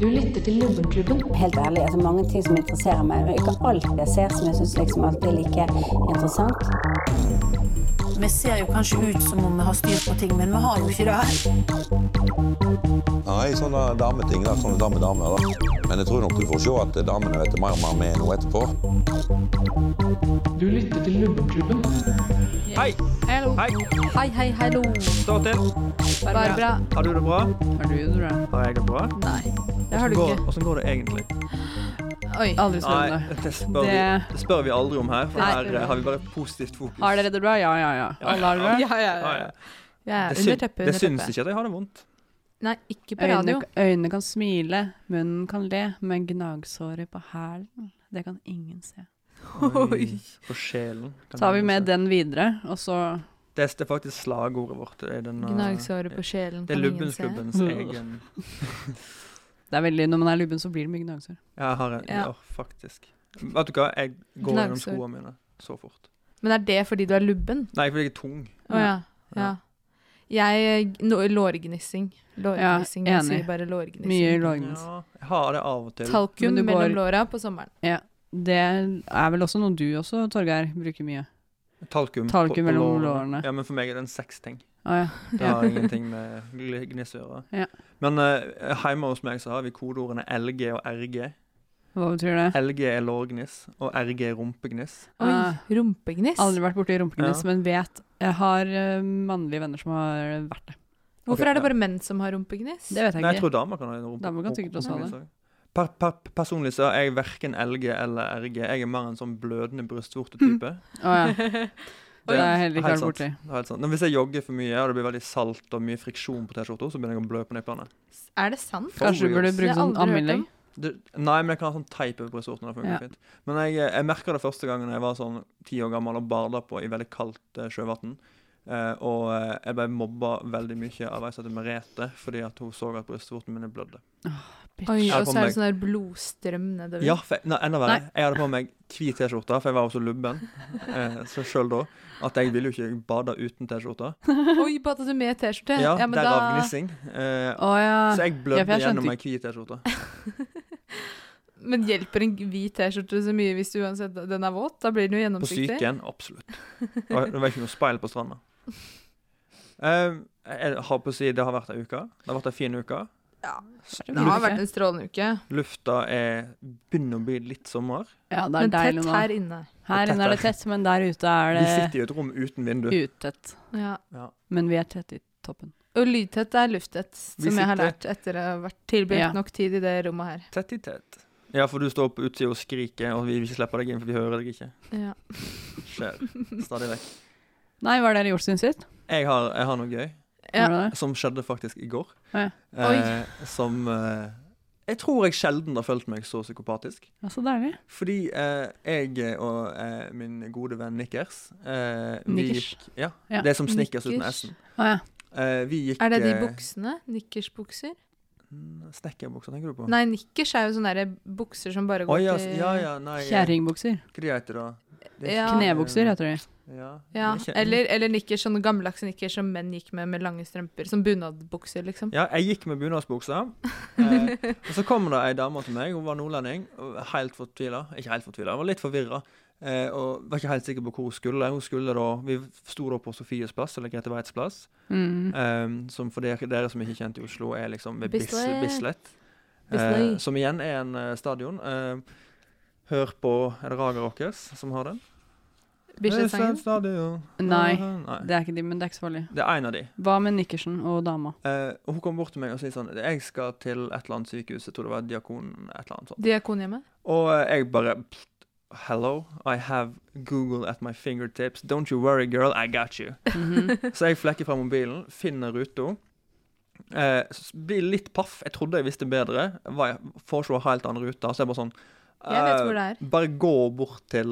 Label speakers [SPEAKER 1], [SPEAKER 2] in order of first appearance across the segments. [SPEAKER 1] Du lytter til Lubbenklubben.
[SPEAKER 2] Helt ærlig, altså mange ting som interesserer meg, men ikke alt jeg ser som jeg syns liksom alltid er like interessant.
[SPEAKER 3] Vi ser jo kanskje ut som om vi har styr på ting, men vi har jo ikke det.
[SPEAKER 4] Nei, sånne sånn, eh, dameting. da, Sånne damedamer. da. Men jeg tror nok du får se at damene vet mer om hva vi er nå etterpå.
[SPEAKER 1] Du lytter til Lubbenklubben.
[SPEAKER 5] Hei!
[SPEAKER 6] Hallo.
[SPEAKER 5] Hei!
[SPEAKER 6] Hei, hei, hallo.
[SPEAKER 5] Stå til!
[SPEAKER 6] Barbara.
[SPEAKER 5] Har du det bra?
[SPEAKER 6] Har du det bra?
[SPEAKER 5] Har jeg det bra?
[SPEAKER 6] Nei, det har du
[SPEAKER 5] Går-
[SPEAKER 6] ikke.
[SPEAKER 5] Hvordan går det egentlig?
[SPEAKER 6] Oi, aldri
[SPEAKER 5] Nei,
[SPEAKER 6] spennende.
[SPEAKER 5] det spør,
[SPEAKER 6] Det-
[SPEAKER 5] Vi, det spør vi aldri om her, for
[SPEAKER 6] Nei.
[SPEAKER 5] her eh, har vi bare et positivt fokus.
[SPEAKER 6] Har dere det bra? Ja, ja, ja. Alle har det bra?
[SPEAKER 7] Ja, ja,
[SPEAKER 5] Ja,
[SPEAKER 7] ja.
[SPEAKER 5] ja.
[SPEAKER 7] ja
[SPEAKER 5] Det,
[SPEAKER 7] under
[SPEAKER 5] syn,
[SPEAKER 7] teppet.
[SPEAKER 5] det
[SPEAKER 7] Under
[SPEAKER 5] syns
[SPEAKER 7] teppet.
[SPEAKER 5] ikke at jeg har det vondt.
[SPEAKER 7] Nei, ikke på radio.
[SPEAKER 6] Øynene, øynene kan smile, munnen kan le, men gnagsåret på hælen, det kan ingen se.
[SPEAKER 7] Oi.
[SPEAKER 5] For Mm, sjelen. kan
[SPEAKER 6] Tar vi
[SPEAKER 5] jeg
[SPEAKER 6] med
[SPEAKER 5] si.
[SPEAKER 6] den videre, og så
[SPEAKER 5] Det er det er faktisk slagordet vårt. Det er, den, eh,
[SPEAKER 7] Gnagsåret på sjelen.
[SPEAKER 5] det er
[SPEAKER 7] kan ingen se.
[SPEAKER 5] Lubbenskubbens egen
[SPEAKER 6] Det er veldig Når man er lubben, så blir det mye gnagsår.
[SPEAKER 5] Jeg har en, ja.
[SPEAKER 7] Ja.
[SPEAKER 5] faktisk. Vet du hva, jeg går gjennom
[SPEAKER 7] Gnagsår.
[SPEAKER 5] skoene mine så fort.
[SPEAKER 7] Men er det fordi du er lubben?
[SPEAKER 5] Nei, fordi jeg er tung.
[SPEAKER 7] Å ja. ja. Jeg no, Lårgnissing. Lårgnissing.
[SPEAKER 6] Ja,
[SPEAKER 7] jeg
[SPEAKER 6] enig.
[SPEAKER 7] sier bare lårgnissing.
[SPEAKER 6] Mye lårgnissing.
[SPEAKER 5] Ja, jeg har det av og til.
[SPEAKER 6] Men
[SPEAKER 7] Talkum
[SPEAKER 6] du går-
[SPEAKER 7] mellom låra på sommeren.
[SPEAKER 6] Det er vel også noe du også, Torgeir, bruker mye.
[SPEAKER 5] Talkum, på-
[SPEAKER 6] Talkum
[SPEAKER 5] på
[SPEAKER 6] mellom
[SPEAKER 5] lårene.
[SPEAKER 6] lårene.
[SPEAKER 5] Ja, men for meg er det en sexting.
[SPEAKER 6] Å ja.
[SPEAKER 5] Det har ingenting med gl- gniss å gjøre.
[SPEAKER 6] Ja.
[SPEAKER 5] Men eh, hjemme hos meg så har vi kodeordene LG og RG.
[SPEAKER 6] Hva betyr det?
[SPEAKER 5] LG er lårgniss, og RG er rumpegniss.
[SPEAKER 7] Oi,
[SPEAKER 6] Ah.
[SPEAKER 7] rumpegniss.
[SPEAKER 6] Aldri vært borti rumpegniss,
[SPEAKER 5] Ja.
[SPEAKER 6] men vet Jeg har eh, mannlige venner som har vært det.
[SPEAKER 5] Ok,
[SPEAKER 7] Hvorfor er det
[SPEAKER 5] ja.
[SPEAKER 7] bare menn som har rumpegniss?
[SPEAKER 6] Det vet jeg
[SPEAKER 5] Nei, jeg tror
[SPEAKER 6] ikke.
[SPEAKER 5] damer kan ha rumpe-
[SPEAKER 6] Damer kan sikkert også ha
[SPEAKER 5] rumpegniss også. Per, per, personlig så er jeg verken LG eller RG. Jeg er mer en sånn blødende brystvorte-type.
[SPEAKER 6] Å ja. Det har Mm. jeg heller ikke vært
[SPEAKER 5] sant.
[SPEAKER 6] borti.
[SPEAKER 5] Det er helt sant. Men hvis jeg jogger for mye, og det blir veldig salt og mye friksjon på T-skjorta, så begynner jeg å blø på nipplene.
[SPEAKER 7] Er det sant?
[SPEAKER 6] Kanskje
[SPEAKER 5] Overgjørs.
[SPEAKER 6] du burde
[SPEAKER 7] Det
[SPEAKER 6] bruke
[SPEAKER 7] har jeg
[SPEAKER 6] sånn
[SPEAKER 7] aldri hørt
[SPEAKER 6] ammeinnlegg.
[SPEAKER 7] om.
[SPEAKER 5] Det, nei, men jeg kan ha sånn teip over brystvortene. det funker
[SPEAKER 6] Ja.
[SPEAKER 5] fint. Men jeg, eh, jeg merka det første gangen jeg var sånn ti år gammel og bada på i veldig kaldt uh, sjøvann. Eh, og eh, jeg ble mobba veldig mye av ei som heter Merete, fordi at hun så at brystvortene mine blødde.
[SPEAKER 7] Oi,
[SPEAKER 5] Jeg har
[SPEAKER 7] og
[SPEAKER 5] på
[SPEAKER 7] så er
[SPEAKER 5] meg-
[SPEAKER 7] det sånn der blodstrøm nedover.
[SPEAKER 5] Ja, for, jeg- nei, enda verre.
[SPEAKER 6] Nei.
[SPEAKER 5] Jeg hadde på meg hvit T-skjorte, for jeg var jo så lubben eh, så sjøl da at jeg ville jo ikke bade uten T-skjorte.
[SPEAKER 7] Oi, badet du med T-skjorte?
[SPEAKER 5] Ja,
[SPEAKER 7] men
[SPEAKER 5] derav
[SPEAKER 7] da-
[SPEAKER 5] gnissing. Eh,
[SPEAKER 6] Å ja.
[SPEAKER 5] så jeg
[SPEAKER 6] Ja,
[SPEAKER 5] blødde
[SPEAKER 6] for jeg skjønte
[SPEAKER 5] gjennom ei hvit T-skjorte.
[SPEAKER 7] Men hjelper en hvit T-skjorte så mye hvis du uansett den er våt? Da blir den jo
[SPEAKER 5] På
[SPEAKER 7] gjennomsiktig.
[SPEAKER 5] psyken, absolutt. Det var, det var ikke noe speil på stranda. Eh, jeg har på å si det har vært ei uke. Det har vært ei fin uke.
[SPEAKER 7] Ja, Det har
[SPEAKER 6] Luft-
[SPEAKER 7] vært en strålende uke,
[SPEAKER 5] Lufta er begynner å bli litt sommer.
[SPEAKER 6] ja, det er
[SPEAKER 7] men
[SPEAKER 6] deilig
[SPEAKER 7] tett
[SPEAKER 6] nå.
[SPEAKER 7] her inne.
[SPEAKER 6] Her inne er det tett, men der ute er
[SPEAKER 5] Vi sitter
[SPEAKER 6] det
[SPEAKER 5] i et rom uten vindu.
[SPEAKER 6] utett.
[SPEAKER 7] Ja.
[SPEAKER 6] Men vi er tett i toppen.
[SPEAKER 7] Og lydtett er lufttett,
[SPEAKER 5] Vi
[SPEAKER 7] som jeg har
[SPEAKER 5] sitter-
[SPEAKER 7] lært etter å ha vært tilbrakt
[SPEAKER 6] Ja.
[SPEAKER 7] nok tid i det rommet her.
[SPEAKER 5] Tett i tett. Ja, for du står på utsida og skriker, og vi vil ikke slippe deg inn, for vi hører deg ikke.
[SPEAKER 7] Ja.
[SPEAKER 5] Skjer stadig vekk.
[SPEAKER 6] Nei, hva har dere gjort siden sist?
[SPEAKER 5] Jeg har, jeg har noe gøy
[SPEAKER 7] Ja.
[SPEAKER 6] Har dere det?
[SPEAKER 5] som skjedde faktisk i går.
[SPEAKER 6] Ja.
[SPEAKER 5] Eh, som eh, Jeg tror jeg sjelden har følt meg så psykopatisk.
[SPEAKER 6] Ja, så deilig.
[SPEAKER 5] Fordi eh, jeg og eh, min gode venn Nikkers eh, vi
[SPEAKER 6] Nikkers.
[SPEAKER 5] gikk- Ja,
[SPEAKER 6] Ja.
[SPEAKER 5] Det er som Snickers uten
[SPEAKER 7] Nikkers.
[SPEAKER 5] S-en.
[SPEAKER 6] Å ja.
[SPEAKER 5] Eh, vi gikk
[SPEAKER 7] Er det de
[SPEAKER 5] eh,
[SPEAKER 7] buksene? Nikkersbukser?
[SPEAKER 5] mm, Snekkerbukser, tenker du på?
[SPEAKER 7] Nei, nikkers er jo sånne der bukser som bare
[SPEAKER 5] Å,
[SPEAKER 7] går
[SPEAKER 5] ja, s-
[SPEAKER 7] til
[SPEAKER 5] ja, ja, nei, eh,
[SPEAKER 6] Kjerringbukser.
[SPEAKER 5] Hva de heter da? Det er
[SPEAKER 7] Ja.
[SPEAKER 5] ikke-
[SPEAKER 6] Knebukser heter de.
[SPEAKER 5] Ja,
[SPEAKER 7] Ja,
[SPEAKER 5] det er ikke-
[SPEAKER 7] eller, eller nikkers, sånne gammeldagse nikkers som menn gikk med med lange strømper. Som bunadbukser, liksom.
[SPEAKER 5] Ja, jeg gikk med bunadsbuksa. Eh, og så kom det ei dame til meg, hun var nordlending, og helt fortvila. Ikke helt fortvila, hun var litt forvirra. Eh, og var ikke helt sikker på hvor hun skulle. Hun skulle da, Vi sto da på Sofies plass, eller Grete Weitz plass.
[SPEAKER 6] Mm.
[SPEAKER 5] Ehm, som for dere, dere som ikke er kjent i Oslo, er liksom ved Bis
[SPEAKER 7] Bislett.
[SPEAKER 5] Bislett.
[SPEAKER 7] Bislett.
[SPEAKER 5] Eh, som igjen er en eh, stadion. Eh, hør på Er det Raga Rockers som har den?
[SPEAKER 7] Bislett-sangen.
[SPEAKER 5] stadion.
[SPEAKER 6] Nei,
[SPEAKER 5] Nei.
[SPEAKER 6] det er ikke de, men det er ikke så farlig.
[SPEAKER 5] Det er en av de.
[SPEAKER 6] Hva med Nikkersen og dama?
[SPEAKER 5] Eh, og hun kom bort til meg og sa sånn Jeg skal til et eller annet sykehus. Jeg tror det var Diakonen. et eller annet sånt.
[SPEAKER 7] Diakonhjemmet.
[SPEAKER 5] Og eh, jeg bare pst, Hello, I have Google at my fingertips. Don't you worry, girl, I got you.
[SPEAKER 6] Mhm.
[SPEAKER 5] Så jeg flekker fra mobilen, finner ruta. Eh, s- blir litt paff. Jeg trodde jeg visste bedre. Var jeg foreslo en helt annen rute. Så jeg bare sånn
[SPEAKER 7] Jeg vet
[SPEAKER 5] eh,
[SPEAKER 7] hvor det er.
[SPEAKER 5] Bare gå bort til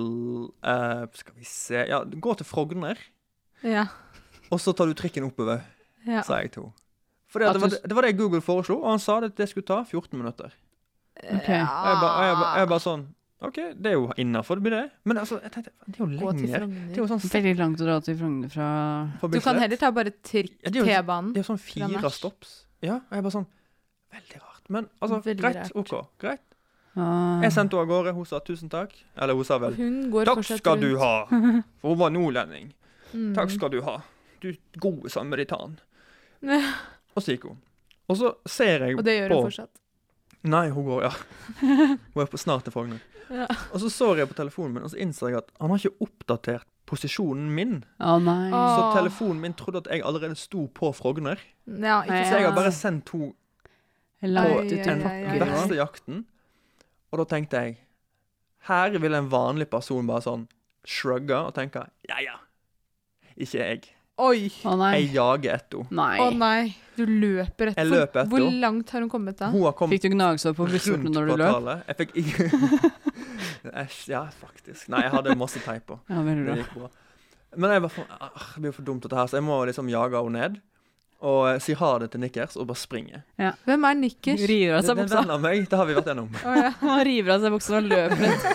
[SPEAKER 5] eh, Skal vi se Ja, gå til Frogner,
[SPEAKER 7] Ja.
[SPEAKER 5] og så tar du trikken oppover,
[SPEAKER 7] ja.
[SPEAKER 5] sa jeg til henne. Fordi at
[SPEAKER 6] At
[SPEAKER 5] det, var,
[SPEAKER 6] du s-
[SPEAKER 5] det var det Google foreslo, og han sa det, det skulle ta 14 minutter.
[SPEAKER 6] Ok.
[SPEAKER 5] Og jeg bare, og jeg bare,
[SPEAKER 8] Ah.
[SPEAKER 5] jeg bare sånn OK, det er jo innafor, det blir det. Men altså, jeg tenkte, det er jo
[SPEAKER 7] Gå
[SPEAKER 5] lenger.
[SPEAKER 7] til
[SPEAKER 5] Det er
[SPEAKER 7] Frogner.
[SPEAKER 5] jo sånn
[SPEAKER 6] Veldig langt å dra til Frogner fra
[SPEAKER 5] forbi
[SPEAKER 7] Du kan
[SPEAKER 5] Bislett.
[SPEAKER 7] heller ta bare trikk
[SPEAKER 5] Ja, det er jo-
[SPEAKER 7] T-banen.
[SPEAKER 5] Det er jo sånn
[SPEAKER 7] Fra
[SPEAKER 5] fire
[SPEAKER 7] Mars.
[SPEAKER 5] stopps. Ja, og jeg bare sånn Veldig rart. men altså,
[SPEAKER 8] Veldig
[SPEAKER 5] greit.
[SPEAKER 8] rart.
[SPEAKER 5] OK. Greit.
[SPEAKER 6] Ah.
[SPEAKER 5] Jeg sendte henne av gårde. Hun sa tusen takk. Eller hun sa vel
[SPEAKER 8] Hun går
[SPEAKER 5] Takk
[SPEAKER 8] fortsatt
[SPEAKER 5] skal
[SPEAKER 8] rundt.
[SPEAKER 5] du ha. For hun var nordlending.
[SPEAKER 8] Mm.
[SPEAKER 5] Takk skal du ha. Du gode samaritan.
[SPEAKER 8] Nei.
[SPEAKER 5] Og så gikk hun. Og så ser jeg
[SPEAKER 8] Og det gjør
[SPEAKER 5] på
[SPEAKER 8] hun fortsatt.
[SPEAKER 5] Nei, hun går, ja. Hun er på snart til Frogner.
[SPEAKER 8] Ja.
[SPEAKER 5] Og så så jeg på telefonen min, og så innså jeg at han har ikke oppdatert posisjonen min.
[SPEAKER 6] Å nei.
[SPEAKER 8] Ah.
[SPEAKER 5] Så
[SPEAKER 8] Åh.
[SPEAKER 5] telefonen min trodde at jeg allerede sto på Frogner.
[SPEAKER 8] Ja, ikke
[SPEAKER 6] Nei,
[SPEAKER 5] Så jeg har
[SPEAKER 6] Ja.
[SPEAKER 5] bare sendt henne
[SPEAKER 6] Langt
[SPEAKER 8] Oi,
[SPEAKER 6] ut i
[SPEAKER 8] oi,
[SPEAKER 5] den
[SPEAKER 8] oi, oi.
[SPEAKER 6] fakkel.
[SPEAKER 5] verste jakten. Og da tenkte jeg Her vil en vanlig person bare sånn shrugge og tenke Ja, ja. Ikke jeg.
[SPEAKER 8] Oi!
[SPEAKER 6] Å nei.
[SPEAKER 5] Jeg jager etter henne.
[SPEAKER 6] Nei.
[SPEAKER 8] Å nei, du løper etter
[SPEAKER 5] Jeg løper etter
[SPEAKER 8] Hvor
[SPEAKER 5] henne.
[SPEAKER 8] langt har hun kommet da?
[SPEAKER 5] Hun har kommet
[SPEAKER 6] Fikk du gnagsår på brystvortene
[SPEAKER 5] rundt
[SPEAKER 6] når du løp?
[SPEAKER 5] kvartalet. Jeg fikk ikke Æsj, Ja, faktisk. Nei, jeg hadde masse teip på.
[SPEAKER 6] Ja, veldig
[SPEAKER 5] Det
[SPEAKER 6] bra.
[SPEAKER 5] gikk bra. Men jeg var for, ah, det blir jo for dumt, dette her, så jeg må liksom jage henne ned. Og eh, si ha det til Nikkers, og bare springe.
[SPEAKER 8] Hvem er Nikkers?
[SPEAKER 6] River av
[SPEAKER 5] Det er en
[SPEAKER 6] seg buksa.
[SPEAKER 5] venn av meg, det har vi vært gjennom.
[SPEAKER 8] Å, ja.
[SPEAKER 6] Han river av seg buksa og løper ut.
[SPEAKER 5] Det er det.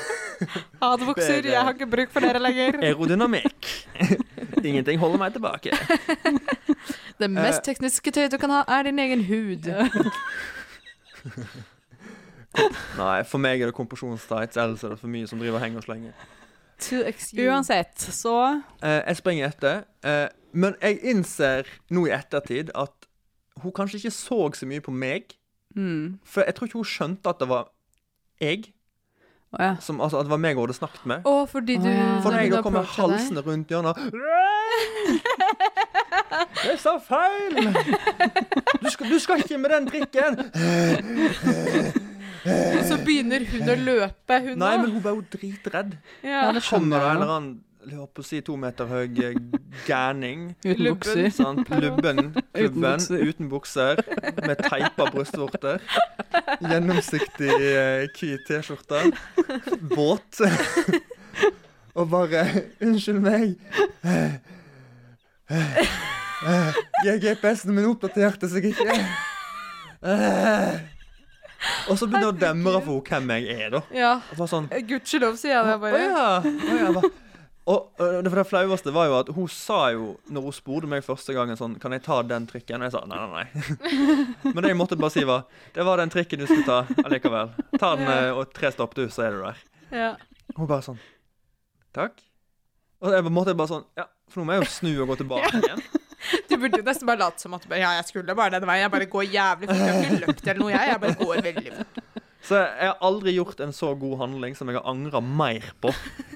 [SPEAKER 8] Hadebukser, jeg har ikke bruk for dere lenger.
[SPEAKER 5] Aerodynamikk. Ingenting holder meg tilbake.
[SPEAKER 8] Det mest tekniske tøyet du kan ha, er din egen hud.
[SPEAKER 5] Nei, for meg er det kompresjonstights, ellers er det for mye som driver og henger og slenger.
[SPEAKER 8] To excuse.
[SPEAKER 6] Uansett, så
[SPEAKER 5] Eh, jeg springer etter, eh, men jeg innser nå i ettertid at hun kanskje ikke så så mye på meg,
[SPEAKER 6] mm.
[SPEAKER 5] for jeg tror ikke hun skjønte at det var jeg,
[SPEAKER 6] Å ja.
[SPEAKER 5] som, altså at det var meg hun hadde snakket med.
[SPEAKER 8] Å, fordi du
[SPEAKER 6] Å, ja.
[SPEAKER 5] For
[SPEAKER 8] da
[SPEAKER 5] når jeg
[SPEAKER 8] hun
[SPEAKER 5] da kommer
[SPEAKER 8] approacher deg.
[SPEAKER 5] halsende rundt hjørnet Jeg sa feil! Du skal, du skal ikke med den drikken!
[SPEAKER 8] Så begynner hun å løpe, hun
[SPEAKER 5] Nei,
[SPEAKER 8] da.
[SPEAKER 5] men hun ble jo dritredd.
[SPEAKER 8] ja.
[SPEAKER 5] Kommer det
[SPEAKER 6] det
[SPEAKER 5] en
[SPEAKER 6] skjønner jeg.
[SPEAKER 5] eller annen jeg holdt på å si to meter høy eh, gærning
[SPEAKER 6] Uten
[SPEAKER 8] Lubben.
[SPEAKER 6] bukser.
[SPEAKER 5] Sant? Lubben, klubben,
[SPEAKER 6] bukser.
[SPEAKER 5] uten bukser, med teipa brystvorter. Gjennomsiktig eh, hvit T-skjorte. Båt. Og bare Unnskyld meg. Jeg GPS-en min oppdaterte seg ikke. Og så begynner det å demre for henne hvem jeg er, da.
[SPEAKER 8] ja.
[SPEAKER 5] Og bare sånn
[SPEAKER 8] Gudskjelov, sier jeg da
[SPEAKER 5] å
[SPEAKER 8] bare.
[SPEAKER 5] ja. Å ja. hva- Og, øh, det, for det flaueste var jo at hun sa jo, når hun spurte meg første gangen sånn Kan jeg ta den trikken? Og jeg sa nei, nei, nei. Men det jeg måtte bare si, var Det var den trikken du skulle ta allikevel. Ta den øh, og tre stopp, du, så er du der.
[SPEAKER 8] Ja.
[SPEAKER 5] Hun bare sånn Takk. Og jeg måtte bare sånn Ja, for nå må jeg jo snu og gå tilbake igjen.
[SPEAKER 8] Du burde jo nesten bare late som at ja, jeg skulle bare den veien. Jeg bare går jævlig fort. Jeg har ikke løpt eller noe, jeg. Jeg bare går veldig fort.
[SPEAKER 5] Så jeg har aldri gjort en så god handling som jeg har angra mer på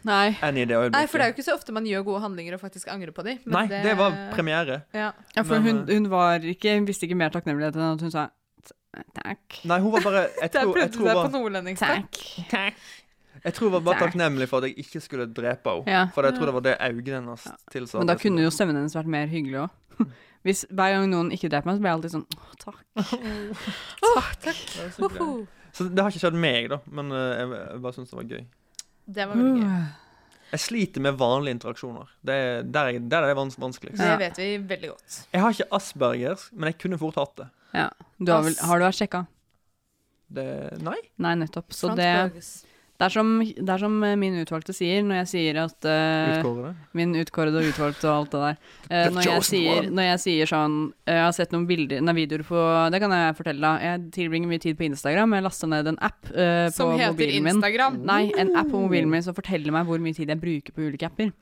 [SPEAKER 6] Nei.
[SPEAKER 5] enn i det øyeblikket.
[SPEAKER 8] Nei, for det er jo ikke så ofte man gjør gode handlinger og faktisk angrer på dem.
[SPEAKER 5] Nei, det var premiere.
[SPEAKER 8] Ja.
[SPEAKER 6] Ja, for
[SPEAKER 5] Men,
[SPEAKER 6] hun, hun var ikke, hun visste ikke mer takknemlighet enn at hun sa t- takk.
[SPEAKER 5] Nei, hun var bare Jeg
[SPEAKER 8] Der
[SPEAKER 5] tror,
[SPEAKER 8] prøvde
[SPEAKER 5] jeg
[SPEAKER 8] du
[SPEAKER 5] tror
[SPEAKER 8] deg
[SPEAKER 5] bare,
[SPEAKER 8] på nordlendingsdag.
[SPEAKER 6] Takk.
[SPEAKER 5] Jeg tror jeg var bare
[SPEAKER 6] Takk.
[SPEAKER 5] takknemlig for at jeg ikke skulle drepe henne.
[SPEAKER 6] Ja.
[SPEAKER 5] For jeg tror det var det øynene hennes tilsa.
[SPEAKER 6] Men da kunne jo stemmen hennes vært mer hyggelig òg. Hvis hver gang noen ikke dreper meg, så blir jeg alltid sånn «Åh, takk.
[SPEAKER 8] Hoho.
[SPEAKER 5] Så det har ikke skjedd meg, da. Men eh, jeg, jeg bare syns det var gøy.
[SPEAKER 8] Det var veldig gøy.
[SPEAKER 5] Jeg sliter med vanlige interaksjoner. Det er der, jeg, der er det vans vanskeligst.
[SPEAKER 8] Det
[SPEAKER 6] Ja.
[SPEAKER 8] vet vi veldig godt.
[SPEAKER 5] Jeg har ikke aspergers, men jeg kunne fort hatt det.
[SPEAKER 6] Ja. Du har, vel, har du vært sjekka?
[SPEAKER 5] det nei.
[SPEAKER 6] Nei, nettopp. Så
[SPEAKER 8] Front
[SPEAKER 6] det,
[SPEAKER 8] burgers.
[SPEAKER 6] det, er som, det er som eh, min utvalgte sier når jeg sier at eh,
[SPEAKER 5] Utkårede.
[SPEAKER 6] Min utkårede og utvalgte og alt det der. Eh,
[SPEAKER 5] The
[SPEAKER 6] når, jeg
[SPEAKER 5] chosen
[SPEAKER 6] sier,
[SPEAKER 5] one.
[SPEAKER 6] når jeg sier sånn eh, Jeg har sett noen bilder, nei, videoer på Det kan jeg fortelle, da. Jeg tilbringer mye tid på Instagram. Jeg laster ned en app eh, på
[SPEAKER 8] Som heter
[SPEAKER 6] mobilen min.
[SPEAKER 8] Instagram. Eh,
[SPEAKER 6] Nei, en app på mobilen min som forteller meg hvor mye tid jeg bruker på ulike apper.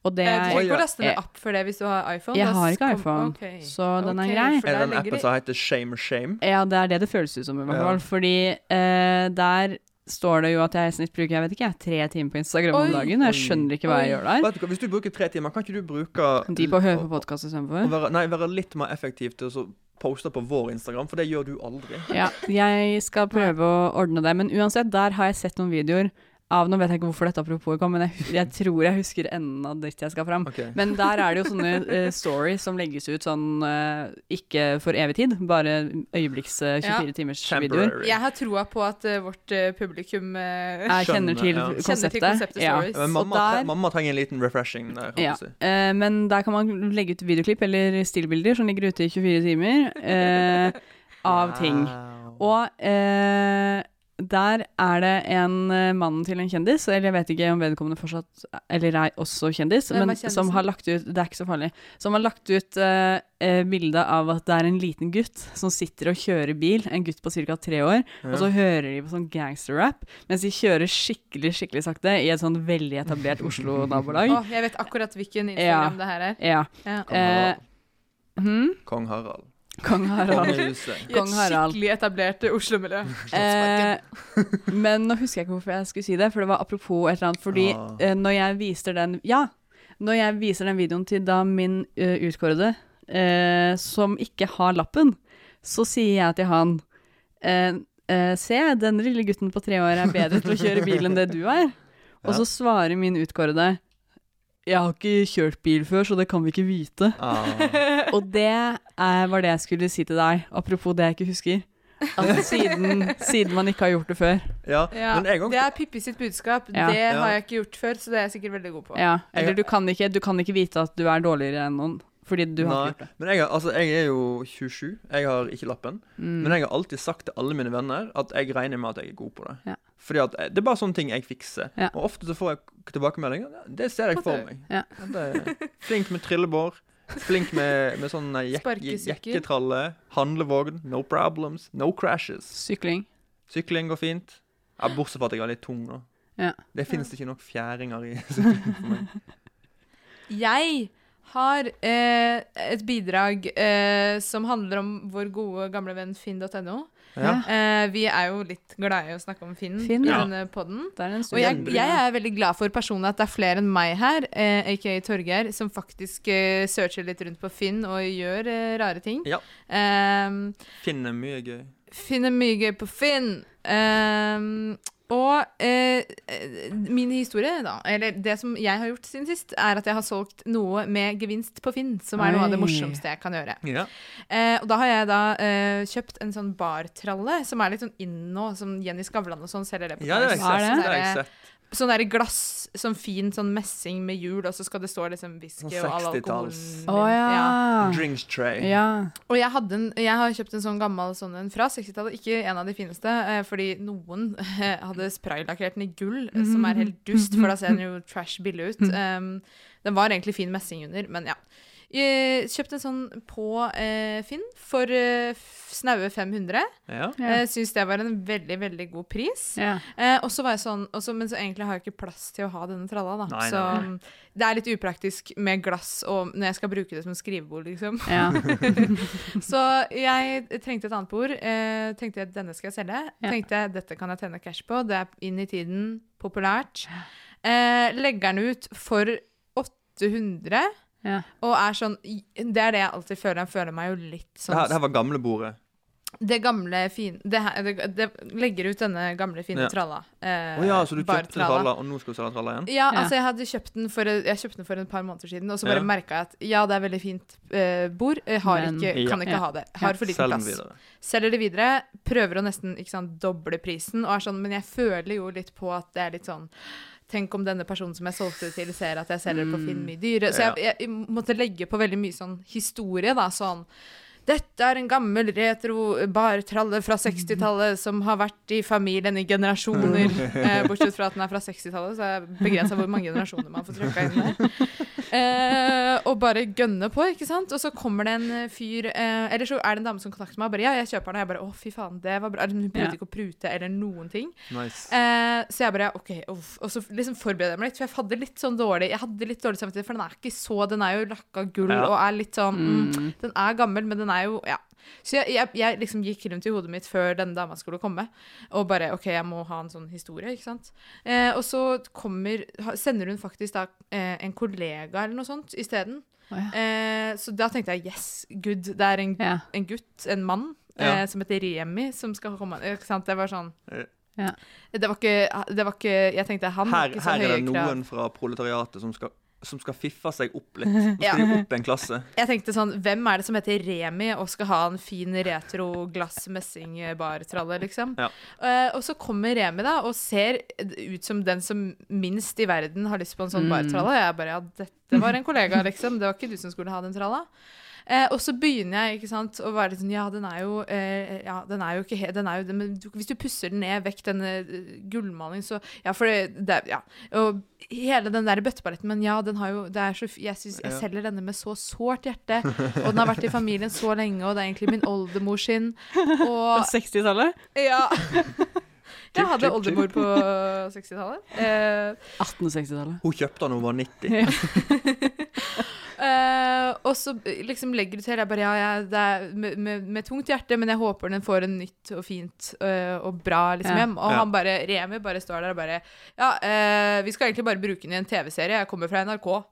[SPEAKER 6] Og det
[SPEAKER 8] Eh, Du trenger
[SPEAKER 6] er
[SPEAKER 8] ikke å laste
[SPEAKER 6] Eh,
[SPEAKER 8] ned app for det hvis du har iPhone.
[SPEAKER 6] Jeg
[SPEAKER 8] da
[SPEAKER 6] har ikke
[SPEAKER 8] kom-
[SPEAKER 6] iPhone,
[SPEAKER 8] ok.
[SPEAKER 6] så den er
[SPEAKER 8] Ok,
[SPEAKER 6] grei.
[SPEAKER 8] for der
[SPEAKER 5] Er det den
[SPEAKER 8] ligger
[SPEAKER 5] appen
[SPEAKER 8] det-
[SPEAKER 5] som heter Shame Shame?
[SPEAKER 6] Ja, det er det det føles ut som, i hvert
[SPEAKER 5] Ja.
[SPEAKER 6] fall. Fordi eh, der står det jo at jeg i snitt bruker jeg vet ikke, jeg, tre timer på Instagram
[SPEAKER 8] Oi.
[SPEAKER 6] om dagen. Og jeg
[SPEAKER 5] Oi.
[SPEAKER 6] skjønner ikke hva jeg gjør der.
[SPEAKER 5] Vet du hva, Hvis du bruker tre timer, kan ikke du bruke
[SPEAKER 6] Eh, De på å høre på
[SPEAKER 5] å-
[SPEAKER 6] podkast
[SPEAKER 5] å
[SPEAKER 6] istedenfor.
[SPEAKER 5] være, Nei, være litt mer effektiv til å så poste på vår Instagram, for det gjør du aldri.
[SPEAKER 6] Ja, jeg skal prøve å ordne det. Men uansett, der har jeg sett noen videoer av Nå vet jeg ikke hvorfor dette apropos kom, men jeg, hus- jeg tror jeg husker enden av dritt jeg skal fram.
[SPEAKER 5] Ok.
[SPEAKER 6] Men der er det jo sånne eh, stories som legges ut sånn eh, ikke for evig tid, bare øyeblikks eh, 24 timers videoer.
[SPEAKER 5] Temporary.
[SPEAKER 8] Jeg har troa på at eh, vårt eh, publikum eh,
[SPEAKER 6] Jeg kjenner til
[SPEAKER 5] Skjønner,
[SPEAKER 8] kjenner til
[SPEAKER 5] ja.
[SPEAKER 6] konseptet.
[SPEAKER 8] konseptet
[SPEAKER 6] Ja.
[SPEAKER 8] stories.
[SPEAKER 5] Men mamma,
[SPEAKER 6] Og
[SPEAKER 5] tre,
[SPEAKER 6] der-
[SPEAKER 5] mamma trenger en liten refreshing der. holdt
[SPEAKER 6] Ja,
[SPEAKER 5] jeg på å si.
[SPEAKER 6] eh, men der kan man legge ut videoklipp eller stillbilder som ligger ute i 24 timer eh, av ting.
[SPEAKER 5] Wow.
[SPEAKER 6] Og eh, der er det en eh, mann til en kjendis, eller jeg vet ikke om vedkommende fortsatt eller er også kjendis,
[SPEAKER 7] Hvem er
[SPEAKER 6] men som
[SPEAKER 7] kjendisen?
[SPEAKER 6] har lagt ut Det er ikke så farlig. Som har lagt ut eh, eh, bilde av at det er en liten gutt som sitter og kjører bil, en gutt på ca. tre år, og så hører de på sånn gangsterrap mens de kjører skikkelig, skikkelig sakte i et sånn veldig etablert Oslo-nabolag.
[SPEAKER 7] Å, jeg vet akkurat hvilken
[SPEAKER 6] Ja.
[SPEAKER 7] Instagram det her er.
[SPEAKER 6] Ja.
[SPEAKER 7] Ja.
[SPEAKER 5] Kong
[SPEAKER 6] Eh,
[SPEAKER 5] Harald.
[SPEAKER 6] hm?
[SPEAKER 5] Kong Harald.
[SPEAKER 6] Kong Harald.
[SPEAKER 5] Kongehuset.
[SPEAKER 7] I et
[SPEAKER 6] Kong Harald.
[SPEAKER 7] skikkelig etablert eh, Oslo-miljø.
[SPEAKER 6] Eh, men nå husker jeg ikke hvorfor jeg skulle si det, for det var apropos et eller annet. Fordi
[SPEAKER 5] Ah.
[SPEAKER 6] eh, når jeg viser den Ja, når jeg viser den videoen til da min eh, utkårede, eh, som ikke har lappen, så sier jeg til han eh, eh, Se, den lille gutten på tre år er bedre til å kjøre bil enn det du er. Og så svarer min utkårede Jeg har ikke kjørt bil før, så det kan vi ikke vite.
[SPEAKER 5] Ah.
[SPEAKER 6] Og det er, var det jeg skulle si til deg, apropos det jeg ikke husker. At siden, siden man ikke har gjort det før.
[SPEAKER 5] Ja,
[SPEAKER 7] Ja,
[SPEAKER 5] men en gang
[SPEAKER 7] det er Pippi sitt budskap.
[SPEAKER 6] Ja.
[SPEAKER 7] Det
[SPEAKER 5] Ja.
[SPEAKER 7] har jeg ikke gjort før, så det er jeg sikkert veldig god på.
[SPEAKER 6] Ja, eller du kan, ikke, du kan ikke vite at du er dårligere enn noen, fordi du har
[SPEAKER 5] Nei,
[SPEAKER 6] ikke gjort det.
[SPEAKER 5] men jeg, har- altså, jeg er jo 27, jeg har ikke lappen.
[SPEAKER 6] Mm.
[SPEAKER 5] Men jeg har alltid sagt til alle mine venner at jeg regner med at jeg er god på det.
[SPEAKER 6] Ja.
[SPEAKER 5] Fordi at eh, Det er bare sånne ting jeg fikser.
[SPEAKER 6] Ja.
[SPEAKER 5] Og ofte så får jeg k- tilbakemeldinger. "Ja, Det ser jeg for meg.
[SPEAKER 6] Ja.
[SPEAKER 5] Det er flink med trillebår. Flink med, med sånn eh, jek
[SPEAKER 7] Sparkesykkel.
[SPEAKER 5] jekketralle. Handlevogn. No problems. No crashes.
[SPEAKER 6] Sykling.
[SPEAKER 5] Sykling går fint. Ja, bortsett fra at jeg er litt tung nå.
[SPEAKER 6] Ja.
[SPEAKER 5] Det finnes ikke nok fjæringer i
[SPEAKER 7] Jeg har eh, et bidrag eh, som handler om vår gode gamle venn finn.no.
[SPEAKER 5] Ja.
[SPEAKER 7] Eh, vi er jo litt glade i å snakke om Finn,
[SPEAKER 6] Finn,
[SPEAKER 7] i
[SPEAKER 6] ja.
[SPEAKER 7] denne podden.
[SPEAKER 6] Det er en
[SPEAKER 7] Og jeg,
[SPEAKER 6] studie.
[SPEAKER 7] jeg er veldig glad for personen at det er flere enn meg her, eh, aka Torgeir, som faktisk eh, searcher litt rundt på Finn og gjør eh, rare ting.
[SPEAKER 5] Ja.
[SPEAKER 7] Ehm,
[SPEAKER 5] Finner mye gøy.
[SPEAKER 7] finner mye gøy på Finn. Ehm, og eh, eh, min historie, da, eller det som jeg har gjort siden sist, er at jeg har solgt noe med gevinst på Finn, som er noe av det
[SPEAKER 6] Oi.
[SPEAKER 7] morsomste jeg kan gjøre.
[SPEAKER 5] Ja.
[SPEAKER 7] Eh, og da har jeg da eh, kjøpt en sånn bartralle, som er litt sånn inn nå, som Jenny Skavlan og sånn selger det på.
[SPEAKER 5] Ja, det har jeg sett.
[SPEAKER 6] Hva er
[SPEAKER 7] Times.
[SPEAKER 6] det?
[SPEAKER 5] Det har jeg sett.
[SPEAKER 7] Sånn der glass, sånn fin sånn messing med hjul, og så skal det stå liksom whisky
[SPEAKER 5] Sånn
[SPEAKER 7] og all alkoholen.
[SPEAKER 5] 60-talls.
[SPEAKER 6] Å ja.
[SPEAKER 5] Drinks tray.
[SPEAKER 6] ja.
[SPEAKER 7] Og jeg, hadde en, jeg har kjøpt en sånn gammel sånn en fra 60-tallet, ikke en av de fineste, eh, fordi noen eh, hadde spraylakkert den i gull, eh, som er helt dust, for da ser den jo trash billig ut. Um, den var egentlig fin messing under, men ja. Jeg kjøpte en sånn på eh, Finn for eh, f- snaue 500.
[SPEAKER 5] Ja.
[SPEAKER 6] Ja.
[SPEAKER 7] Jeg Syns det var en veldig, veldig god pris.
[SPEAKER 6] ja.
[SPEAKER 7] Eh, og så var jeg sånn, og så- men så egentlig har jeg ikke plass til å ha denne tralla, da.
[SPEAKER 5] Nei, nei,
[SPEAKER 7] så mm, det er litt upraktisk med glass og når jeg skal bruke det som skrivebord, liksom.
[SPEAKER 6] ja.
[SPEAKER 7] Så jeg trengte et annet bord. Eh, tenkte jeg denne skal jeg selge.
[SPEAKER 6] Ja.
[SPEAKER 7] Tenkte jeg dette kan jeg tjene cash på. Det er inn i tiden, populært. Eh, legger den ut for 800.
[SPEAKER 6] Ja.
[SPEAKER 7] Og er sånn Det er det jeg alltid føler. Jeg føler meg jo litt
[SPEAKER 5] Det her, det
[SPEAKER 7] sånn
[SPEAKER 5] her var gamlebordet.
[SPEAKER 7] Det gamle, fine det, her- det, det Legger ut denne gamle, fine
[SPEAKER 5] Ja.
[SPEAKER 7] tralla. Eh,
[SPEAKER 5] Å ja, så du kjøpte
[SPEAKER 7] bartralla.
[SPEAKER 5] tralla, og nå skal du selge tralla igjen?
[SPEAKER 7] Ja,
[SPEAKER 6] Ja.
[SPEAKER 7] altså jeg hadde kjøpt den for, jeg kjøpte den for et par måneder siden, og så bare
[SPEAKER 5] Ja.
[SPEAKER 7] merket merka jeg at ja, det er veldig fint eh, bord, jeg har
[SPEAKER 6] Men-
[SPEAKER 7] ikke, kan
[SPEAKER 5] Ja.
[SPEAKER 7] ikke ha det. Har for liten
[SPEAKER 5] Selg den
[SPEAKER 7] plass.
[SPEAKER 5] videre.
[SPEAKER 7] Selger det videre, prøver å nesten ikke sant, doble prisen, og er sånn, men jeg føler jo litt på at det er litt sånn Tenk om denne personen som jeg solgte det til, ser at jeg selger det på Finn mye dyrere. Så jeg, jeg måtte legge på veldig mye sånn historie, da. Sånn dette er en gammel retro bartralle fra 60-tallet som har vært i familien i generasjoner. Eh, bortsett fra at den er fra 60-tallet, så er begrensa hvor mange generasjoner man får trykka inn der. Eh, og bare gønne på, ikke sant. Og så kommer det en fyr eh, Eller så er det en dame som kontakter meg og bare ja, jeg kjøper den. Og jeg bare å, fy faen, det var bra. Hun brukte
[SPEAKER 6] Ja.
[SPEAKER 7] ikke å prute eller noen ting.
[SPEAKER 5] Nice.
[SPEAKER 7] Eh, så jeg bare OK. Uff. Og så liksom forbereder jeg meg litt, for jeg hadde litt sånn dårlig Jeg hadde litt dårlig samvittighet, for den er ikke så Den er jo lakka gull
[SPEAKER 5] Ja.
[SPEAKER 7] og er litt sånn mm, Den er gammel, men den er jo Ja. Så jeg, jeg, jeg liksom gikk rundt i hodet mitt før denne dama skulle komme, og bare OK, jeg må ha en sånn historie, ikke sant. Eh, og så kommer ha- Sender hun faktisk da eh, en kollega eller noe sånt isteden.
[SPEAKER 6] Å
[SPEAKER 7] Eh, så da tenkte jeg yes, good. Det er en,
[SPEAKER 6] Ja.
[SPEAKER 7] en gutt, en mann,
[SPEAKER 5] Ja. Eh.
[SPEAKER 7] eh, som heter Remi, som skal komme Ikke sant. Det var sånn
[SPEAKER 6] Ja.
[SPEAKER 7] det var ikke, det var ikke Jeg tenkte han har
[SPEAKER 5] Her,
[SPEAKER 7] ikke så
[SPEAKER 5] her er
[SPEAKER 7] høye
[SPEAKER 5] det
[SPEAKER 7] krav.
[SPEAKER 5] noen fra proletariatet som skal, som skal fiffe seg opp litt. Nå skal de opp en klasse.
[SPEAKER 7] Jeg tenkte sånn, Hvem er det som heter Remi og skal ha en fin retro glass messing bartralle, liksom?
[SPEAKER 5] Ja.
[SPEAKER 7] Eh, og så kommer Remi da og ser ut som den som minst i verden har lyst på en sånn bartralle. Jeg bare ja, dette var en kollega, liksom. Det var ikke du som skulle ha den tralla. Eh, og så begynner jeg ikke sant, å være litt sånn Ja, den er jo, eh, ja, den er jo ikke he- den er jo, den- Men du, hvis du pusser den ned vekk, denne eh, gullmalingen, så Ja, for det, det er- Ja. Og hele den der bøtteballetten, men ja, den har jo det er så, f- Jeg synes jeg
[SPEAKER 5] Ja.
[SPEAKER 7] selger denne med så sårt hjerte. Og den har vært i familien så lenge, og det er egentlig min oldemor sin.
[SPEAKER 6] Fra
[SPEAKER 7] Og
[SPEAKER 6] 60-tallet?
[SPEAKER 7] ja. Jeg hadde
[SPEAKER 5] Klipp, klipp, klipp.
[SPEAKER 7] oldemor på 60-tallet. Eh,
[SPEAKER 6] 1860-tallet.
[SPEAKER 5] Hun kjøpte den da hun var 90.
[SPEAKER 7] Eh, og så eh, liksom legger du til jeg bare, ja, jeg, det er med, med, med tungt hjerte, men jeg håper den får en nytt og fint eh, og bra liksom,
[SPEAKER 6] Ja.
[SPEAKER 7] hjem. Og
[SPEAKER 5] Ja.
[SPEAKER 7] han bare, Remi bare står der og bare Ja, eh, vi skal egentlig bare bruke den i en TV-serie. Jeg kommer fra NRK.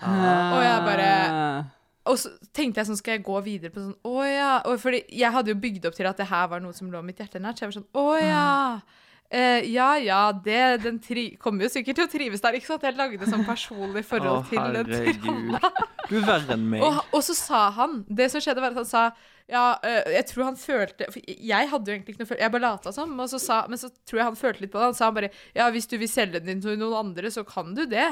[SPEAKER 5] Ah.
[SPEAKER 7] Og jeg bare- Og så tenkte jeg sånn, skal jeg gå videre på sånn Å ja. Og fordi jeg hadde jo bygd opp til at det her var noe som lå mitt hjerte nært. Så jeg var sånn Å ja. Eh, ja ja, det, den tri kommer jo sikkert til å trives der. Ikke sant? Jeg lagde sånn personlig forhold
[SPEAKER 5] Å,
[SPEAKER 7] til den
[SPEAKER 5] herregud. Du er verre enn meg.
[SPEAKER 7] Og, og så sa han Det som skjedde, var at han sa Ja, øh, jeg tror han følte For jeg hadde jo egentlig ikke noe følelse Jeg bare lata som. Og så sa, men så tror jeg han følte litt på det. Han sa bare Ja, hvis du vil selge den til noen andre, så kan du det.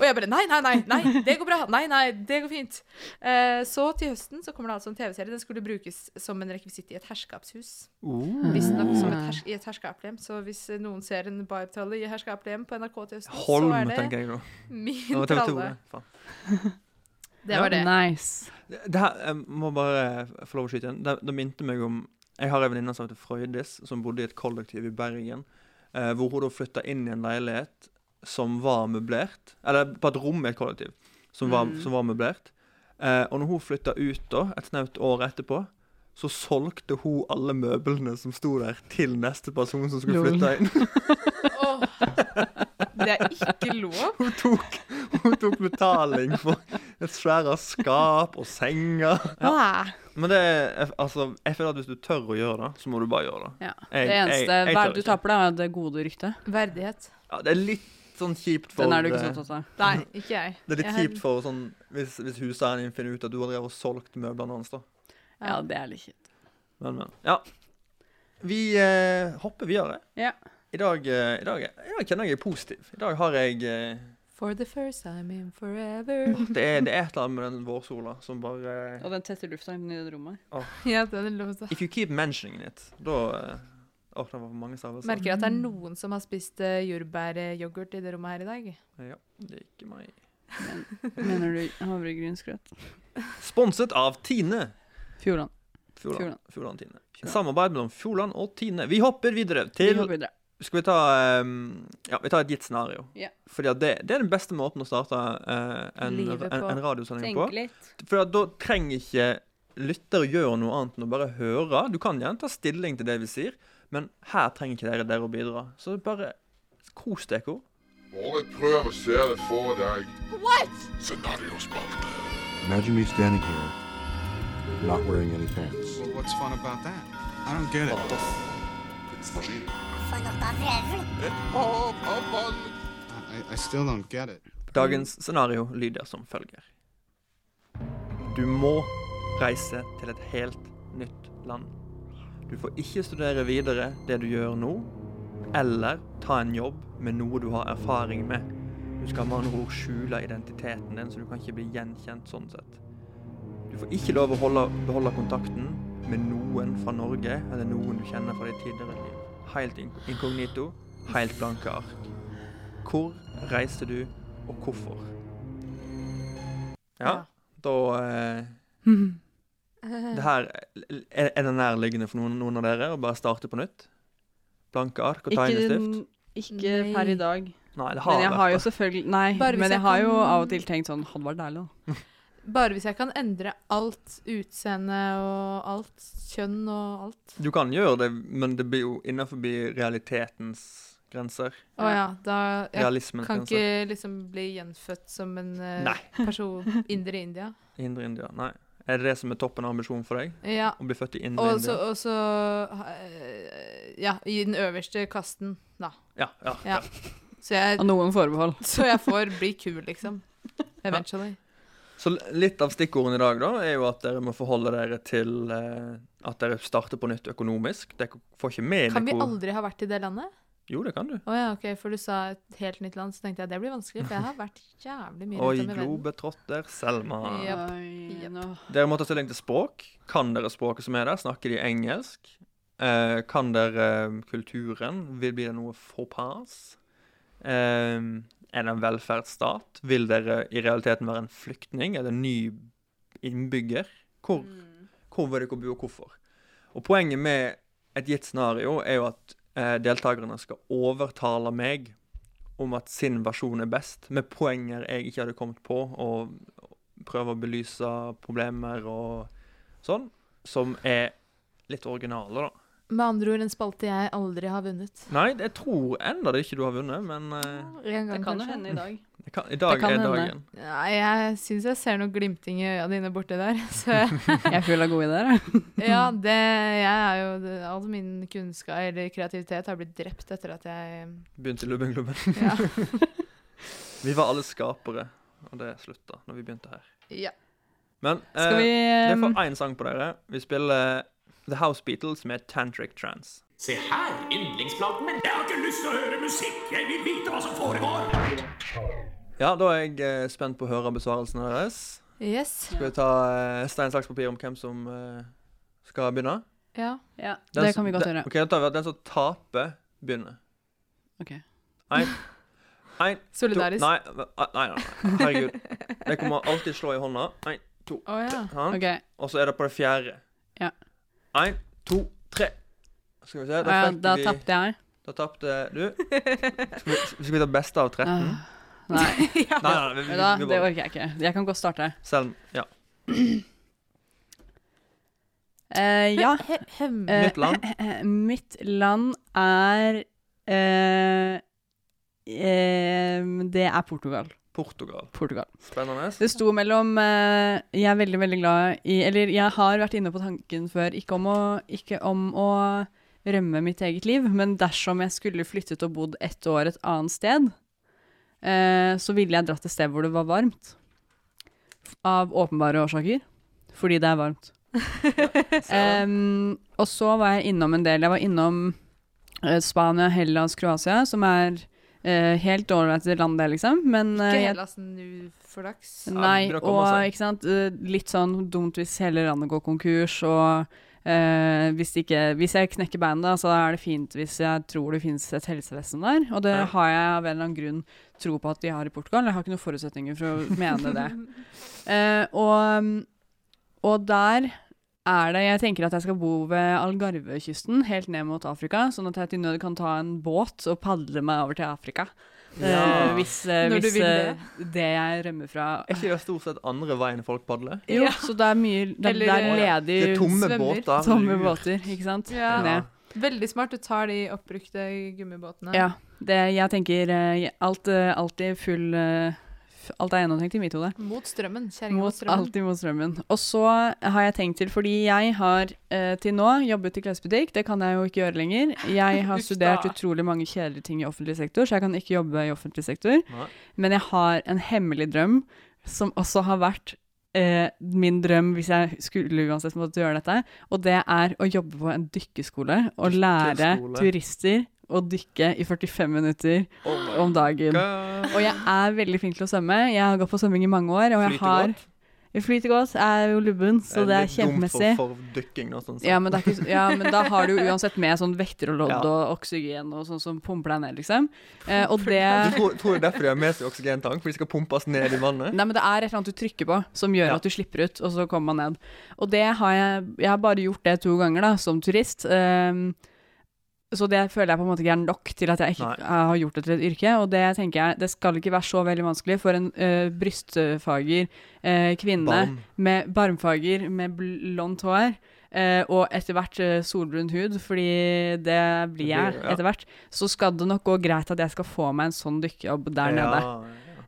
[SPEAKER 7] Og jeg bare Nei, nei, nei. nei, Det går bra. Nei, nei, det går fint. Eh, så til høsten så kommer det altså en TV-serie. Den skulle brukes som en rekvisitt i et herskapshus.
[SPEAKER 5] Oh.
[SPEAKER 7] Visstnok som et hers i et herskaplem. Så hvis noen ser en bartralle i herskaplem på NRK til høsten,
[SPEAKER 5] Holm,
[SPEAKER 7] så er det
[SPEAKER 5] tenker jeg nå. Det
[SPEAKER 7] min
[SPEAKER 5] var TV2,
[SPEAKER 7] tralle.
[SPEAKER 5] det. Faen.
[SPEAKER 7] Det var det.
[SPEAKER 6] Nice.
[SPEAKER 5] Det det her, jeg må bare få lov å skyte inn. Det, det minte meg om Jeg har en venninne som heter Frøydis, som bodde i et kollektiv i Bergen. Eh, hvor hun da flytta inn i en leilighet som var møblert. Eller på et rom i et kollektiv som var, som var møblert. Eh, og når hun flytta ut da, et snaut år etterpå, så solgte hun alle møblene som sto der, til neste person som skulle
[SPEAKER 6] Lol.
[SPEAKER 5] flytte inn.
[SPEAKER 7] Åh, det er ikke lov.
[SPEAKER 5] Hun tok, hun tok betaling for et svære skap og senger.
[SPEAKER 7] Åh.
[SPEAKER 5] Men det er, altså, jeg føler at hvis du tør å gjøre det, så må du bare gjøre det.
[SPEAKER 6] Ja.
[SPEAKER 5] Jeg-
[SPEAKER 6] Det
[SPEAKER 5] jeg-
[SPEAKER 6] eneste
[SPEAKER 5] jeg tør
[SPEAKER 6] hva er det du
[SPEAKER 5] ikke.
[SPEAKER 6] taper, da, er det gode ryktet.
[SPEAKER 7] Verdighet.
[SPEAKER 5] Ja, det er litt sånn kjipt for
[SPEAKER 6] Den er du ikke sånn
[SPEAKER 5] eh,
[SPEAKER 6] så opptatt av.
[SPEAKER 7] Nei, ikke jeg.
[SPEAKER 5] Det er litt
[SPEAKER 7] Jeg
[SPEAKER 5] kjipt for sånn hvis, hvis huseieren din finner ut at du har drevet og solgt møblene hans, da.
[SPEAKER 6] Ja, det er litt kjipt.
[SPEAKER 5] Men, men. Ja. Vi eh, hopper videre.
[SPEAKER 6] Ja.
[SPEAKER 5] I dag, eh, i, dag, I dag kjenner jeg er positiv. I dag har jeg eh,
[SPEAKER 7] For the first time in forever.
[SPEAKER 5] det, er, det er et eller annet med den vårsola som bare eh,
[SPEAKER 6] Og den tette lufta inni det rommet.
[SPEAKER 7] ja, den er lov til.
[SPEAKER 5] If you keep mentioning it, da eh, Åh, det var for mange altså. stavelser.
[SPEAKER 7] Merker at det er noen som har spist eh, jordbæryoghurt i det rommet her i dag.
[SPEAKER 5] Ja, det er ikke meg.
[SPEAKER 6] Mener du havregrynsgrøt?
[SPEAKER 5] Sponset av Tine.
[SPEAKER 6] Fjordland.
[SPEAKER 5] Fjordland,
[SPEAKER 6] Fjordland.
[SPEAKER 5] Fjordland Tine.
[SPEAKER 6] Fjordland.
[SPEAKER 5] Samarbeid mellom Fjordland og Tine. Vi hopper videre
[SPEAKER 6] Vi
[SPEAKER 5] til
[SPEAKER 6] går videre.
[SPEAKER 5] Skal vi ta ehm, Ja, vi tar et gitt scenario.
[SPEAKER 6] Ja.
[SPEAKER 5] Fordi at det, det er den beste måten å starte eh, en,
[SPEAKER 7] Livet
[SPEAKER 5] en,
[SPEAKER 7] på.
[SPEAKER 5] en radiosending
[SPEAKER 6] Tenk
[SPEAKER 5] på.
[SPEAKER 6] litt.
[SPEAKER 5] For at da trenger ikke lytter å gjøre noe annet enn å bare høre. Du kan gjerne ta stilling til det vi sier, men her trenger ikke dere dere å bidra. Så bare kos dere.
[SPEAKER 9] Bare prøv å se det for deg. What? Scenariospalte.
[SPEAKER 10] Imagine me standing here, not wearing any pants.
[SPEAKER 11] Well, what's fun about that? I don't get it.
[SPEAKER 9] Hopp av vann.
[SPEAKER 11] I, I still don't get it.
[SPEAKER 5] Dagens scenario lyder som følger. Du må reise til et helt nytt land. Du får ikke studere videre det du gjør nå, eller ta en jobb med noe du har erfaring med. Du skal med andre ord skjule identiteten din, så du kan ikke bli gjenkjent sånn sett. Du får ikke lov å holde, beholde kontakten med noen fra Norge, eller noen du kjenner fra ditt tidligere liv. Helt ink- inkognito, helt blanke ark. Hvor reiser du, og hvorfor? Ja, da eh, Det her Er, er det nærliggende for noen, noen av dere å bare starte på nytt? Blanke ark og tegnestift?
[SPEAKER 6] Ikke, ikke per i dag.
[SPEAKER 5] Nei, det har
[SPEAKER 6] Men jeg
[SPEAKER 5] vært
[SPEAKER 6] har jo
[SPEAKER 5] det.
[SPEAKER 6] selvfølgelig Nei,
[SPEAKER 7] Bare hvis
[SPEAKER 6] men
[SPEAKER 7] jeg
[SPEAKER 6] jeg har jo
[SPEAKER 7] kan-
[SPEAKER 6] av og til tenkt sånn Hadde vært deilig, da.
[SPEAKER 7] Bare hvis jeg kan endre alt utseende og alt kjønn og alt.
[SPEAKER 5] Du kan gjøre det, men det blir jo innenfor realitetens grenser.
[SPEAKER 7] Å ja, da jeg
[SPEAKER 5] Realismens
[SPEAKER 7] kan
[SPEAKER 5] grenser.
[SPEAKER 7] ikke liksom bli gjenfødt som en eh,
[SPEAKER 5] altså. Nei.
[SPEAKER 7] person indre India.
[SPEAKER 5] Indre India. Nei. Er det det som er toppen av ambisjonen for deg?
[SPEAKER 7] Ja.
[SPEAKER 5] Å bli født i Indre
[SPEAKER 7] Og så,
[SPEAKER 5] India?
[SPEAKER 7] og så eh, Ja, i den øverste kasten, da.
[SPEAKER 5] Ja, ja, ja.
[SPEAKER 7] Ja. Så jeg,
[SPEAKER 6] Av noen forbehold.
[SPEAKER 7] så jeg får bli kul, liksom. Eventually.
[SPEAKER 5] Så l- litt av stikkordene i dag da, er jo at dere må forholde dere til eh, at dere starter på nytt økonomisk. Dere får ikke med
[SPEAKER 7] Kan vi
[SPEAKER 5] dere-
[SPEAKER 7] aldri ha vært i det landet?
[SPEAKER 5] Jo, det kan du.
[SPEAKER 7] Å ja, ok, for du sa et helt nytt land, så tenkte jeg det blir vanskelig, for jeg har vært jævlig mye
[SPEAKER 5] Oi,
[SPEAKER 7] rundt om i verden.
[SPEAKER 5] globetrotter Selma.
[SPEAKER 7] Japp.
[SPEAKER 6] Oi, nå.
[SPEAKER 5] Dere må ta stilling til språk. Kan dere språket som er der? Snakker de engelsk? Eh, kan dere eh, kulturen? Vil blir det noe faux pas? Eh, er det en velferdsstat? Vil dere i realiteten være en flyktning? Er det en ny innbygger? Hvor, hvor vil dere bo, og hvorfor? Og poenget med et gitt scenario er jo at eh, deltakerne skal overtale meg om at sin versjon er best, med poenger jeg ikke hadde kommet på, og prøve å belyse problemer og sånn, som er litt originale, da.
[SPEAKER 7] Med andre ord en spalte jeg aldri har vunnet.
[SPEAKER 5] Nei, jeg tror ennå det ikke du har vunnet, men eh,
[SPEAKER 7] En gang,
[SPEAKER 6] Det kan jo
[SPEAKER 7] kanskje.
[SPEAKER 6] hende i dag.
[SPEAKER 5] det kan, i dag
[SPEAKER 6] kan
[SPEAKER 5] er
[SPEAKER 6] hende.
[SPEAKER 5] dagen.
[SPEAKER 7] Nei, jeg syns jeg ser noe glimting i øya dine borti der. Så
[SPEAKER 6] Jeg er full av gode ideer. jeg.
[SPEAKER 7] ja, det Jeg er jo det- All min kunnskap eller kreativitet har blitt drept etter at jeg
[SPEAKER 5] Begynte i Lubbenklubben.
[SPEAKER 7] Ja.
[SPEAKER 5] Vi var alle skapere, og det slutta når vi begynte her.
[SPEAKER 7] ja.
[SPEAKER 5] Men
[SPEAKER 6] Skal
[SPEAKER 5] eh,
[SPEAKER 6] vi
[SPEAKER 5] det er
[SPEAKER 6] ehm,
[SPEAKER 5] for én sang på dere. Vi spiller The House Beatles med Tantric Trance.
[SPEAKER 12] Se her, yndlingsplaten min. Jeg har ikke lyst til å høre musikk. Jeg vil vite hva som foregår.
[SPEAKER 5] Ja, da er jeg eh, spent på å høre besvarelsen deres.
[SPEAKER 7] Yes.
[SPEAKER 5] Skal vi ta eh, stein, saks, papir om hvem som eh, skal begynne?
[SPEAKER 7] Ja.
[SPEAKER 6] Ja,
[SPEAKER 5] Den
[SPEAKER 6] det
[SPEAKER 5] som-
[SPEAKER 6] kan vi godt
[SPEAKER 5] den-
[SPEAKER 6] gjøre.
[SPEAKER 5] Ok, da tar vi at Den som taper, begynner.
[SPEAKER 6] Ok.
[SPEAKER 5] Ein, ein,
[SPEAKER 7] Solidarisk.
[SPEAKER 5] To, nei, nei, nei, nei, herregud. Jeg kommer alltid slå i hånda. Ein, to,
[SPEAKER 7] Å ja.
[SPEAKER 5] sånn.
[SPEAKER 6] Ok.
[SPEAKER 5] Og så er det på det fjerde.
[SPEAKER 6] Ja.
[SPEAKER 5] Ein, to, tre. Skal vi se,
[SPEAKER 6] Ja,
[SPEAKER 5] da fikk
[SPEAKER 6] da
[SPEAKER 5] vi
[SPEAKER 6] tapte jeg.
[SPEAKER 5] Da tapte du. Skal vi, skal vi ta beste av 13?
[SPEAKER 6] Ah, Nei,
[SPEAKER 5] Nei, nei, vi, vi,
[SPEAKER 6] vet du hva,
[SPEAKER 5] vi,
[SPEAKER 6] det
[SPEAKER 5] bare
[SPEAKER 6] orker jeg ikke. Jeg kan godt starte.
[SPEAKER 5] Selv, ja.
[SPEAKER 6] Eh, ja.
[SPEAKER 7] He hem.
[SPEAKER 6] eh,
[SPEAKER 5] Nytt land.
[SPEAKER 6] Mitt land er eh, eh, Det er Portugal.
[SPEAKER 5] Portugal.
[SPEAKER 6] Portugal.
[SPEAKER 5] Spennende.
[SPEAKER 6] Det sto mellom eh, Jeg er veldig, veldig glad i Eller jeg har vært inne på tanken før, ikke om å, ikke om å rømme mitt eget liv, men dersom jeg skulle flyttet og bodd ett år et annet sted, eh, så ville jeg dratt et sted hvor det var varmt. Av åpenbare årsaker. Fordi det er varmt. Em, og så var jeg innom en del. Jeg var innom eh, Spania, Hellas, Kroatia, som er eh, helt ålreite land, det, liksom. Men eh,
[SPEAKER 7] Ikke
[SPEAKER 6] jeg
[SPEAKER 7] Hellas nu for dags.
[SPEAKER 5] Ja,
[SPEAKER 6] Nei,
[SPEAKER 5] det begynner å komme
[SPEAKER 6] og
[SPEAKER 7] altså.
[SPEAKER 5] seg.
[SPEAKER 6] ikke sant? eh, litt sånn dumt hvis hele landet går konkurs, og eh, hvis, det ikke, hvis jeg knekker beinet, da, så er det fint hvis jeg tror det finnes et helsevesen der. Og det
[SPEAKER 5] Ja.
[SPEAKER 6] har jeg av en eller annen grunn tro på at de har i Portugal. Jeg har ikke noen forutsetninger for å mene det. Eh, og, og der er det Jeg tenker at jeg skal bo ved Algarvekysten, helt ned mot Afrika, sånn at jeg til nød kan ta en båt og padle meg over til Afrika. Eh, hvis eh,
[SPEAKER 7] Når du
[SPEAKER 6] hvis
[SPEAKER 7] vil
[SPEAKER 6] eh,
[SPEAKER 7] det.
[SPEAKER 6] det jeg rømmer fra,
[SPEAKER 5] Er ikke det stort sett andre veien folk padler?
[SPEAKER 6] jo,
[SPEAKER 7] Ja.
[SPEAKER 6] så det er mye Det, det
[SPEAKER 7] Eller- eh,
[SPEAKER 6] er ledig
[SPEAKER 5] Det er tomme
[SPEAKER 7] svømmer.
[SPEAKER 5] båter.
[SPEAKER 6] tomme
[SPEAKER 5] lur.
[SPEAKER 6] båter, ikke sant?
[SPEAKER 7] Ja.
[SPEAKER 6] Ned.
[SPEAKER 7] Veldig smart. Du tar de oppbrukte gummibåtene.
[SPEAKER 6] ja. Det, jeg tenker eh, alt, eh, alltid full eh, f- Alt er gjennomtenkt i mitt hode.
[SPEAKER 7] Mot strømmen. Kjerringa mot
[SPEAKER 6] Mot,
[SPEAKER 7] strømmen.
[SPEAKER 6] alltid mot strømmen. Og så har jeg tenkt til, fordi jeg har eh, til nå jobbet i klesbutikk, det kan jeg jo ikke gjøre lenger. Jeg har
[SPEAKER 7] Uff da.
[SPEAKER 6] studert utrolig mange kjedelige ting i offentlig sektor, så jeg kan ikke jobbe i offentlig sektor.
[SPEAKER 5] Nei.
[SPEAKER 6] Men jeg har en hemmelig drøm, som også har vært eh, min drøm hvis jeg skulle uansett måtte gjøre dette, og det er å jobbe på en dykkeskole og lære
[SPEAKER 5] Dykkeskole.
[SPEAKER 6] turister å dykke i 45 minutter
[SPEAKER 5] Oh my
[SPEAKER 6] om dagen.
[SPEAKER 5] god.
[SPEAKER 6] Og jeg er veldig flink til å svømme. Jeg har gått på svømming i mange år, og jeg
[SPEAKER 5] Flyter
[SPEAKER 6] har
[SPEAKER 5] godt.
[SPEAKER 6] jeg flyter godt, jeg er jo lubben, så det er
[SPEAKER 5] litt dumt
[SPEAKER 6] kjempemessig.
[SPEAKER 5] For, for dykking, da, sånn sett.
[SPEAKER 6] Ja men, det er ikke, ja, men da har du jo uansett med sånn vekter og lodd
[SPEAKER 5] Ja.
[SPEAKER 6] og oksygen og sånn som pumper deg ned, liksom. Eh, og det
[SPEAKER 5] Du tror, tror det er derfor de har med seg oksygentank? For de skal pumpes ned i vannet?
[SPEAKER 6] Nei, men det er et eller annet du trykker på som gjør
[SPEAKER 5] Ja.
[SPEAKER 6] at du slipper ut, og så kommer man ned. Og det har jeg Jeg har bare gjort det to ganger, da, som turist. ehm, så det føler jeg på en måte ikke er nok til at jeg ikke
[SPEAKER 5] Nei.
[SPEAKER 6] jeg har gjort det til et yrke. Og det tenker jeg, det skal ikke være så veldig vanskelig for en eh, brystfager eh, kvinne
[SPEAKER 5] Barn.
[SPEAKER 6] med barmfager med blondt hår. eh, og etter hvert eh, solbrun hud, fordi det blir jeg
[SPEAKER 5] Det blir- ja.
[SPEAKER 6] etter hvert. Så skal det nok gå greit at jeg skal få meg en sånn dykkejobb der nede.
[SPEAKER 5] ja.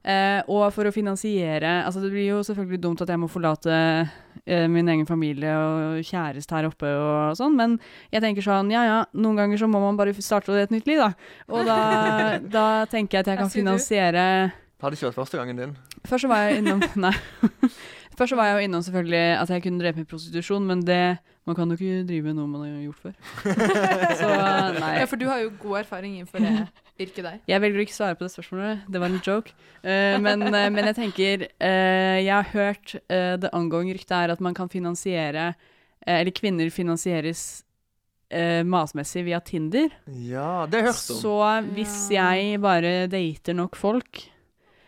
[SPEAKER 6] Eh, og for å finansiere Altså, det blir jo selvfølgelig dumt at jeg må forlate eh, min egen familie og kjæreste her oppe og sånn, men jeg tenker sånn Ja, ja, noen ganger så må man bare starte et nytt liv, da. Og da, da tenker jeg at jeg
[SPEAKER 7] Hva
[SPEAKER 6] kan
[SPEAKER 7] sier du?
[SPEAKER 6] finansiere
[SPEAKER 5] Det hadde ikke vært første gangen din.
[SPEAKER 6] Først så var jeg innom Nei. Først så var jeg jo innom selvfølgelig at jeg kunne drepe med prostitusjon, men det Man kan jo ikke drive med noe man har gjort før. så eh, nei.
[SPEAKER 7] Ja, for du har jo god erfaring innenfor det yrket der.
[SPEAKER 6] Jeg velger å ikke svare på det spørsmålet, det var en joke. Eh, men, eh, men jeg tenker eh, Jeg har hørt eh, det angående ryktet er at man kan finansiere eh, Eller kvinner finansieres eh, masmessig via Tinder.
[SPEAKER 5] Ja, det har jeg hørt om.
[SPEAKER 6] Så hvis jeg bare dater nok folk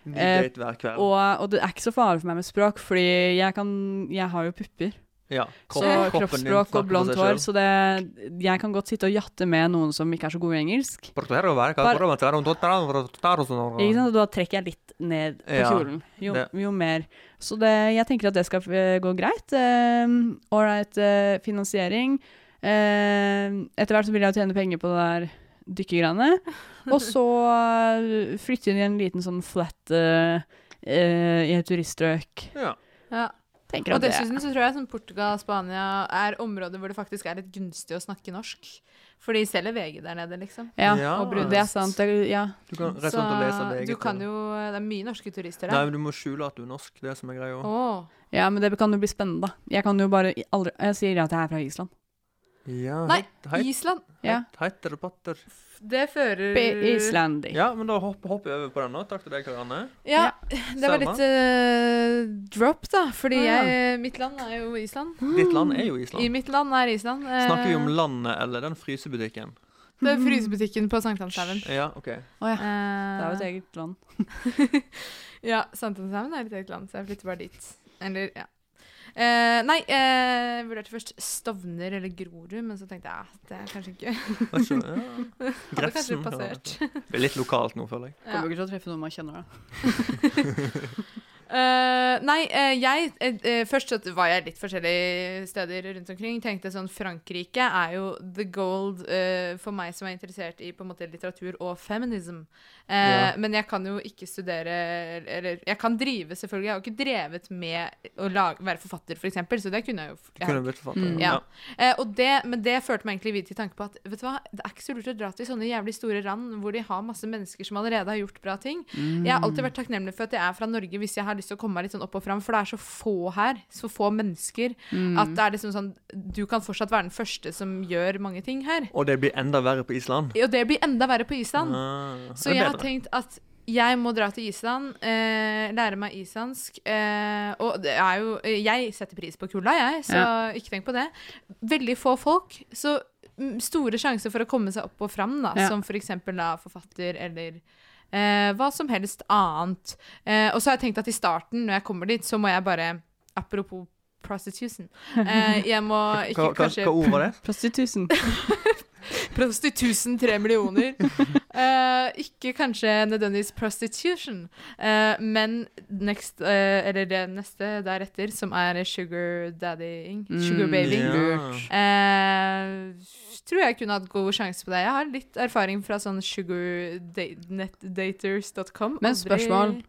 [SPEAKER 5] Ny
[SPEAKER 6] eh,
[SPEAKER 5] date hver kveld.
[SPEAKER 6] Og, og det er ikke så farlig for meg med språk, fordi jeg, kan, jeg har jo pupper.
[SPEAKER 5] Ja, kropp-
[SPEAKER 6] så
[SPEAKER 5] kroppen din
[SPEAKER 6] kroppsspråk
[SPEAKER 5] snakker for
[SPEAKER 6] og blondt
[SPEAKER 5] seg
[SPEAKER 6] hår,
[SPEAKER 5] selv.
[SPEAKER 6] så det, jeg kan godt sitte og jatte med noen som ikke er så god i engelsk. Ikke sant? Og Da trekker jeg litt ned på
[SPEAKER 5] Ja,
[SPEAKER 6] kjolen. Jo,
[SPEAKER 5] det-
[SPEAKER 6] jo mer. Så det, jeg tenker at det skal eh, gå greit. Eh, Ålreit finansiering. Eh, etter hvert så vil jeg jo tjene penger på det der dykkegreiene. Og så eh, flytte inn i en liten sånn flat eh, eh, i et turiststrøk.
[SPEAKER 5] Ja.
[SPEAKER 7] Ja.
[SPEAKER 6] Tenker at
[SPEAKER 7] og
[SPEAKER 6] det-
[SPEAKER 7] dessuten så tror jeg sånn Portugal og Spania er områder hvor det faktisk er litt gunstig å snakke norsk. For de selger VG der nede, liksom.
[SPEAKER 6] Ja,
[SPEAKER 7] Og brunost.
[SPEAKER 6] det er sant. Det, ja.
[SPEAKER 5] Du kan rett og slett sånn lese VG.
[SPEAKER 7] du kan jo Det er mye norske turister
[SPEAKER 5] Nei,
[SPEAKER 7] der.
[SPEAKER 5] men du må skjule at du er norsk. Det er som er greia òg.
[SPEAKER 7] Åh.
[SPEAKER 6] ja, men det kan jo bli spennende, da. Jeg kan jo bare i- aldri Jeg sier at jeg er fra Island.
[SPEAKER 5] Ja,
[SPEAKER 7] Nei,
[SPEAKER 5] heit- heit-
[SPEAKER 7] Island.
[SPEAKER 6] Ja.
[SPEAKER 5] heit- Heitere patter.
[SPEAKER 7] Det fører
[SPEAKER 6] Be Islandy.
[SPEAKER 5] Ja, men da hopper hopper vi over på den nå. Takk til deg, Karianne.
[SPEAKER 7] Ja, det var litt eh, drop, da. Fordi
[SPEAKER 5] Å, ja.
[SPEAKER 7] jeg, mitt land er jo Island.
[SPEAKER 5] Ditt land er jo Island.
[SPEAKER 7] I mitt land er Island. eh,
[SPEAKER 5] Snakker vi om landet eller den frysebutikken?
[SPEAKER 7] Det er frysebutikken på Sankthanshaugen.
[SPEAKER 5] Ja, OK.
[SPEAKER 6] Å ja.
[SPEAKER 7] Det
[SPEAKER 6] Det er jo et eget land.
[SPEAKER 7] Ja, Sankthanshaugen er et eget land, så jeg flytter bare dit. Eller, ja. Eh, nei, eh, jeg vurderte først Stovner eller Grorud, men så tenkte jeg at det er kanskje ikke
[SPEAKER 5] Hva skjønner jeg? Ja.
[SPEAKER 7] Hadde kanskje
[SPEAKER 5] Grefsen. ja.
[SPEAKER 7] passert.
[SPEAKER 5] Det er litt lokalt nå, føler jeg.
[SPEAKER 6] Kommer jo ikke til å treffe noen man kjenner, da.
[SPEAKER 7] Eh, nei, eh, jeg eh, eh, Først så var jeg litt forskjellige steder rundt omkring. Tenkte sånn Frankrike er jo the gold eh, for meg som er interessert i på en måte litteratur og feminism. Eh,
[SPEAKER 6] Ja.
[SPEAKER 7] Men jeg kan jo ikke studere Eller jeg kan drive, selvfølgelig. Jeg har jo ikke drevet med å lage, være forfatter, f.eks., for eksempel, så det kunne jeg jo.
[SPEAKER 5] Du kunne blitt forfatter.
[SPEAKER 7] Mm.
[SPEAKER 5] ja.
[SPEAKER 7] Ja. Eh, og det, men det førte meg egentlig videre til tanke på at vet du hva, det er ikke så lurt å dra til sånne jævlig store rand hvor de har masse mennesker som allerede har gjort bra ting.
[SPEAKER 6] Mm.
[SPEAKER 7] Jeg har alltid vært takknemlig for at jeg er fra Norge hvis jeg har lyst til å komme meg litt sånn opp og fram, for det er så få her, så få mennesker,
[SPEAKER 5] Mm.
[SPEAKER 7] at det er liksom sånn Du kan fortsatt være den første som gjør mange ting her.
[SPEAKER 5] Og det blir enda verre på Island.
[SPEAKER 7] Og det blir enda verre på Island.
[SPEAKER 5] Ah,
[SPEAKER 7] Så
[SPEAKER 5] det er
[SPEAKER 7] jeg har
[SPEAKER 5] bedre.
[SPEAKER 7] tenkt at jeg må dra til Island, eh, lære meg islandsk. Eh, og det er jo eh, Jeg setter pris på kulda, jeg, så
[SPEAKER 6] Ja.
[SPEAKER 7] ikke tenk på det. Veldig få folk, så mm, store sjanser for å komme seg opp og fram, da,
[SPEAKER 6] Ja.
[SPEAKER 7] som f.eks. da forfatter eller eh, hva som helst annet. Eh, og så har jeg tenkt at i starten, når jeg kommer dit, så må jeg bare Apropos prostitution. Eh, jeg må ikke
[SPEAKER 5] Hva- hva-
[SPEAKER 7] kanskje
[SPEAKER 5] hva ord var det?
[SPEAKER 6] Prostitusen.
[SPEAKER 7] Prostitusen tre millioner. Eh, ikke kanskje nødvendigvis prostitution, eh, men next, eh, eller det neste deretter, som er sugar daddying. Sugar
[SPEAKER 6] Mm,
[SPEAKER 7] baby.
[SPEAKER 6] ja. Lurt.
[SPEAKER 7] Eh, tror jeg kunne hatt god sjanse på det. Jeg har litt erfaring fra sånn sugardaters.com.
[SPEAKER 6] Men spørsmål.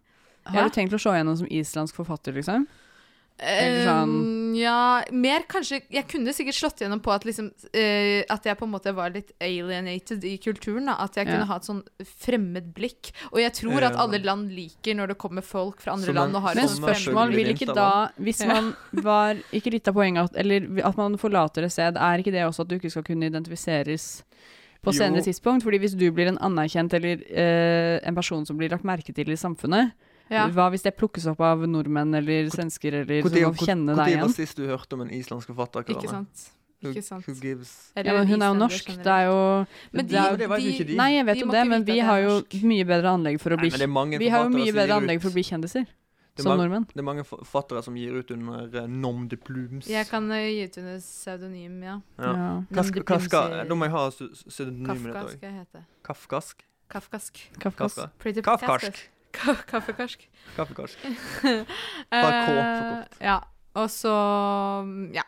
[SPEAKER 6] Har
[SPEAKER 7] Ja?
[SPEAKER 6] du tenkt å se gjennom som islandsk forfatter, liksom? Eller
[SPEAKER 7] Um,
[SPEAKER 6] sånn-
[SPEAKER 7] ja, mer kanskje Jeg kunne sikkert slått gjennom på at, liksom, eh, at jeg på en måte var litt alienated i kulturen. Da. At jeg
[SPEAKER 6] Ja.
[SPEAKER 7] kunne ha et sånn fremmed blikk. Og jeg tror at
[SPEAKER 6] Ja.
[SPEAKER 7] alle land liker når det kommer folk fra andre
[SPEAKER 6] Som en-
[SPEAKER 7] land og har
[SPEAKER 6] Men
[SPEAKER 7] et sånt
[SPEAKER 6] spørsmål vil ikke da Hvis man var Ikke litt av poenget at, eller at man forlater et sted, er ikke det også at du ikke skal kunne identifiseres
[SPEAKER 5] Jo.
[SPEAKER 6] på senere tidspunkt? Fordi hvis du blir en anerkjent eller eh, en person som blir lagt merke til i samfunnet,
[SPEAKER 5] Ja.
[SPEAKER 6] hva hvis det plukkes opp av nordmenn eller svensker eller
[SPEAKER 5] Hvor tid-
[SPEAKER 6] som
[SPEAKER 5] hvor-
[SPEAKER 6] kjenne
[SPEAKER 5] hvor
[SPEAKER 6] deg
[SPEAKER 5] tid var
[SPEAKER 6] igjen?
[SPEAKER 5] sist du hørte om en islandsk forfatter? Karianne?
[SPEAKER 7] Ikke sant.
[SPEAKER 5] Who-
[SPEAKER 7] Ikke sant.
[SPEAKER 5] Who gives
[SPEAKER 6] Ja, men hun er jo norsk. Det er jo
[SPEAKER 7] Men
[SPEAKER 6] er
[SPEAKER 7] de-
[SPEAKER 6] jo-
[SPEAKER 7] Men det vet jo de- ikke de.
[SPEAKER 6] Nei, jeg vet
[SPEAKER 7] de
[SPEAKER 6] jo
[SPEAKER 7] må
[SPEAKER 6] det,
[SPEAKER 7] ikke
[SPEAKER 6] men
[SPEAKER 7] vite
[SPEAKER 6] vi
[SPEAKER 7] at det er
[SPEAKER 6] har jo mye bedre anlegg for å
[SPEAKER 5] Nei,
[SPEAKER 6] bli
[SPEAKER 5] men det er mange
[SPEAKER 6] Vi har jo
[SPEAKER 5] forfattere
[SPEAKER 6] mye
[SPEAKER 5] som
[SPEAKER 6] bedre
[SPEAKER 5] gir ut-
[SPEAKER 6] anlegg for å bli kjendiser.
[SPEAKER 5] Det er
[SPEAKER 6] Som
[SPEAKER 5] mange-
[SPEAKER 6] nordmenn.
[SPEAKER 5] Det er mange forfattere som gir ut under eh, nom de plumes.
[SPEAKER 7] Jeg kan eh, gi ut under pseudonym, ja.
[SPEAKER 5] Ja. Hva,
[SPEAKER 7] Nom
[SPEAKER 5] sk-
[SPEAKER 7] de
[SPEAKER 5] hva skal,
[SPEAKER 7] plumes i-
[SPEAKER 5] da må jeg ha sy- sy- pseudonym i
[SPEAKER 7] Kafka
[SPEAKER 5] dette
[SPEAKER 7] skal jeg hete.
[SPEAKER 5] òg. Kafkask?
[SPEAKER 7] Kafkask.
[SPEAKER 6] Kafkas.
[SPEAKER 5] Kafka.
[SPEAKER 7] Pretty
[SPEAKER 5] Kafkarsk.
[SPEAKER 7] Ka- Kaffekarsk.
[SPEAKER 5] Kaffekarsk.
[SPEAKER 7] Bare
[SPEAKER 5] K forkort.
[SPEAKER 7] Eh, Ja. Og så mm, Ja.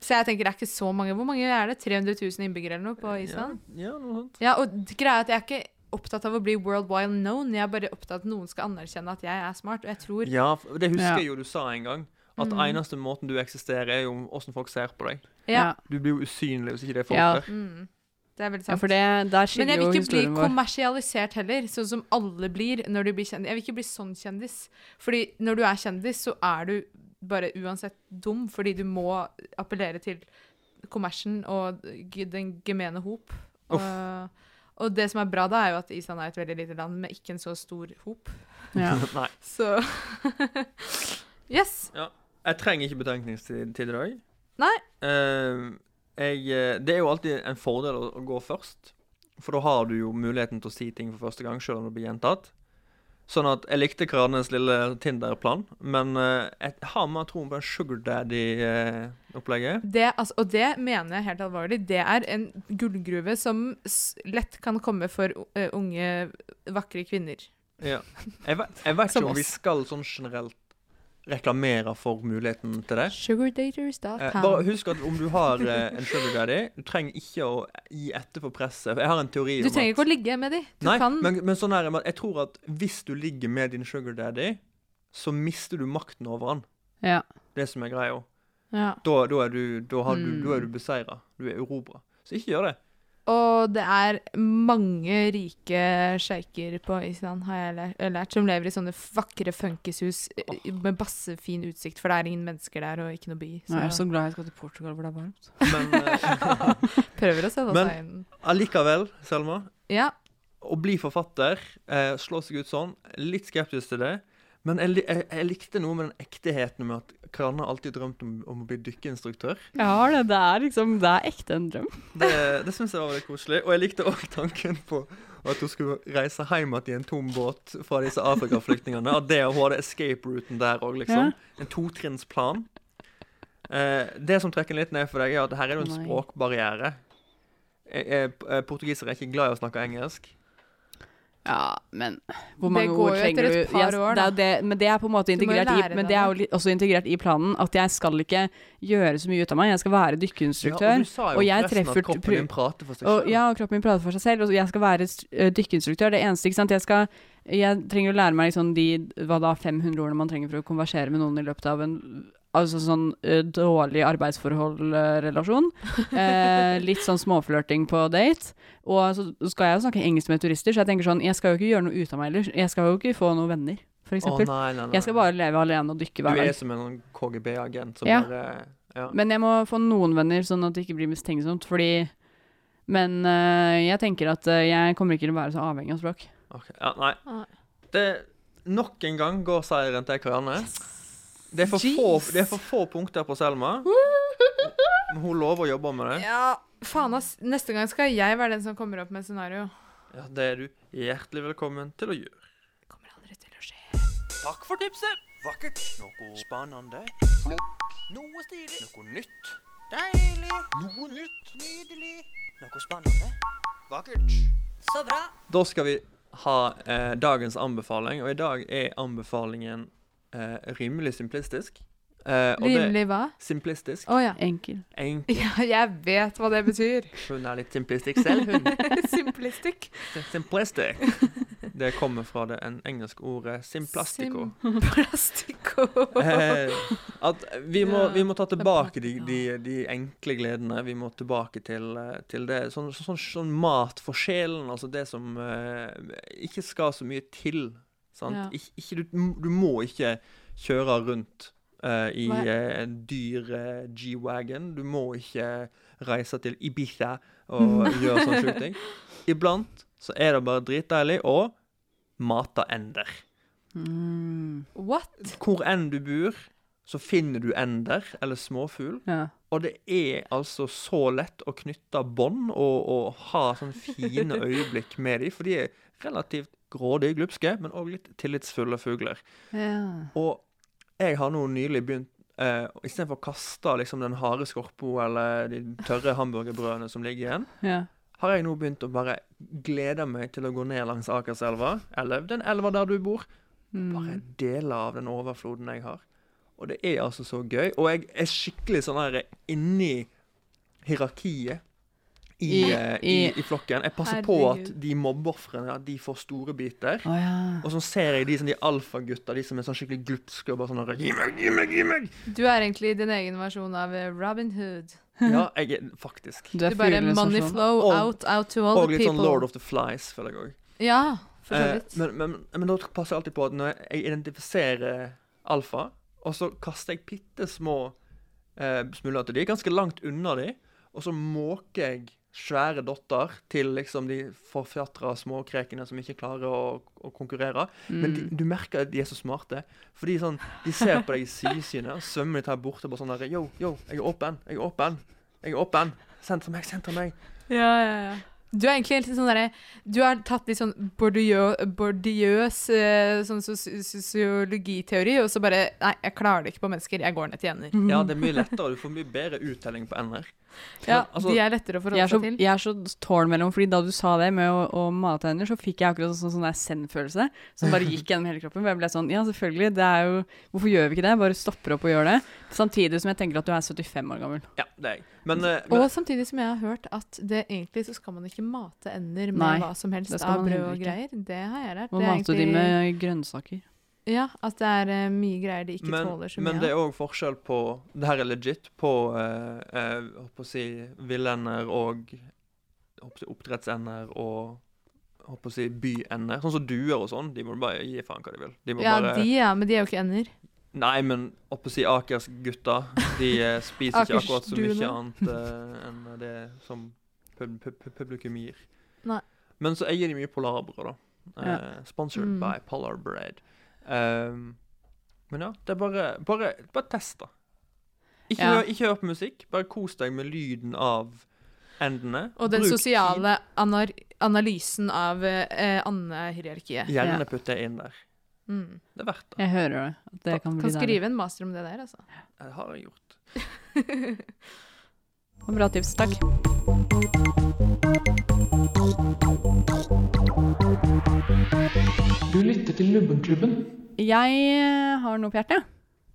[SPEAKER 7] Så jeg tenker det er ikke så mange. Hvor mange er det? 300 000 innbyggere eller noe på Island?
[SPEAKER 5] Ja, noe sånt.
[SPEAKER 7] Ja, og d- greia er at jeg er ikke opptatt av å bli worldwide known. Jeg er bare opptatt av at noen skal anerkjenne at jeg er smart, og jeg tror
[SPEAKER 5] Ja, f- det husker
[SPEAKER 7] Ja.
[SPEAKER 5] jeg jo du sa en gang. At
[SPEAKER 7] Mm.
[SPEAKER 5] eneste måten du eksisterer, er jo åssen folk ser på deg.
[SPEAKER 7] Ja.
[SPEAKER 5] Du blir jo usynlig hvis ikke det er folk
[SPEAKER 6] Ja.
[SPEAKER 5] der.
[SPEAKER 7] Mm. Det er veldig
[SPEAKER 6] Ja,
[SPEAKER 7] sant.
[SPEAKER 6] for det, der
[SPEAKER 7] Men
[SPEAKER 6] skiller
[SPEAKER 7] jeg
[SPEAKER 6] jo
[SPEAKER 7] vil ikke bli
[SPEAKER 6] historien vår.
[SPEAKER 7] kommersialisert heller, sånn som alle blir når de blir kjendis. Jeg vil ikke bli sånn kjendis. Fordi når du er kjendis, så er du bare uansett dum, fordi du må appellere til kommersen og g- den gemene hop.
[SPEAKER 5] Uff.
[SPEAKER 7] Eh, og det som er bra da, er jo at Island er et veldig lite land med ikke en så stor hop.
[SPEAKER 5] Ja. Nei.
[SPEAKER 7] Så Yes.
[SPEAKER 5] Ja. Jeg trenger ikke betenkningstid til i dag.
[SPEAKER 7] Nei.
[SPEAKER 5] Eh, jeg, eh, det er jo alltid en fordel å, å gå først, for da har du jo muligheten til å si ting for første gang, selv om det blir gjentatt. Sånn at jeg likte Karanes lille Tinder-plan, men eh, jeg har mer troen på den Sugar eh, Daddy-opplegget.
[SPEAKER 7] Det, altså, og det mener jeg helt alvorlig. Det er en gullgruve som s lett kan komme for eh, unge, vakre kvinner.
[SPEAKER 5] ja. Jeg, ve- jeg vet
[SPEAKER 7] Som
[SPEAKER 5] ikke om vi
[SPEAKER 7] oss.
[SPEAKER 5] skal sånn generelt reklamere for muligheten til det.
[SPEAKER 7] Sugardaters.com.
[SPEAKER 5] Eh, bare husk at om du har eh, en sugar daddy, du trenger ikke å gi etter for presset. For Jeg har en teori
[SPEAKER 7] Du
[SPEAKER 5] om at
[SPEAKER 7] trenger ikke å ligge med de. Du
[SPEAKER 5] Nei,
[SPEAKER 7] kan
[SPEAKER 5] men, men sånn er det med at jeg tror at hvis du ligger med din sugar daddy, så mister du makten over han.
[SPEAKER 6] Ja.
[SPEAKER 5] Det som er greia.
[SPEAKER 7] Ja.
[SPEAKER 5] Da, da er du, da har du,
[SPEAKER 7] Mm.
[SPEAKER 5] da er du beseira. Du er erobra. Så ikke gjør det.
[SPEAKER 7] Og det er mange rike sjeiker på Island, har jeg lært, lært, som lever i sånne vakre funkishus eh, med bassefin utsikt, for det er ingen mennesker der og ikke noe by.
[SPEAKER 6] Nå er jeg så glad jeg skal til Portugal hvor det er varmt.
[SPEAKER 7] Prøver å sette seg
[SPEAKER 5] Men
[SPEAKER 7] inn.
[SPEAKER 5] eh, allikevel, Selma.
[SPEAKER 7] Ja.
[SPEAKER 5] Å bli forfatter, eh, slå seg ut sånn. Litt skeptisk til det. Men jeg, li- jeg, jeg likte noe med den ektigheten med at Kranne alltid drømte om, om å bli dykkeinstruktør.
[SPEAKER 6] Jeg har det. Det er liksom Det er ekte en drøm.
[SPEAKER 5] Det, det syns jeg var veldig koselig. Og jeg likte òg tanken på at hun skulle reise hjem igjen i en tom båt fra disse Afrikaflyktningene. At det hun hadde escape-ruten der òg, liksom. En totrinnsplan. Eh, det som trekker litt ned for deg, er at her er det jo en
[SPEAKER 6] Nei.
[SPEAKER 5] språkbarriere. Eh, eh, p- eh, Portugisere er ikke glad i å snakke engelsk.
[SPEAKER 6] Ja, men hvor
[SPEAKER 7] Det
[SPEAKER 6] mange
[SPEAKER 7] går
[SPEAKER 6] ord
[SPEAKER 7] jo
[SPEAKER 6] trenger
[SPEAKER 7] etter
[SPEAKER 6] du?
[SPEAKER 7] et
[SPEAKER 6] Ja,
[SPEAKER 7] par år,
[SPEAKER 6] det er
[SPEAKER 7] da.
[SPEAKER 6] jo det, men det er på en måte
[SPEAKER 7] Du må jo
[SPEAKER 6] integrert
[SPEAKER 7] lære
[SPEAKER 6] i, men
[SPEAKER 7] deg
[SPEAKER 6] det er jo
[SPEAKER 7] det.
[SPEAKER 6] li- også integrert i planen at jeg skal ikke gjøre så mye ut av meg. Jeg skal være dykkeinstruktør.
[SPEAKER 5] Ja, og du sa jo
[SPEAKER 6] jeg
[SPEAKER 5] forresten at
[SPEAKER 6] treffer-
[SPEAKER 5] kroppen
[SPEAKER 6] pru-
[SPEAKER 5] din prater for seg
[SPEAKER 6] og-
[SPEAKER 5] selv.
[SPEAKER 6] Ja, og kroppen min prater for seg selv. Og jeg skal være st- eh, dykkeinstruktør. Det eneste, ikke sant. Jeg, skal, jeg trenger å lære meg liksom de hva da, 500 ordene man trenger for å konversere med noen i løpet av en Altså sånn eh, dårlig arbeidsforhold-relasjon. Eh, litt sånn småflørting på date. Og så skal jeg jo snakke engelsk med turister, så jeg tenker sånn, jeg skal jo ikke gjøre noe ut av meg heller. Jeg skal jo ikke få noen venner,
[SPEAKER 5] Å,
[SPEAKER 6] for eksempel.
[SPEAKER 5] nei, nei, nei.
[SPEAKER 6] Jeg skal bare leve alene og dykke
[SPEAKER 5] Du
[SPEAKER 6] hver
[SPEAKER 5] er
[SPEAKER 6] dag.
[SPEAKER 5] som en sånn KGB-agent som
[SPEAKER 6] Ja.
[SPEAKER 5] bare ja.
[SPEAKER 6] Men jeg må få noen venner, sånn at det ikke blir mistenksomt, fordi Men eh, jeg tenker at eh, jeg kommer ikke til å være så avhengig av språk.
[SPEAKER 5] Ok, ja, nei. Det, nok en gang går seieren til Karianne. Det er, for få, det er for få punkter på Selma. Men hun lover å jobbe med det.
[SPEAKER 7] Ja, faen ass. Neste gang skal jeg være den som kommer opp med et scenario.
[SPEAKER 5] Ja, det er du hjertelig velkommen til å gjøre. Takk for tipset. Vakkert. Noe spennende. Noe stilig. Noe nytt. Deilig. Noe nytt. Nydelig. Noe spennende. Vakkert.
[SPEAKER 13] Så bra.
[SPEAKER 5] Da skal vi ha eh, dagens anbefaling, og i dag er anbefalingen eh, rimelig simplistisk. Eh, og det-
[SPEAKER 7] Rimelig hva?
[SPEAKER 5] Simplistisk.
[SPEAKER 7] Å ja.
[SPEAKER 6] Enkel.
[SPEAKER 5] Enkel.
[SPEAKER 7] Ja, jeg vet hva det betyr.
[SPEAKER 5] Hun er litt simplistisk selv, hun.
[SPEAKER 7] Simplistic.
[SPEAKER 5] Sim- Simplistic. Det kommer fra det en engelske ordet simplastico.
[SPEAKER 7] Simplastico.
[SPEAKER 5] Eh, at vi må,
[SPEAKER 7] Ja,
[SPEAKER 5] vi må ta tilbake de, de, de enkle gledene. Vi må tilbake til, eh, til det. Sånn, sånn, sånn, sånn mat for sjelen, altså det som eh, ikke skal så mye til. Sant?
[SPEAKER 14] Ja.
[SPEAKER 5] Ik ikke, du, du må ikke kjøre rundt eh, i
[SPEAKER 14] Hva er-
[SPEAKER 5] eh, en dyr eh, G-wagon. Du må ikke reise til Ibiza og gjøre sånne sjuke ting. Iblant så er det bare dritdeilig å mate ender.
[SPEAKER 7] Mm. What?
[SPEAKER 5] Hvor enn du bor, så finner du ender, eller småfugl.
[SPEAKER 6] Ja.
[SPEAKER 5] Og det er altså så lett å knytte bånd og, og ha sånne fine øyeblikk med dem, for de er relativt grådige, glupske, men òg litt tillitsfulle fugler.
[SPEAKER 6] Ja.
[SPEAKER 5] Og jeg har nå nylig begynt eh, Istedenfor å kaste liksom, den harde skorpo eller de tørre hamburgerbrødene som ligger igjen,
[SPEAKER 6] Ja.
[SPEAKER 5] har jeg nå begynt å bare glede meg til å gå ned langs Akerselva, eller den elva der du bor,
[SPEAKER 6] Mm.
[SPEAKER 5] deler av den overfloden jeg har. Og det er altså så gøy. Og jeg er skikkelig sånn her inni hierarkiet i,
[SPEAKER 6] I-
[SPEAKER 5] eh, i,
[SPEAKER 6] i-
[SPEAKER 5] i flokken. Jeg passer på at
[SPEAKER 6] Herregud.
[SPEAKER 5] de mobbeofrene at de får store biter.
[SPEAKER 6] Å, ja.
[SPEAKER 5] Og så ser jeg de, sånn, de alfagutta, de som er sånn skikkelig glupske og bare sånn her, Gi meg, gi meg, gi meg!
[SPEAKER 7] Du er egentlig din egen versjon av eh, Robin Hood.
[SPEAKER 5] Ja, jeg er faktisk
[SPEAKER 7] Du bare money flow
[SPEAKER 5] Og-
[SPEAKER 7] out, out to all
[SPEAKER 5] Og
[SPEAKER 7] the
[SPEAKER 5] litt
[SPEAKER 7] people.
[SPEAKER 5] sånn Lord of the Flies, føler jeg òg. Eh,
[SPEAKER 7] Ja, for så vidt.
[SPEAKER 5] men, men, men da passer jeg alltid på at når jeg identifiserer alfa og så kaster jeg bitte små eh, smuler til de, ganske langt unna de, og så måker jeg svære dotter til liksom de forfjatra småkrekene som ikke klarer å, å konkurrere. Men de,
[SPEAKER 13] Mm.
[SPEAKER 5] du merker at de er så smarte. For de, er sånn, de ser på deg i sidesynet og svømmer litt her borte bare sånn der Yo, yo, jeg er åpen, jeg er åpen, jeg er åpen. Send til meg, send til meg.
[SPEAKER 7] Ja, ja, ja. Du er egentlig litt sånn derre Du har tatt litt sånn bordiø- bordiøs eh, sånn sos- sosiologiteori, og så bare Nei, jeg klarer det ikke på mennesker. Jeg går ned til ener.
[SPEAKER 5] Ja, det er mye lettere. Du får mye bedre uttelling på NR.
[SPEAKER 7] Ja,
[SPEAKER 5] Men, altså-
[SPEAKER 7] de er lettere å
[SPEAKER 6] Jeg
[SPEAKER 7] forholde
[SPEAKER 6] er så,
[SPEAKER 7] seg til.
[SPEAKER 6] jeg er så tårn mellom, fordi da du sa det med å, å mate hender, så fikk jeg akkurat sånn, sånn der send-følelse, som bare gikk gjennom hele kroppen. hvor Jeg ble sånn, ja selvfølgelig, det er jo, hvorfor gjør vi ikke det? Bare stopper opp og gjør det. Samtidig som jeg tenker at du er 75 år gammel.
[SPEAKER 5] Ja, det er jeg. Men, eh, men
[SPEAKER 7] Og samtidig som jeg har hørt at det egentlig så skal man ikke mate ender med
[SPEAKER 6] Nei,
[SPEAKER 7] hva som helst
[SPEAKER 6] det skal
[SPEAKER 7] av
[SPEAKER 6] man
[SPEAKER 7] brød
[SPEAKER 6] heller
[SPEAKER 7] og
[SPEAKER 6] ikke.
[SPEAKER 7] greier. Det har jeg lært.
[SPEAKER 6] Nå
[SPEAKER 7] Det er
[SPEAKER 6] mater du de
[SPEAKER 7] egentlig-
[SPEAKER 6] med grønnsaker.
[SPEAKER 7] Ja, at det er eh, mye greier de ikke
[SPEAKER 5] men,
[SPEAKER 7] tåler så mye
[SPEAKER 5] men det er
[SPEAKER 7] av.
[SPEAKER 5] òg forskjell på Det her er legit på eh, eh, håper å si villender og håper å si, oppdrettsender og håper å si byender. Sånn som duer og sånn. De må du bare gi faen hva de vil. De må
[SPEAKER 7] Ja,
[SPEAKER 5] bare,
[SPEAKER 7] de ja, men de er jo ikke ender.
[SPEAKER 5] Nei, men håper å si Akersgutta. De eh, spiser ikke akkurat så mye
[SPEAKER 7] Akersduene.
[SPEAKER 5] annet eh, enn det som pub pub pub publikum gir.
[SPEAKER 7] Nei.
[SPEAKER 5] Men så eier de mye Polarbrød, da. Eh,
[SPEAKER 7] Ja.
[SPEAKER 5] Sponsored
[SPEAKER 7] Mm.
[SPEAKER 5] by Polar Bread. Um, men ja, det er bare Bare, bare test, da. Ikke,
[SPEAKER 7] Ja.
[SPEAKER 5] hør, ikke hør på musikk, bare kos deg med lyden av endene.
[SPEAKER 7] Og den
[SPEAKER 5] Bruk
[SPEAKER 7] sosiale anar analysen av eh, andehierarkiet.
[SPEAKER 5] tid. Gjerne putt det inn der.
[SPEAKER 7] Mm.
[SPEAKER 5] Det er verdt det.
[SPEAKER 6] Jeg hører det. At det kan
[SPEAKER 7] Kan,
[SPEAKER 6] bli deilig.
[SPEAKER 7] skrive en master om det der, altså.
[SPEAKER 5] Det har jeg gjort.
[SPEAKER 6] Bra tips, takk.
[SPEAKER 1] Du lytter til Lubbenklubben.
[SPEAKER 6] Jeg eh, har noe på hjertet.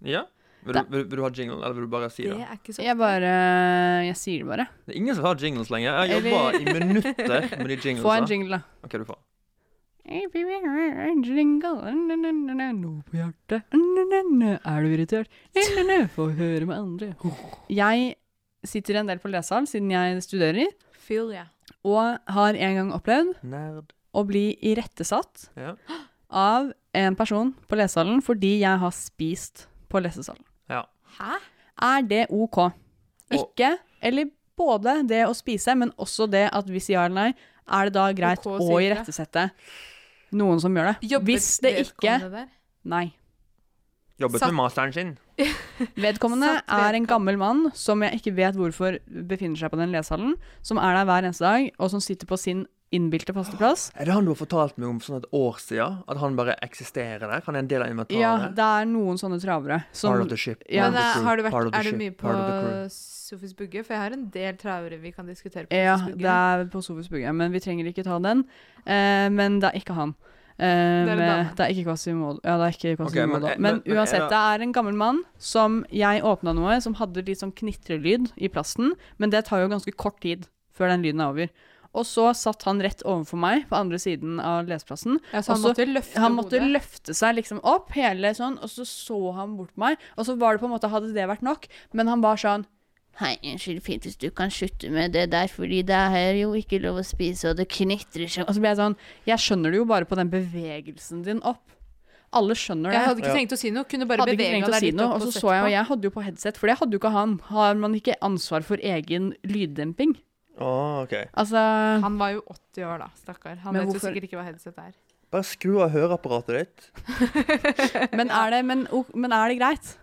[SPEAKER 5] Ja? Vil du, vil, vil du ha jingle, eller vil du bare si det?
[SPEAKER 6] er ikke så Jeg bare eh, Jeg sier det bare.
[SPEAKER 5] Det er ingen som har jingles lenger. Jeg har jobba i
[SPEAKER 6] Eller-
[SPEAKER 5] minutter med de jinglesa.
[SPEAKER 6] Få en jingle, da.
[SPEAKER 5] OK, du får.
[SPEAKER 6] Jingle, na, na, na, na, Noe på hjertet Na, na, na, Er du irritert? Na, na, na, Få høre med andre. Jeg sitter en del på lesesal siden jeg studerer,
[SPEAKER 7] Feel, ja.
[SPEAKER 6] og har en gang opplevd
[SPEAKER 5] Nerd.
[SPEAKER 6] å bli irettesatt
[SPEAKER 5] Ja.
[SPEAKER 6] av en person på lesesalen fordi jeg har spist på lesesalen.
[SPEAKER 5] ja.
[SPEAKER 7] Hæ?
[SPEAKER 6] Er det OK? Ikke, eller både det å spise, men også det at hvis ja eller nei, er det da greit
[SPEAKER 7] OK å
[SPEAKER 6] å
[SPEAKER 7] si det?
[SPEAKER 6] irettesette noen som gjør det? hvis det ikke Nei.
[SPEAKER 5] Jobbet
[SPEAKER 6] Satt-
[SPEAKER 5] med masteren sin.
[SPEAKER 6] Vedkommende er en gammel mann som jeg ikke vet hvorfor befinner seg på den lesehallen, som er der hver eneste dag, og som sitter på sin innbilte faste plass.
[SPEAKER 5] Er det han du har fortalt meg om for sånn et år siden? At han bare eksisterer der? Han er en del av
[SPEAKER 6] Ja,
[SPEAKER 5] inventaret?
[SPEAKER 6] det er noen sånne travere. som-
[SPEAKER 5] Part of the ship,
[SPEAKER 6] Ja.
[SPEAKER 7] Men eh, har du
[SPEAKER 5] part
[SPEAKER 7] vært,
[SPEAKER 5] of the
[SPEAKER 7] er du
[SPEAKER 5] ship,
[SPEAKER 7] mye på
[SPEAKER 5] part of the crew.
[SPEAKER 7] Sofis Bugge? For jeg har en del travere vi kan diskutere på
[SPEAKER 6] Ja,
[SPEAKER 7] Sofis
[SPEAKER 6] det
[SPEAKER 7] Bugge.
[SPEAKER 6] er på Sofus Bugge, men vi trenger ikke ta den. Eh, men det er ikke han. Eh,
[SPEAKER 7] en
[SPEAKER 6] med,
[SPEAKER 7] dame.
[SPEAKER 6] det er ikke Quasimodo. Ja, det er ikke Quasimodo.
[SPEAKER 5] men- eh,
[SPEAKER 6] men,
[SPEAKER 5] men- men er det-
[SPEAKER 6] uansett, det er en gammel mann som jeg åpna noe som hadde litt sånn knitrelyd i plasten, men det tar jo ganske kort tid før den lyden er over. Og så satt han rett overfor meg på andre siden av leseplassen.
[SPEAKER 7] Ja, så han
[SPEAKER 6] og
[SPEAKER 7] måtte løfte
[SPEAKER 6] han måtte
[SPEAKER 7] hodet.
[SPEAKER 6] løfte seg liksom opp hele sånn, og så så han bort på meg. Og så var det på en måte, hadde det vært nok, men han var sånn Hei, unnskyld, Peter, du kan slutte med det der, fordi det er jo ikke lov å spise, og det knitrer seg Og så ble jeg sånn Jeg skjønner det jo bare på den bevegelsen din opp. Alle skjønner det.
[SPEAKER 7] Jeg hadde ikke trengt å si noe, kunne bare
[SPEAKER 6] Hadde ikke
[SPEAKER 7] bevega
[SPEAKER 6] trengt å
[SPEAKER 7] deg
[SPEAKER 6] si
[SPEAKER 7] litt
[SPEAKER 6] noe,
[SPEAKER 7] opp
[SPEAKER 6] og
[SPEAKER 7] og
[SPEAKER 6] så
[SPEAKER 7] sett
[SPEAKER 6] så jeg,
[SPEAKER 7] på.
[SPEAKER 6] og jeg hadde jo på headset, for det hadde jo ikke han. Har man ikke ansvar for egen lyddemping?
[SPEAKER 5] Ah, ok.
[SPEAKER 6] Altså
[SPEAKER 7] Han var jo 80 år, da, stakkar. Han
[SPEAKER 6] Men
[SPEAKER 7] vet jo
[SPEAKER 6] hvorfor-
[SPEAKER 7] sikkert ikke hva headset er.
[SPEAKER 5] Bare skru av høreapparatet ditt.
[SPEAKER 6] Men er det, men, o- men er det greit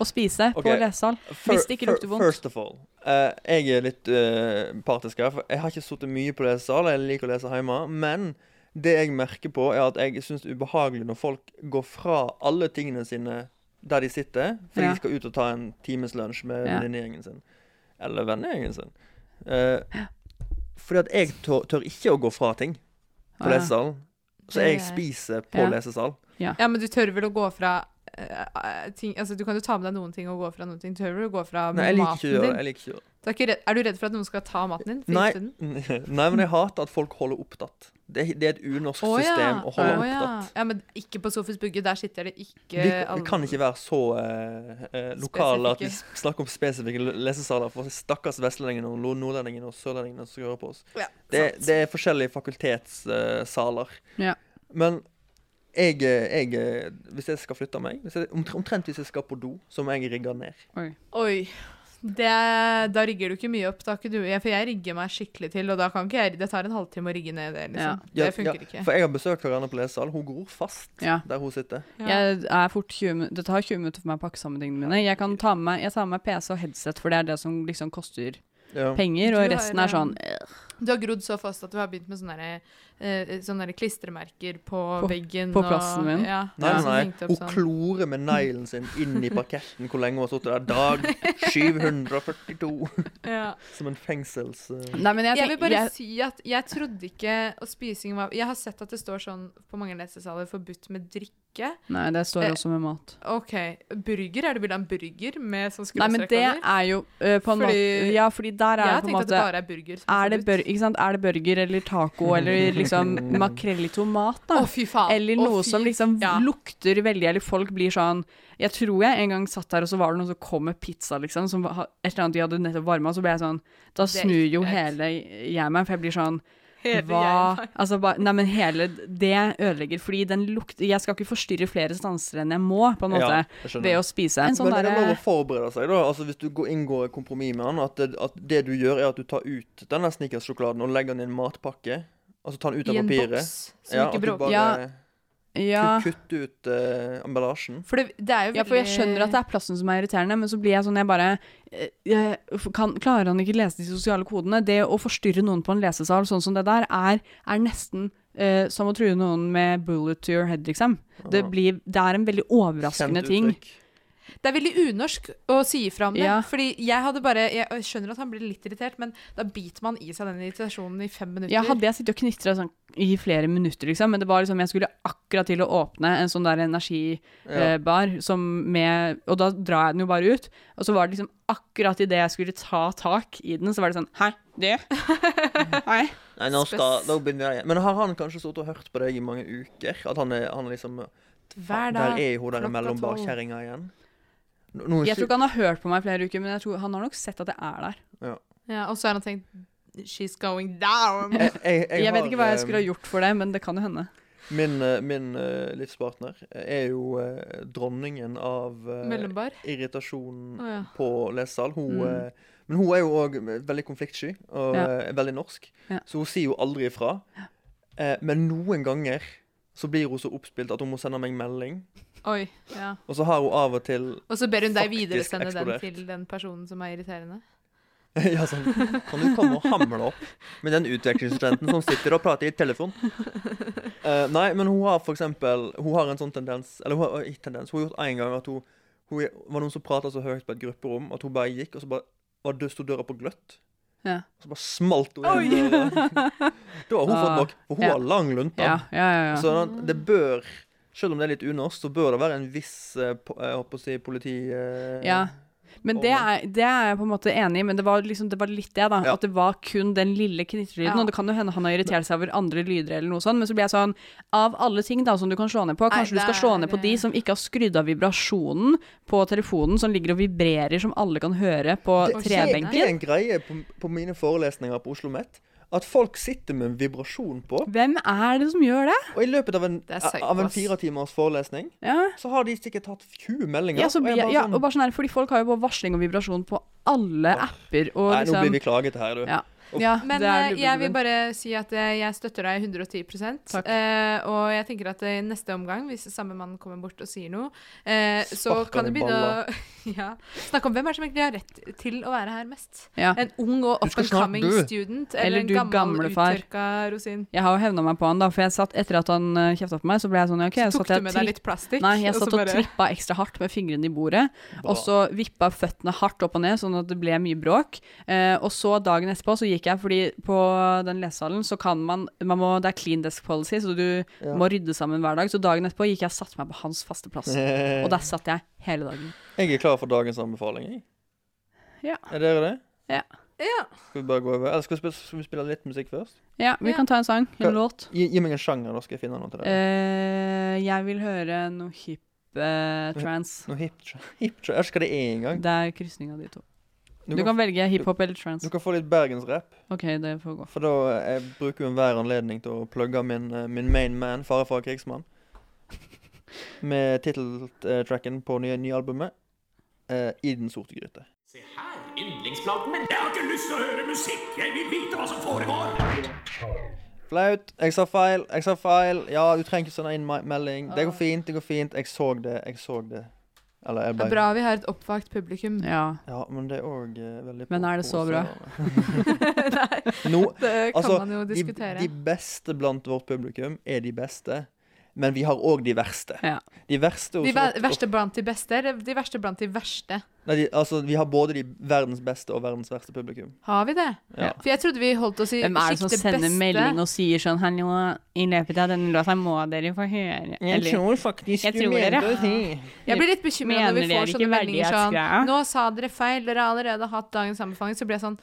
[SPEAKER 6] å spise på
[SPEAKER 5] Ok,
[SPEAKER 6] lesesal
[SPEAKER 5] fir-
[SPEAKER 6] hvis det ikke
[SPEAKER 5] fir-
[SPEAKER 6] lukter vondt?
[SPEAKER 5] First of all, eh, jeg er litt eh, partisk her, for jeg har ikke sittet mye på lesesal. Jeg liker å lese hjemme. Men det jeg merker på, er at jeg syns det er ubehagelig når folk går fra alle tingene sine der de sitter, fordi
[SPEAKER 6] Ja.
[SPEAKER 5] de skal ut og ta en times lunsj med
[SPEAKER 6] Ja.
[SPEAKER 5] venninnegjengen sin. Eller vennegjengen sin. Eh, fordi at jeg tør, tør ikke å gå fra ting på
[SPEAKER 7] Ah, ja.
[SPEAKER 5] lesesalen. Så
[SPEAKER 7] Det
[SPEAKER 5] jeg
[SPEAKER 7] gjør jeg.
[SPEAKER 5] spiser på
[SPEAKER 7] Ja.
[SPEAKER 5] lesesal.
[SPEAKER 7] Ja. men du tør vel å gå fra eh, ting, altså Du kan jo ta med deg noen ting og gå fra noen ting. Du tør vel å gå fra
[SPEAKER 5] Nei, jeg liker ikke å
[SPEAKER 7] maten
[SPEAKER 5] gjøre det.
[SPEAKER 7] din?
[SPEAKER 5] Jeg liker ikke å gjøre det.
[SPEAKER 7] Du er, ikke redd, er du redd for at noen skal ta maten din?
[SPEAKER 5] Nei,
[SPEAKER 7] Forgifte den?
[SPEAKER 5] nei, men jeg hater at folk holder opptatt. Det, det er et unorsk
[SPEAKER 7] Å, ja.
[SPEAKER 5] system å holde
[SPEAKER 7] Å, ja.
[SPEAKER 5] opptatt.
[SPEAKER 7] Ja, men ikke på Sofis Bugge. Der sitter det ikke
[SPEAKER 5] Vi, vi
[SPEAKER 7] alle.
[SPEAKER 5] kan ikke være så eh, eh, lokale at vi
[SPEAKER 7] Spesifikke.
[SPEAKER 5] snakker om spesifikke l- lesesaler for stakkars vestlendingene og lo- nordlendingene og sørlendingene som hører på oss.
[SPEAKER 7] Ja,
[SPEAKER 5] det, det er forskjellige fakultetssaler.
[SPEAKER 6] Ja.
[SPEAKER 5] Men jeg, eh, jeg, hvis jeg skal flytte meg, hvis jeg, omtr- omtrent hvis jeg skal på do, så må jeg rigge ned.
[SPEAKER 7] Oi. Det, da rigger du ikke mye opp. Da ikke du, jeg, for jeg rigger meg skikkelig til, og da kan ikke jeg Det tar en halvtime å rigge ned det, liksom.
[SPEAKER 5] Ja,
[SPEAKER 7] Det funker
[SPEAKER 5] ja,
[SPEAKER 7] ikke.
[SPEAKER 5] For jeg har besøkt Karianne på lesesal. Hun gror fast
[SPEAKER 6] Ja.
[SPEAKER 5] der hun sitter.
[SPEAKER 6] Jeg er fort 20, min- det tar 20 minutter for meg å pakke sammen tingene mine. Jeg, kan ta med, meg- jeg tar med meg PC og headset, for det er det som liksom koster
[SPEAKER 5] Ja.
[SPEAKER 6] penger. Og
[SPEAKER 7] Du har,
[SPEAKER 6] resten er sånn
[SPEAKER 7] eh, Du har grodd så fast at du har begynt med sånne, der, eh, sånne der klistremerker på,
[SPEAKER 6] På-
[SPEAKER 7] veggen.
[SPEAKER 6] på plassen min.
[SPEAKER 7] Ja,
[SPEAKER 5] Nei,
[SPEAKER 7] som
[SPEAKER 5] nei,
[SPEAKER 7] hengte
[SPEAKER 5] nei.
[SPEAKER 7] opp
[SPEAKER 5] Hun
[SPEAKER 7] sånn.
[SPEAKER 5] klorer med neglen sin inn i parketten hvor lenge hun har sittet der. Dag 742.
[SPEAKER 7] Ja.
[SPEAKER 5] Som en fengsels... eh,
[SPEAKER 6] Nei, men jeg,
[SPEAKER 7] jeg vil
[SPEAKER 6] tenk-
[SPEAKER 7] bare
[SPEAKER 6] jeg,
[SPEAKER 7] si at jeg trodde ikke at spising var Jeg har sett at det står sånn på mange lesesaler forbudt med drikke.
[SPEAKER 6] Nei, det står
[SPEAKER 7] Eh,
[SPEAKER 6] også med mat.
[SPEAKER 7] OK. Burger? Er det bilde av en burger med sånn
[SPEAKER 6] Nei, men
[SPEAKER 7] skråstrek
[SPEAKER 6] det
[SPEAKER 7] over?
[SPEAKER 6] er jo eh, på en måte
[SPEAKER 7] Fordi-
[SPEAKER 6] Ja, fordi der er
[SPEAKER 7] Jeg
[SPEAKER 6] det på en
[SPEAKER 7] tenkte at
[SPEAKER 6] måte
[SPEAKER 7] det bare er burger som er
[SPEAKER 6] er det
[SPEAKER 7] forbudt.
[SPEAKER 6] bør, ikke sant? er det burger eller taco eller liksom makrell i tomat, da?
[SPEAKER 7] Å, fy faen.
[SPEAKER 6] Eller
[SPEAKER 7] Å,
[SPEAKER 6] noe
[SPEAKER 7] fy-
[SPEAKER 6] som liksom
[SPEAKER 7] ja.
[SPEAKER 6] lukter veldig, eller folk blir sånn Jeg tror jeg en gang satt der, og så var det noen som kom med pizza, liksom, som var- et eller annet de hadde nettopp varma, så ble jeg sånn Da
[SPEAKER 7] Det er
[SPEAKER 6] snur jo
[SPEAKER 7] ekkelt.
[SPEAKER 6] hele jeg meg, for jeg blir sånn
[SPEAKER 7] Hele
[SPEAKER 6] hva
[SPEAKER 7] jeg meg.
[SPEAKER 6] Altså, ba, nei, men hele Det ødelegger, fordi den lukter Jeg skal ikke forstyrre flere stanser enn jeg må, på en måte,
[SPEAKER 5] Ja, jeg skjønner.
[SPEAKER 6] ved å spise. En sånn
[SPEAKER 5] Men er det
[SPEAKER 6] derre-
[SPEAKER 5] lov å forberede seg, da? Altså Hvis du går, inngår et kompromiss med han, at det, at det du gjør, er at du tar ut denne snickerssjokoladen og legger den i en matpakke? Altså tar den ut av
[SPEAKER 7] I en
[SPEAKER 5] papiret?
[SPEAKER 7] boks som ikke
[SPEAKER 5] at du
[SPEAKER 7] bråker.
[SPEAKER 5] bare
[SPEAKER 6] Ja. Ja.
[SPEAKER 5] ku- kutter ut eh, emballasjen?
[SPEAKER 7] For det, det er jo
[SPEAKER 6] Ja, for jeg skjønner at det er plassen som er irriterende, men så blir jeg sånn jeg bare eh, jeg, kan, Klarer han ikke lese de sosiale kodene? Det å forstyrre noen på en lesesal sånn som det der, er, er nesten eh, som å true noen med bullet to your head, liksom. Det, blir, det er en veldig overraskende
[SPEAKER 5] Kjent
[SPEAKER 6] ting.
[SPEAKER 5] uttrykk.
[SPEAKER 7] Det er veldig unorsk å si ifra om det.
[SPEAKER 6] Ja.
[SPEAKER 7] Fordi jeg hadde bare Jeg skjønner at han blir litt irritert, men da biter man i seg den irritasjonen i fem minutter.
[SPEAKER 6] Ja, hadde jeg sittet og knitra sånn i flere minutter, liksom, men det var liksom Jeg skulle akkurat til å åpne en sånn der
[SPEAKER 5] Ja.
[SPEAKER 6] energibar eh, som med Og da drar jeg den jo bare ut. Og så var det liksom akkurat idet jeg skulle ta tak i den, så var det sånn Hæ, det? Hei.
[SPEAKER 5] Nei, nå skal, da begynner vi igjen. Men har han kanskje sittet og hørt på deg i mange uker? At han er, han er liksom
[SPEAKER 7] Hver dag.
[SPEAKER 5] Der er hun der
[SPEAKER 7] klokka
[SPEAKER 5] imellom
[SPEAKER 7] tolv.
[SPEAKER 5] bakkjerringa igjen. Nå, nå er
[SPEAKER 6] Jeg tror
[SPEAKER 5] slu-
[SPEAKER 6] ikke han har hørt på meg i flere uker, men jeg tror han har nok sett at jeg er der.
[SPEAKER 5] ja.
[SPEAKER 7] Ja, og så har han tenkt She's going down.
[SPEAKER 5] jeg, jeg, eh,
[SPEAKER 6] Jeg, vet ikke hva jeg skulle
[SPEAKER 5] gjort
[SPEAKER 6] ha gjort for det, men det kan jo hende.
[SPEAKER 5] Min, eh, min eh, livspartner er jo eh, dronningen av eh,
[SPEAKER 7] Mellombar?
[SPEAKER 5] irritasjon
[SPEAKER 7] Å, ja.
[SPEAKER 5] på lesesal. Hun,
[SPEAKER 6] Mm.
[SPEAKER 5] eh, men hun er jo òg veldig konfliktsky og
[SPEAKER 6] Ja.
[SPEAKER 5] eh, er veldig norsk,
[SPEAKER 6] Ja.
[SPEAKER 5] så hun sier jo aldri ifra. Eh, men noen ganger så blir hun så oppspilt at hun må sende meg melding.
[SPEAKER 7] Oi, ja.
[SPEAKER 5] Og så har hun av og til
[SPEAKER 7] Og så ber hun deg
[SPEAKER 5] Faktisk
[SPEAKER 7] videresende den
[SPEAKER 5] eksplodert.
[SPEAKER 7] til den personen som er irriterende.
[SPEAKER 5] ja, sånn, Kan du komme og hamle opp med den utvekslingsstudenten som sitter og prater i telefon? Eh, nei, men hun har for eksempel Hun har en sånn tendens Eller hun har, ikke tendens, hun har gjort en gang at hun, hun var noen som prata så høyt på et grupperom at hun bare gikk, og så bare var dø- sto døra på gløtt.
[SPEAKER 6] Ja.
[SPEAKER 5] Og så bare smalt hun igjen. Da har hun fått
[SPEAKER 6] Ah,
[SPEAKER 5] nok, for hun
[SPEAKER 6] ja.
[SPEAKER 5] har lang lunte.
[SPEAKER 6] Ja, ja, ja. ja.
[SPEAKER 5] Så den- det bør selv om det er litt unorsk, så bør det være en viss eh, po- eh, jeg holdt på å si, politi... eh,
[SPEAKER 6] Ja. Men det er, det er jeg på en måte enig i, men det var, liksom, det var litt det, da.
[SPEAKER 5] Ja.
[SPEAKER 6] At det var kun den lille knitrelyden.
[SPEAKER 7] Ja.
[SPEAKER 6] Og det kan jo hende han har irritert seg over andre lyder eller noe sånt, men så blir jeg sånn Av alle ting da som du kan slå ned på,
[SPEAKER 7] Nei,
[SPEAKER 6] kanskje du skal
[SPEAKER 7] det
[SPEAKER 6] slå
[SPEAKER 7] er-
[SPEAKER 6] ned på de som ikke har skrudd av vibrasjonen på telefonen, som ligger og vibrerer, som alle kan høre på
[SPEAKER 5] Det- Det er
[SPEAKER 6] trebenken.
[SPEAKER 5] en greie på, på mine forelesninger på Oslo Met at folk sitter med en vibrasjon på,
[SPEAKER 6] Hvem er det som gjør det?
[SPEAKER 5] og i løpet av en,
[SPEAKER 7] Det er psycho,
[SPEAKER 5] av en
[SPEAKER 7] ass.
[SPEAKER 5] fire timers forelesning,
[SPEAKER 6] Ja.
[SPEAKER 5] så har de sikkert hatt 20 meldinger.
[SPEAKER 6] Ja, så,
[SPEAKER 5] og jeg
[SPEAKER 6] blir-
[SPEAKER 5] bare
[SPEAKER 6] ja,
[SPEAKER 5] sånn,
[SPEAKER 6] og bare sånn her, fordi folk har jo på varsling og vibrasjon på alle apper og
[SPEAKER 5] Nei, nå
[SPEAKER 6] liksom
[SPEAKER 5] blir vi klaget her, du.
[SPEAKER 6] ja.
[SPEAKER 5] Uff.
[SPEAKER 6] ja,
[SPEAKER 7] Men
[SPEAKER 6] det er
[SPEAKER 7] eh, jeg vil
[SPEAKER 6] lubbelubben.
[SPEAKER 7] bare si at eh, jeg støtter deg 110
[SPEAKER 6] Takk.
[SPEAKER 7] eh, Og jeg tenker at i neste omgang, hvis samme mann kommer bort og sier noe, eh, så
[SPEAKER 5] Spark
[SPEAKER 7] kan
[SPEAKER 5] han
[SPEAKER 7] du
[SPEAKER 5] i
[SPEAKER 7] begynne å ja, snakke om hvem er det som egentlig har rett til å være her mest.
[SPEAKER 6] Ja.
[SPEAKER 7] En ung og
[SPEAKER 5] Du
[SPEAKER 7] up
[SPEAKER 5] skal
[SPEAKER 7] and coming
[SPEAKER 5] snart dø.
[SPEAKER 7] student,
[SPEAKER 6] Eller
[SPEAKER 7] eller,
[SPEAKER 6] du
[SPEAKER 7] en gammel
[SPEAKER 6] gamlefar.
[SPEAKER 7] uttørka rosin.
[SPEAKER 6] Jeg har jo hevna meg på han, da, for jeg satt etter at han eh, kjefta på meg, så ble jeg sånn ja, OK,
[SPEAKER 7] Så
[SPEAKER 6] jeg
[SPEAKER 7] tok
[SPEAKER 6] satt
[SPEAKER 7] du
[SPEAKER 6] jeg
[SPEAKER 7] med deg
[SPEAKER 6] tripp-
[SPEAKER 7] litt plastikk.
[SPEAKER 6] Nei, jeg
[SPEAKER 7] og så
[SPEAKER 6] satt og
[SPEAKER 7] bare-
[SPEAKER 6] trippa ekstra hardt med fingrene i bordet. Og så vippa føttene hardt opp og ned, sånn at det ble mye bråk. Eh, og så dagen etterpå så gikk jeg, fordi på den lesesalen så kan man, man må, Det er clean desk policy, så du
[SPEAKER 5] Ja.
[SPEAKER 6] må rydde sammen hver dag. Så dagen etterpå gikk jeg og satte meg på hans faste plass. Og der satt jeg hele dagen.
[SPEAKER 5] Jeg er klar for dagens anbefaling. Jeg.
[SPEAKER 6] Ja.
[SPEAKER 5] Er dere det?
[SPEAKER 6] Ja.
[SPEAKER 7] Ja.
[SPEAKER 5] Skal vi bare gå over? Eller skal vi spille, skal vi spille litt musikk først?
[SPEAKER 6] Ja, vi
[SPEAKER 7] Ja.
[SPEAKER 6] kan ta en sang.
[SPEAKER 5] Hva-
[SPEAKER 6] En låt.
[SPEAKER 5] Gi, gi meg en sjanger, da skal jeg finne noe til dere.
[SPEAKER 6] Eh, jeg vil høre noe hip eh, trans.
[SPEAKER 5] Noe hip tra- hip tra- Jeg vet ikke hva det er engang.
[SPEAKER 6] Det er krysning av de to.
[SPEAKER 5] Du,
[SPEAKER 6] Du
[SPEAKER 5] kan,
[SPEAKER 6] kan velge hiphop eller trans.
[SPEAKER 5] du kan få litt bergensrap.
[SPEAKER 6] OK, det får gå.
[SPEAKER 5] For da eh, jeg bruker jo enhver anledning til å plugge min, eh, min main man, Fare fra krigsmann. med titteltracken på nye, nye albumet eh, I den sorte gryte.
[SPEAKER 12] Yndlingsplaten min. Jeg har ikke lyst til å høre musikk. Jeg vil vite hva som foregår.
[SPEAKER 5] Flaut. Jeg sa feil. Jeg sa feil. Ja, du trenger ikke sende inn me- melding. Det går fint. Det går fint. Jeg så det. Jeg så det. Eller jeg
[SPEAKER 7] Det
[SPEAKER 5] ble
[SPEAKER 7] er bra vi har et oppvakt publikum.
[SPEAKER 6] Ja.
[SPEAKER 5] Ja, men det er òg veldig
[SPEAKER 6] Men er det så bra?
[SPEAKER 5] Nå,
[SPEAKER 7] det kan
[SPEAKER 5] altså,
[SPEAKER 7] man jo diskutere.
[SPEAKER 5] De, de beste blant vårt publikum er de beste, men vi har òg de verste.
[SPEAKER 6] Ja.
[SPEAKER 5] De verste hos
[SPEAKER 7] De ver
[SPEAKER 5] vårt-
[SPEAKER 7] verste blant de beste, eller de verste blant de verste?
[SPEAKER 5] Nei, de, altså, vi har både de verdens beste og verdens verste publikum.
[SPEAKER 7] Har vi det?
[SPEAKER 5] Ja.
[SPEAKER 7] For jeg trodde vi holdt oss i
[SPEAKER 6] Hvem er det som
[SPEAKER 7] sjiktet beste.
[SPEAKER 6] sender melding og sier sånn Hallo, i løpet av denne låta må dere få høre eller-
[SPEAKER 5] faktisk
[SPEAKER 6] Jeg du tror mente dere- å si.
[SPEAKER 7] Jeg blir litt bekymra når vi
[SPEAKER 6] Mener
[SPEAKER 7] får
[SPEAKER 6] dere
[SPEAKER 7] sånne
[SPEAKER 6] ikke
[SPEAKER 7] meldinger
[SPEAKER 6] verdighetsgreia?
[SPEAKER 7] sånn Nå sa dere feil, dere har allerede hatt dagens sammenfaling. Så blir jeg sånn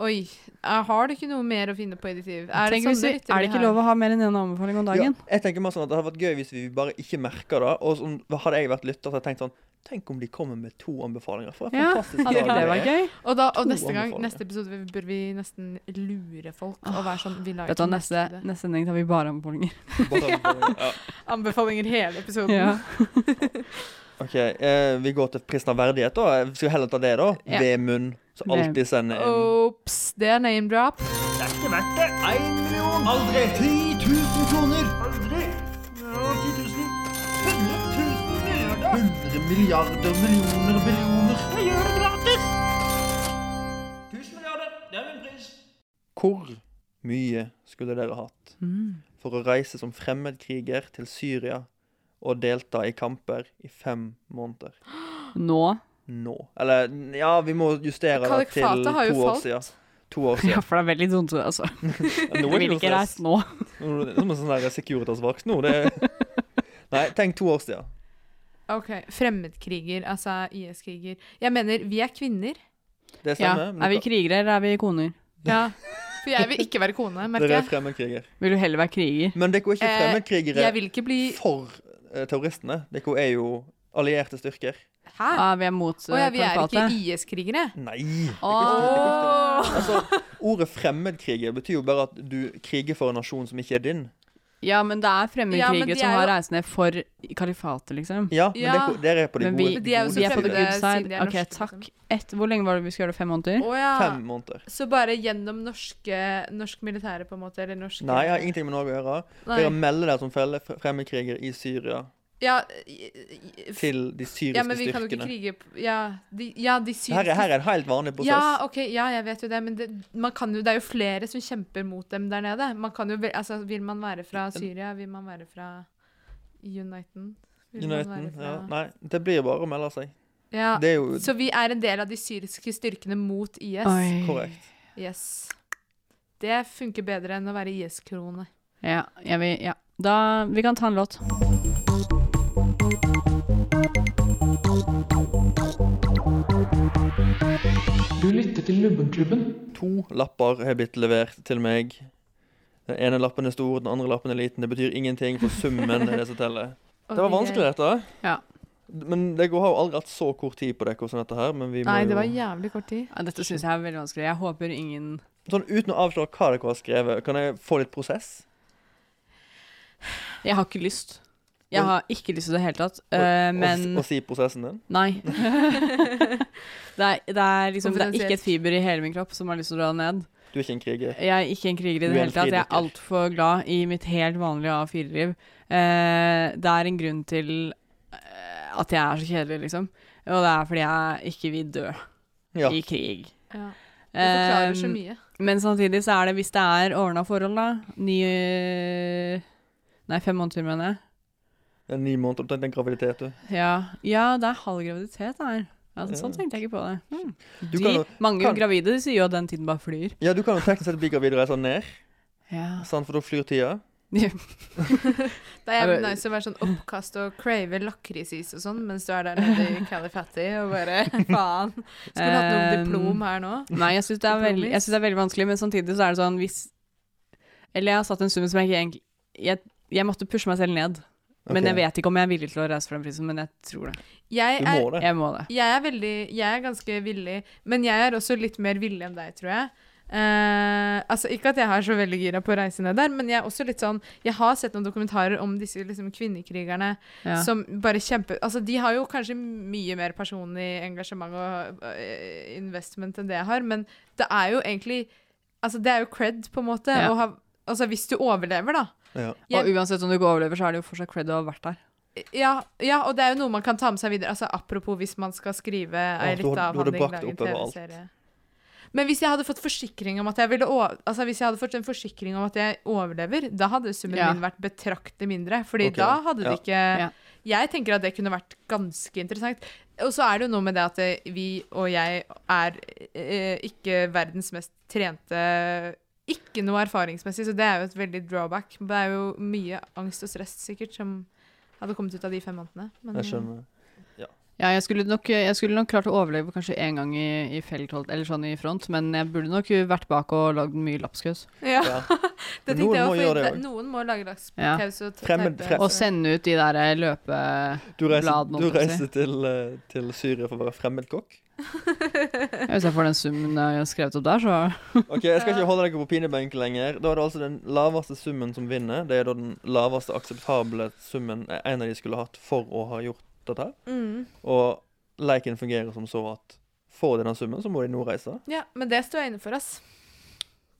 [SPEAKER 7] Oi, jeg har du ikke noe mer å finne på i ditt liv? Er det,
[SPEAKER 6] Tenk
[SPEAKER 7] sånn
[SPEAKER 6] hvis vi-
[SPEAKER 7] lyttere
[SPEAKER 6] er det
[SPEAKER 7] vi
[SPEAKER 6] ikke
[SPEAKER 7] har?
[SPEAKER 6] lov å ha mer enn én anbefaling om dagen?
[SPEAKER 5] Ja, jeg tenker mer sånn at Det hadde vært gøy hvis vi bare ikke merka det. Og sånn, hadde jeg vært lytter, så hadde jeg tenkt sånn Tenk om de kommer med to anbefalinger. For en
[SPEAKER 7] Ja,
[SPEAKER 5] fantastisk
[SPEAKER 7] hadde
[SPEAKER 5] dag
[SPEAKER 7] det
[SPEAKER 5] er.
[SPEAKER 7] vært gøy? Og, da,
[SPEAKER 5] To
[SPEAKER 7] og neste gang,
[SPEAKER 5] anbefalinger.
[SPEAKER 7] neste episode vi- bør vi nesten lure folk og være sånn Vi lager
[SPEAKER 6] Vet du, hva,
[SPEAKER 7] ikke
[SPEAKER 6] neste, neste sending tar vi bare anbefalinger.
[SPEAKER 5] Bare anbefalinger, ja.
[SPEAKER 7] anbefalinger hele episoden.
[SPEAKER 6] Ja.
[SPEAKER 5] OK, eh, vi går til prisen av verdighet, da. Vi skal heller ta det, da.
[SPEAKER 7] Ja.
[SPEAKER 5] Vemund, som alltid sender en
[SPEAKER 7] Ops, det er name drop.
[SPEAKER 12] Det er ikke verdt det. Én million. Aldri. 10 000 kroner. Aldri. Ja, 10 000. 100 000 milliarder.
[SPEAKER 5] 100 milliarder millioner millioner.
[SPEAKER 12] Jeg gjør det gratis. 1000 milliarder. Det er min pris.
[SPEAKER 5] Hvor mye skulle dere hatt
[SPEAKER 12] Mm.
[SPEAKER 5] for å reise som fremmedkriger til Syria og delta i kamper i fem måneder?
[SPEAKER 6] Nå?
[SPEAKER 5] Nå. Eller ja, vi må justere det til
[SPEAKER 6] Kallifatet har jo
[SPEAKER 5] to år
[SPEAKER 6] falt.
[SPEAKER 5] siden. To år
[SPEAKER 6] Ja,
[SPEAKER 5] siden.
[SPEAKER 6] for det er veldig dumt, altså.
[SPEAKER 5] Nå
[SPEAKER 6] Jeg
[SPEAKER 5] er det
[SPEAKER 6] vil
[SPEAKER 5] noe
[SPEAKER 6] ikke
[SPEAKER 5] stress.
[SPEAKER 6] reise nå.
[SPEAKER 5] Nå er det som en sånn der Securitas-vaks nå. Det er... Nei, tenk to år siden.
[SPEAKER 7] Ok, Fremmedkriger, altså IS-kriger. Jeg mener, vi er kvinner.
[SPEAKER 5] Det stemmer. men
[SPEAKER 6] Er vi krigere, eller er vi koner?
[SPEAKER 7] Ja. For jeg vil ikke være kone, merker
[SPEAKER 5] Dere er
[SPEAKER 7] jeg.
[SPEAKER 5] fremmedkriger.
[SPEAKER 6] Vil du heller være kriger?
[SPEAKER 5] Men dere er ikke
[SPEAKER 7] Eh,
[SPEAKER 5] fremmedkrigere
[SPEAKER 7] jeg vil ikke bli-
[SPEAKER 5] for eh, terroristene. Dere er jo allierte styrker.
[SPEAKER 7] Hæ?
[SPEAKER 6] Ja, vi er mot
[SPEAKER 7] Å ja, vi er ikke
[SPEAKER 6] kalifatet.
[SPEAKER 7] IS-krigere.
[SPEAKER 5] Nei! det går
[SPEAKER 7] Åh.
[SPEAKER 5] ikke. Altså, ordet fremmedkriger betyr jo bare at du kriger for en nasjon som ikke er din.
[SPEAKER 6] Ja, men det er
[SPEAKER 7] Ja, men
[SPEAKER 6] fremmedkrigere
[SPEAKER 7] de
[SPEAKER 6] som
[SPEAKER 7] er
[SPEAKER 6] har
[SPEAKER 7] jo-
[SPEAKER 6] reist ned for kalifatet, liksom.
[SPEAKER 5] Ja, men dere- dere er på de
[SPEAKER 6] Men
[SPEAKER 5] gode-
[SPEAKER 6] vi,
[SPEAKER 5] Men
[SPEAKER 6] de er jo
[SPEAKER 5] gode
[SPEAKER 6] vi er
[SPEAKER 5] sidene.
[SPEAKER 6] på the good
[SPEAKER 7] Siden de
[SPEAKER 6] side.
[SPEAKER 7] er
[SPEAKER 6] OK,
[SPEAKER 7] norske, liksom.
[SPEAKER 6] takk. Et, hvor lenge var det vi skulle gjøre det? Fem måneder?
[SPEAKER 7] Å ja.
[SPEAKER 5] Fem måneder.
[SPEAKER 7] Så bare gjennom norske, norsk militære, på en måte? Eller norske
[SPEAKER 5] Nei, jeg har ingenting med Norge å gjøre.
[SPEAKER 7] Nei.
[SPEAKER 5] Dere melder dere som felle fremmedkriger i Syria
[SPEAKER 7] Ja, i- i-
[SPEAKER 5] til de syriske
[SPEAKER 7] ja, men vi kan jo ikke
[SPEAKER 5] styrkene.
[SPEAKER 7] krige p- Ja, de, ja, de
[SPEAKER 5] Her er,
[SPEAKER 7] syriske
[SPEAKER 5] her er en helt vanlig prosess.
[SPEAKER 7] Ja, ok, ja, jeg vet jo det, men det, man kan jo, det er jo flere som kjemper mot dem der nede. Man kan jo, vel- altså, vil man være fra Syria? Vil man være fra Uniten? Vil
[SPEAKER 5] Uniten,
[SPEAKER 7] man være
[SPEAKER 5] ja.
[SPEAKER 7] fra-
[SPEAKER 5] Nei, det blir bare å melde seg.
[SPEAKER 7] Ja,
[SPEAKER 5] Det er jo
[SPEAKER 7] Så vi er en del av de syriske styrkene mot IS?
[SPEAKER 6] Oi.
[SPEAKER 5] korrekt.
[SPEAKER 7] Yes. Det funker bedre enn å være IS-krone.
[SPEAKER 6] Ja, jeg vil, ja. Da, vi kan ta en låt.
[SPEAKER 1] Du lytter til Lubbenklubben.
[SPEAKER 5] To lapper er blitt levert til meg. Den ene lappen er stor, den andre lappen er liten. Det betyr ingenting, for summen er det som teller.
[SPEAKER 7] Og
[SPEAKER 5] Det var
[SPEAKER 7] de er-
[SPEAKER 5] vanskelig, dette.
[SPEAKER 6] Ja.
[SPEAKER 5] Men jeg har jo aldri hatt så kort tid på dere som dette her. Men vi må
[SPEAKER 7] Nei, det var
[SPEAKER 5] jo...
[SPEAKER 7] jævlig kort tid.
[SPEAKER 6] Ja, Dette syns jeg er veldig vanskelig. Jeg håper ingen
[SPEAKER 5] Sånn uten å avsløre hva dere har skrevet, kan jeg få litt prosess?
[SPEAKER 6] Jeg har ikke lyst. Jeg har ikke lyst i det hele tatt. eh, men
[SPEAKER 5] Å si prosessen din?
[SPEAKER 6] Nei. det, er, det, er liksom, det er ikke et
[SPEAKER 7] Konfidensielt.
[SPEAKER 6] fiber i hele min kropp som har lyst til å dra ned.
[SPEAKER 5] Du er ikke en kriger.
[SPEAKER 6] Jeg er ikke en kriger i
[SPEAKER 5] Du
[SPEAKER 6] det
[SPEAKER 5] er en
[SPEAKER 6] hele tatt. Jeg er
[SPEAKER 5] fridykker.
[SPEAKER 6] altfor glad i mitt helt vanlige A4-liv. Eh, det er en grunn til eh, at jeg er så kjedelig, liksom. Og det er fordi jeg ikke vil dø
[SPEAKER 5] Ja.
[SPEAKER 6] i krig.
[SPEAKER 7] Ja. Du forklarer så
[SPEAKER 6] Um,
[SPEAKER 7] mye.
[SPEAKER 6] Men samtidig så er det, hvis det er ordna forhold, da Ni eh, Nei, fem måneder, mener jeg.
[SPEAKER 5] Det er Ni måneder, du tenkte en graviditet, du.
[SPEAKER 6] Ja, ja det er halv graviditet det her. Ja, sånn tenkte jeg ikke på det. Hmm.
[SPEAKER 5] Du
[SPEAKER 6] De,
[SPEAKER 5] kan jo-
[SPEAKER 6] mange
[SPEAKER 5] kan-
[SPEAKER 6] gravide de sier jo at den tiden bare flyr.
[SPEAKER 5] Ja, du kan jo teknisk sett bli gravid og reise ned,
[SPEAKER 6] Ja.
[SPEAKER 5] sant? for da flyr tida.
[SPEAKER 7] Det er jævlig
[SPEAKER 6] Eller-
[SPEAKER 7] nice å være sånn oppkast og crave lakrisis og sånn, mens du er der nede i Califatti og bare faen. Skulle hatt noe
[SPEAKER 6] Um,
[SPEAKER 7] diplom her nå.
[SPEAKER 6] Nei, jeg syns det, er veld-
[SPEAKER 7] Diplomis.
[SPEAKER 6] jeg synes det er veldig vanskelig, men samtidig så er det sånn hvis Eller jeg har satt en sum som jeg ikke egentlig Jeg, jeg måtte pushe meg selv ned. Men
[SPEAKER 5] Ok.
[SPEAKER 6] jeg vet ikke om jeg er villig til å reise fra den prisen, men jeg tror det.
[SPEAKER 7] Jeg
[SPEAKER 5] Du
[SPEAKER 7] er,
[SPEAKER 5] må det.
[SPEAKER 6] Jeg må det.
[SPEAKER 7] jeg er veldig Jeg er ganske villig, men jeg er også litt mer villig enn deg, tror jeg. Eh, altså Ikke at jeg er så veldig gira på å reise ned der, men jeg er også litt sånn Jeg har sett noen dokumentarer om disse liksom, kvinnekrigerne
[SPEAKER 6] Ja.
[SPEAKER 7] som bare kjemper Altså De har jo kanskje mye mer personlig engasjement og eh, investment enn det jeg har, men det er jo egentlig Altså Det er jo cred, på en måte.
[SPEAKER 6] Ja.
[SPEAKER 7] å ha, altså Hvis du overlever, da. Jeg-
[SPEAKER 6] Og uansett om du ikke overlever, så er det jo fortsatt cred å ha vært der.
[SPEAKER 7] Ja, ja, og det er jo noe man kan ta med seg videre. Altså Apropos hvis man skal skrive ei
[SPEAKER 6] du har- du
[SPEAKER 7] lita
[SPEAKER 6] hadde
[SPEAKER 7] avhandling,
[SPEAKER 6] bakt
[SPEAKER 7] lage en
[SPEAKER 6] oppover alt.
[SPEAKER 7] TV-serie. Men hvis jeg hadde fått forsikring om at jeg ville over, altså hvis jeg hadde fått en forsikring om at jeg overlever, da hadde summen
[SPEAKER 6] Ja.
[SPEAKER 7] min vært betraktelig mindre. Fordi
[SPEAKER 6] Ok,
[SPEAKER 7] da hadde
[SPEAKER 6] ja.
[SPEAKER 7] det ikke Jeg tenker at det kunne vært ganske interessant. Og så er det jo noe med det at eh, vi og jeg er eh, ikke verdens mest trente Ikke noe erfaringsmessig, så det er jo et veldig drawback. Det er jo mye angst og stress sikkert som hadde kommet ut av de fem månedene. men-
[SPEAKER 5] Jeg skjønner.
[SPEAKER 6] Ja, jeg skulle, nok, jeg skulle nok klart å overleve kanskje én gang i, i felthold, eller sånn i front, men jeg burde nok vært bak og lagd mye lapskaus.
[SPEAKER 7] Ja.
[SPEAKER 5] Ja. Noen
[SPEAKER 7] det tenkte jeg
[SPEAKER 5] må gjøre
[SPEAKER 7] også, for
[SPEAKER 5] det
[SPEAKER 7] det-
[SPEAKER 5] også.
[SPEAKER 7] noen må lage laks
[SPEAKER 6] Ja.
[SPEAKER 7] taus og
[SPEAKER 5] Fremmed-
[SPEAKER 7] teipe.
[SPEAKER 5] frem-
[SPEAKER 6] Og sende ut de der eh,
[SPEAKER 5] Du reiser, du
[SPEAKER 6] løpebladene. holdt jeg på å si.
[SPEAKER 5] reiser til, eh, til Syria for å være fremmedkokk?
[SPEAKER 6] Ja, Hvis jeg får den summen jeg har skrevet opp der, så
[SPEAKER 5] Ok, Jeg skal ikke holde deg på pinebenk lenger. Da er det altså den laveste summen som vinner. Det er da den laveste akseptable summen eh, en av de skulle hatt for å ha gjort dette. her.
[SPEAKER 7] Mm.
[SPEAKER 5] Og leken fungerer som så at får de den summen, så må de nå reise.
[SPEAKER 7] Ja, men det står jeg inne for, ass.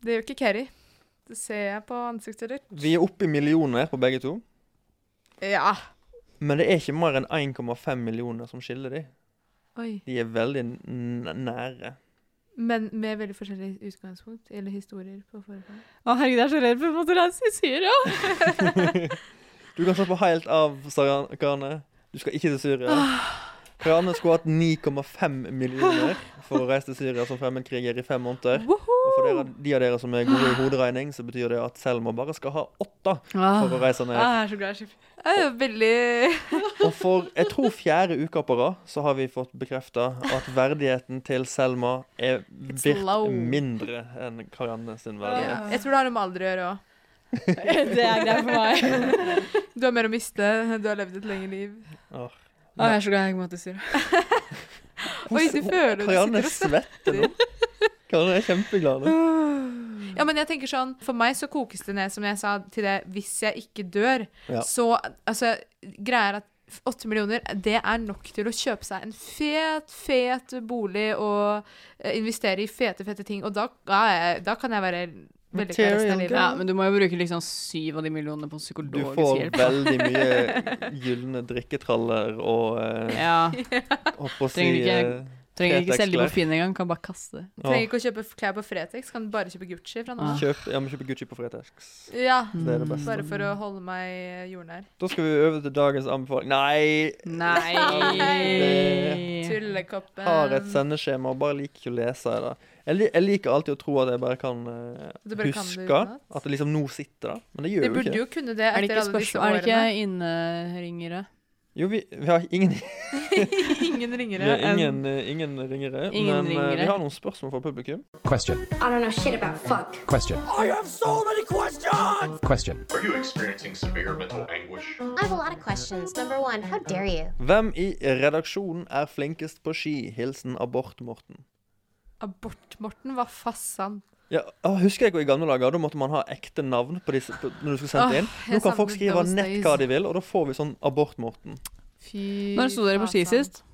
[SPEAKER 7] Det gjør ikke Keri. Det ser jeg på ansiktet ditt.
[SPEAKER 5] Vi er oppe i millioner på begge to,
[SPEAKER 7] Ja.
[SPEAKER 5] men det er ikke mer enn 1,5 millioner som skiller de.
[SPEAKER 7] Oi.
[SPEAKER 5] De er veldig n nære.
[SPEAKER 7] Men med veldig forskjellig utgangspunkt, eller historier på forhånd.
[SPEAKER 6] Å herregud, jeg er så redd for å måtte reise til Syria!
[SPEAKER 5] Du kan slappe helt av, sa Jan- Karne. Du skal ikke til Syria. Karne skulle hatt 9,5 millioner for å reise til Syria som fremmedkriger i fem måneder. Og for dere, de av dere som er gode i hoderegning, så betyr det at Selma bare skal ha åtte
[SPEAKER 6] Ah.
[SPEAKER 5] for
[SPEAKER 7] Ah.
[SPEAKER 5] å reise ned.
[SPEAKER 7] jeg er så glad i skip. Jeg er veldig
[SPEAKER 5] Og for jeg tror fjerde uka på rad så har vi fått bekrefta at verdigheten til Selma er
[SPEAKER 7] It's
[SPEAKER 5] virt
[SPEAKER 7] low.
[SPEAKER 5] mindre enn Karianne sin verdighet.
[SPEAKER 7] Jeg tror det har noe med alder å gjøre òg.
[SPEAKER 6] Det er greit for
[SPEAKER 7] meg. Du har mer å miste. Du har levd et lengre liv.
[SPEAKER 5] Åh.
[SPEAKER 6] Å, jeg er så glad jeg ikke måtte til Syria.
[SPEAKER 7] Oi, du føler du
[SPEAKER 5] Karianne
[SPEAKER 7] sitter og
[SPEAKER 5] svetter nå. Karianne er kjempeglad nå.
[SPEAKER 7] Ja, men jeg tenker sånn, For meg så kokes det ned, som jeg sa til det, hvis jeg ikke dør,
[SPEAKER 5] Ja.
[SPEAKER 7] så altså, greier at åtte millioner, det er nok til å kjøpe seg en fet, fet bolig og eh, investere i fete, fete ting. Og da, da, er jeg, da kan jeg være veldig glad resten av livet.
[SPEAKER 6] Ja, men du må jo bruke liksom syv av de millionene
[SPEAKER 5] Du
[SPEAKER 6] på psykologisk
[SPEAKER 5] får
[SPEAKER 6] hjelp.
[SPEAKER 5] veldig mye gylne drikketraller og eh,
[SPEAKER 6] Ja.
[SPEAKER 5] holdt på å si,
[SPEAKER 6] Trenger ikke,
[SPEAKER 5] eh,
[SPEAKER 6] trenger ikke selge de på
[SPEAKER 5] Fretex-klær.
[SPEAKER 6] Finn engang, kan bare kaste det.
[SPEAKER 7] Trenger ikke å kjøpe klær på Fretex, kan bare kjøpe Gucci fra nå av.
[SPEAKER 5] Kjøp, jeg må kjøpe Gucci på Fretex.
[SPEAKER 7] Ja,
[SPEAKER 5] Det er det beste.
[SPEAKER 7] bare for å holde meg jordnær.
[SPEAKER 5] Da skal vi over til dagens anbefaling. Nei!
[SPEAKER 6] Nei.
[SPEAKER 5] Det-
[SPEAKER 7] Tullekoppen.
[SPEAKER 5] Har et sendeskjema og bare liker ikke å lese i det. Jeg, li jeg liker alltid å tro at jeg bare kan eh,
[SPEAKER 7] Du bare kan det
[SPEAKER 5] huske
[SPEAKER 7] utenat?
[SPEAKER 5] at det liksom nå sitter der, men det gjør
[SPEAKER 7] Det
[SPEAKER 5] jo
[SPEAKER 7] burde
[SPEAKER 5] ikke.
[SPEAKER 7] jo kunne det
[SPEAKER 6] Er det
[SPEAKER 7] etter
[SPEAKER 6] ikke,
[SPEAKER 7] alle disse
[SPEAKER 6] spørsmål, er det
[SPEAKER 7] årene.
[SPEAKER 6] ikke inneringere?
[SPEAKER 5] Jo, vi, vi har ingen,
[SPEAKER 7] ingen
[SPEAKER 5] vi
[SPEAKER 7] ringere
[SPEAKER 5] har ingen, eh, ingen ringere,
[SPEAKER 6] Ingen
[SPEAKER 5] men eh,
[SPEAKER 6] ringere.
[SPEAKER 5] vi har noen spørsmål fra publikum.
[SPEAKER 13] Question.
[SPEAKER 14] I don't know shit about fuck.
[SPEAKER 13] Question.
[SPEAKER 14] I have so many questions!
[SPEAKER 13] Question.
[SPEAKER 15] Are you experiencing severe mental anguish?
[SPEAKER 14] I have a lot of questions. Number one, how dare you?
[SPEAKER 5] Hvem i redaksjonen er flinkest på ski? Hilsen Abort-Morten.
[SPEAKER 7] Abort-Morten var fassan.
[SPEAKER 5] Ja, å, husker jeg ikke i gamle dager, da måtte man ha ekte navn på disse, på, når du skulle
[SPEAKER 7] Åh,
[SPEAKER 5] sende inn. Nå
[SPEAKER 7] Ah, jeg
[SPEAKER 5] kan folk
[SPEAKER 7] savner
[SPEAKER 5] skrive
[SPEAKER 7] those
[SPEAKER 5] nett
[SPEAKER 7] days.
[SPEAKER 5] hva de vil, og da får vi sånn Abort-Morten.
[SPEAKER 7] Fy
[SPEAKER 6] Når sto dere på ski
[SPEAKER 7] fasan.
[SPEAKER 6] sist?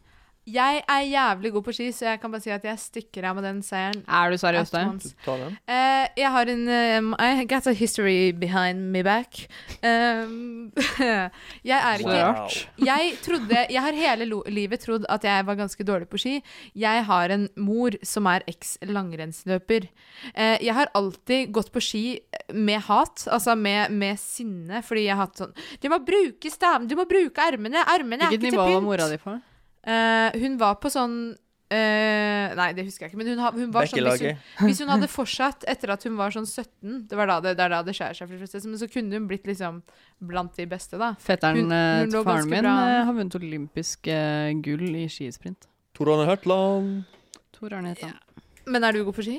[SPEAKER 7] Jeg er jævlig god på ski, så jeg kan bare si at jeg stikker av med den seieren.
[SPEAKER 6] Er du seriøs
[SPEAKER 7] At
[SPEAKER 6] der?
[SPEAKER 7] once.
[SPEAKER 5] Ta den.
[SPEAKER 7] Eh, jeg har en um, I got a history behind me back. Um, jeg er ikke
[SPEAKER 6] Wow.
[SPEAKER 7] Jeg trodde Jeg har hele lo livet trodd at jeg var ganske dårlig på ski. Jeg har en mor som er eks langrennsløper. Eh, jeg har alltid gått på ski med hat, altså med, med sinne, fordi jeg har hatt sånn Du må bruke staven, du må bruke armene, armene er
[SPEAKER 6] Hvilket
[SPEAKER 7] ikke til pynt.
[SPEAKER 6] nivå var mora di på?
[SPEAKER 7] Eh, hun var på sånn eh, nei, det husker jeg ikke. Men hun, ha- hun var sånn hvis hun,
[SPEAKER 6] Bekkelaget.
[SPEAKER 7] hvis hun hadde fortsatt etter at hun var sånn 17 Det var da det, det, er da det skjærer seg. For de fleste, men så kunne hun blitt liksom blant de beste, da.
[SPEAKER 6] Fetteren
[SPEAKER 7] Hun-
[SPEAKER 6] eh,
[SPEAKER 7] hun
[SPEAKER 6] til
[SPEAKER 7] lå
[SPEAKER 6] faren
[SPEAKER 7] ganske
[SPEAKER 6] min
[SPEAKER 7] bra.
[SPEAKER 6] eh, har vunnet olympisk eh, gull i skisprint.
[SPEAKER 5] Tor Arne Hørtland.
[SPEAKER 6] Tor Arne het han.
[SPEAKER 7] Men er du god på ski?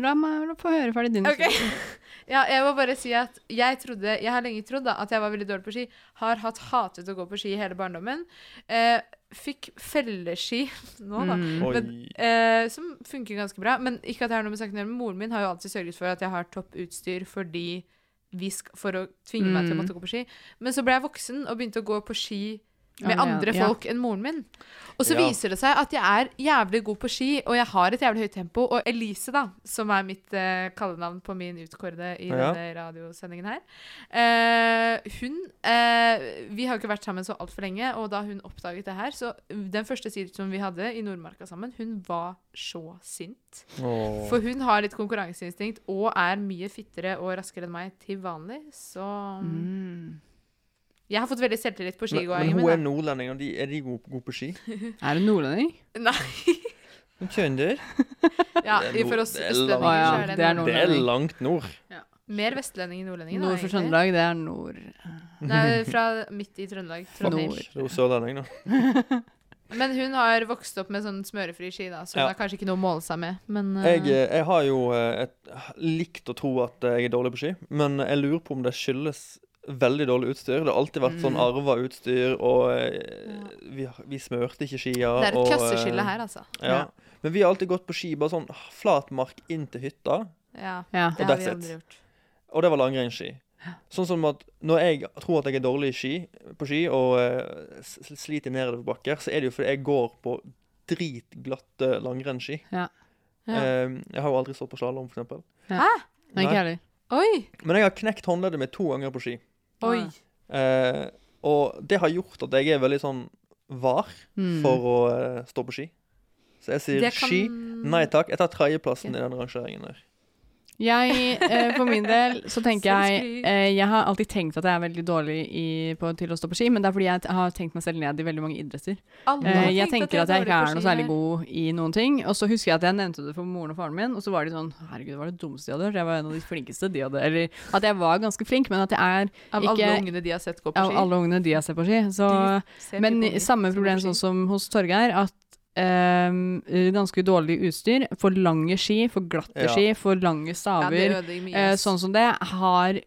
[SPEAKER 6] La meg få høre ferdig din
[SPEAKER 7] Ok. Ja, jeg må bare si at jeg trodde, jeg har lenge trodd da, at jeg var veldig dårlig på ski. Har hatt hatet å gå på ski i hele barndommen. Eh, fikk felleski nå, da.
[SPEAKER 12] Mm.
[SPEAKER 7] Men, eh, som funker ganske bra. Men ikke at jeg har noe med saken å gjøre, men moren min har jo alltid sørget for at jeg har topp utstyr fordi vi sk for å tvinge meg til å
[SPEAKER 6] Mm.
[SPEAKER 7] måtte gå på ski. Men så ble jeg voksen og begynte å gå på ski med
[SPEAKER 6] Ja, men-
[SPEAKER 7] andre
[SPEAKER 6] ja.
[SPEAKER 7] folk enn moren min. Og så
[SPEAKER 6] Ja.
[SPEAKER 7] viser det seg at jeg er jævlig god på ski, og jeg har et jævlig høyt tempo. Og Elise, da, som er mitt eh, kallenavn på min utkårede i
[SPEAKER 6] Ja.
[SPEAKER 7] denne radiosendingen her, eh, hun eh, Vi har jo ikke vært sammen så altfor lenge, og da hun oppdaget det her, så den første sideturen vi hadde i Nordmarka sammen, hun var så sint.
[SPEAKER 12] Åh.
[SPEAKER 7] For hun har litt konkurranseinstinkt og er mye fittere og raskere enn meg til vanlig, så Mm.
[SPEAKER 6] Mm.
[SPEAKER 7] Jeg har fått veldig selvtillit på
[SPEAKER 5] Men,
[SPEAKER 7] skigåingen
[SPEAKER 5] men hun
[SPEAKER 7] min.
[SPEAKER 5] er nordlending, og de, er de gode, gode på ski?
[SPEAKER 6] Er hun nordlending?
[SPEAKER 7] Nei.
[SPEAKER 5] Hun Kjønder?
[SPEAKER 7] Ja,
[SPEAKER 5] Det er
[SPEAKER 7] for oss
[SPEAKER 5] nord- det er
[SPEAKER 7] østlendinger
[SPEAKER 5] langt-
[SPEAKER 7] så er det en
[SPEAKER 5] Det er
[SPEAKER 7] nordlending.
[SPEAKER 5] langt nord.
[SPEAKER 7] da. Mer vestlending enn nordlending. da,
[SPEAKER 6] Nord for
[SPEAKER 7] egentlig.
[SPEAKER 6] Trøndelag, det er nord.
[SPEAKER 7] Nei, fra midt i Trøndelag. Trondheim.
[SPEAKER 5] Det er jo sørlending, da.
[SPEAKER 7] Men hun har vokst opp med sånn smørefri ski, da, så hun
[SPEAKER 5] Ja.
[SPEAKER 7] har kanskje ikke noe å måle seg med. Men eh,
[SPEAKER 5] Jeg, eh, jeg har jo eh, et, likt å tro at eh, jeg er dårlig på ski, men jeg lurer på om det skyldes veldig dårlig utstyr. Det har alltid vært
[SPEAKER 7] Mm.
[SPEAKER 5] sånn arva utstyr, og eh, vi, har- vi smørte ikke skia.
[SPEAKER 7] Det er et
[SPEAKER 5] og, eh,
[SPEAKER 7] klasseskille her, altså.
[SPEAKER 5] Ja. Men vi har alltid gått på ski bare sånn flatmark inn til hytta.
[SPEAKER 7] Ja, Ja. det
[SPEAKER 5] og
[SPEAKER 7] har
[SPEAKER 5] that's
[SPEAKER 7] vi
[SPEAKER 5] it.
[SPEAKER 7] aldri gjort.
[SPEAKER 5] Og det var langrennsski. Sånn som at når jeg tror at jeg er dårlig i ski, på ski og eh, s- sliter i nedoverbakker, så er det jo fordi jeg går på dritglatte langrennsski.
[SPEAKER 6] Ja.
[SPEAKER 7] Ja.
[SPEAKER 5] Eh, jeg har jo aldri stått på slalåm, for eksempel.
[SPEAKER 6] Hæ? Nei, ikke heller.
[SPEAKER 7] Oi!
[SPEAKER 5] Men jeg har knekt håndleddet mitt to ganger på ski.
[SPEAKER 7] Oi.
[SPEAKER 5] Eh, og det har gjort at jeg er veldig sånn var
[SPEAKER 6] Mm.
[SPEAKER 5] for å eh, stå på ski. Så jeg sier
[SPEAKER 6] Det kan-
[SPEAKER 5] ski, nei takk. Jeg tar tredjeplassen i den rangeringen der.
[SPEAKER 6] Jeg, eh, for min del, så tenker jeg
[SPEAKER 7] Selvskryt.
[SPEAKER 6] eh, Jeg har alltid tenkt at jeg er veldig dårlig i, på, til å stå på ski, men det er fordi jeg t- har tenkt meg selv ned i veldig mange idretter.
[SPEAKER 7] Alle
[SPEAKER 6] Eh,
[SPEAKER 7] har
[SPEAKER 6] jeg
[SPEAKER 7] tenkt at
[SPEAKER 6] tenker
[SPEAKER 7] jeg er
[SPEAKER 6] at jeg ikke
[SPEAKER 7] dårlig på
[SPEAKER 6] er noe
[SPEAKER 7] ski
[SPEAKER 6] særlig
[SPEAKER 7] her.
[SPEAKER 6] god i noen ting. Og så husker jeg at jeg nevnte det for moren og faren min, og så var de sånn Herregud, det var det dummeste de hadde hørt. Jeg var en av de flinkeste de hadde Eller at jeg var ganske flink, men at jeg er
[SPEAKER 7] Av
[SPEAKER 6] ikke
[SPEAKER 7] alle ungene de har sett gå på
[SPEAKER 6] Av
[SPEAKER 7] ski.
[SPEAKER 6] alle ungene de har sett på ski. Så,
[SPEAKER 7] ser mye
[SPEAKER 6] men
[SPEAKER 7] på unger
[SPEAKER 6] samme problem sånn som hos Torgeir, at ehm, ganske dårlig utstyr, for lange ski, for glatte
[SPEAKER 7] Ja.
[SPEAKER 6] ski, for lange staver,
[SPEAKER 7] ødelegger mye,
[SPEAKER 6] eh,
[SPEAKER 7] ass.
[SPEAKER 6] sånn som det, har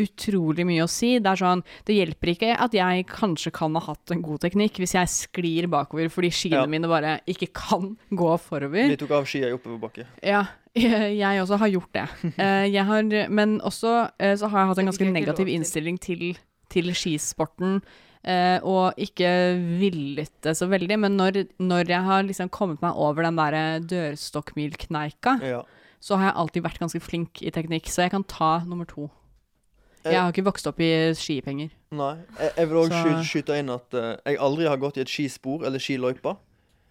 [SPEAKER 6] utrolig mye å si. Det er sånn, det hjelper ikke at jeg kanskje kan ha hatt en god teknikk hvis jeg sklir bakover fordi skiene
[SPEAKER 5] Ja.
[SPEAKER 6] mine bare ikke kan gå forover.
[SPEAKER 5] Vi tok av skia i oppoverbakke.
[SPEAKER 6] Ja, jeg også har gjort det. Eh, Jeg har, men også eh, så har jeg hatt en ganske negativ innstilling til, til skisporten. eh, og ikke villet det så veldig, men når, når jeg har liksom kommet meg over den der dørstokkmilkneika, så har jeg alltid vært ganske flink i teknikk, så jeg kan ta nummer to.
[SPEAKER 5] Eh.
[SPEAKER 6] Jeg har ikke vokst opp i skipenger.
[SPEAKER 5] Nei. Jeg, jeg vil òg
[SPEAKER 6] Så-
[SPEAKER 5] skyte, skyte inn at eh, jeg aldri har gått i et skispor eller skiløype.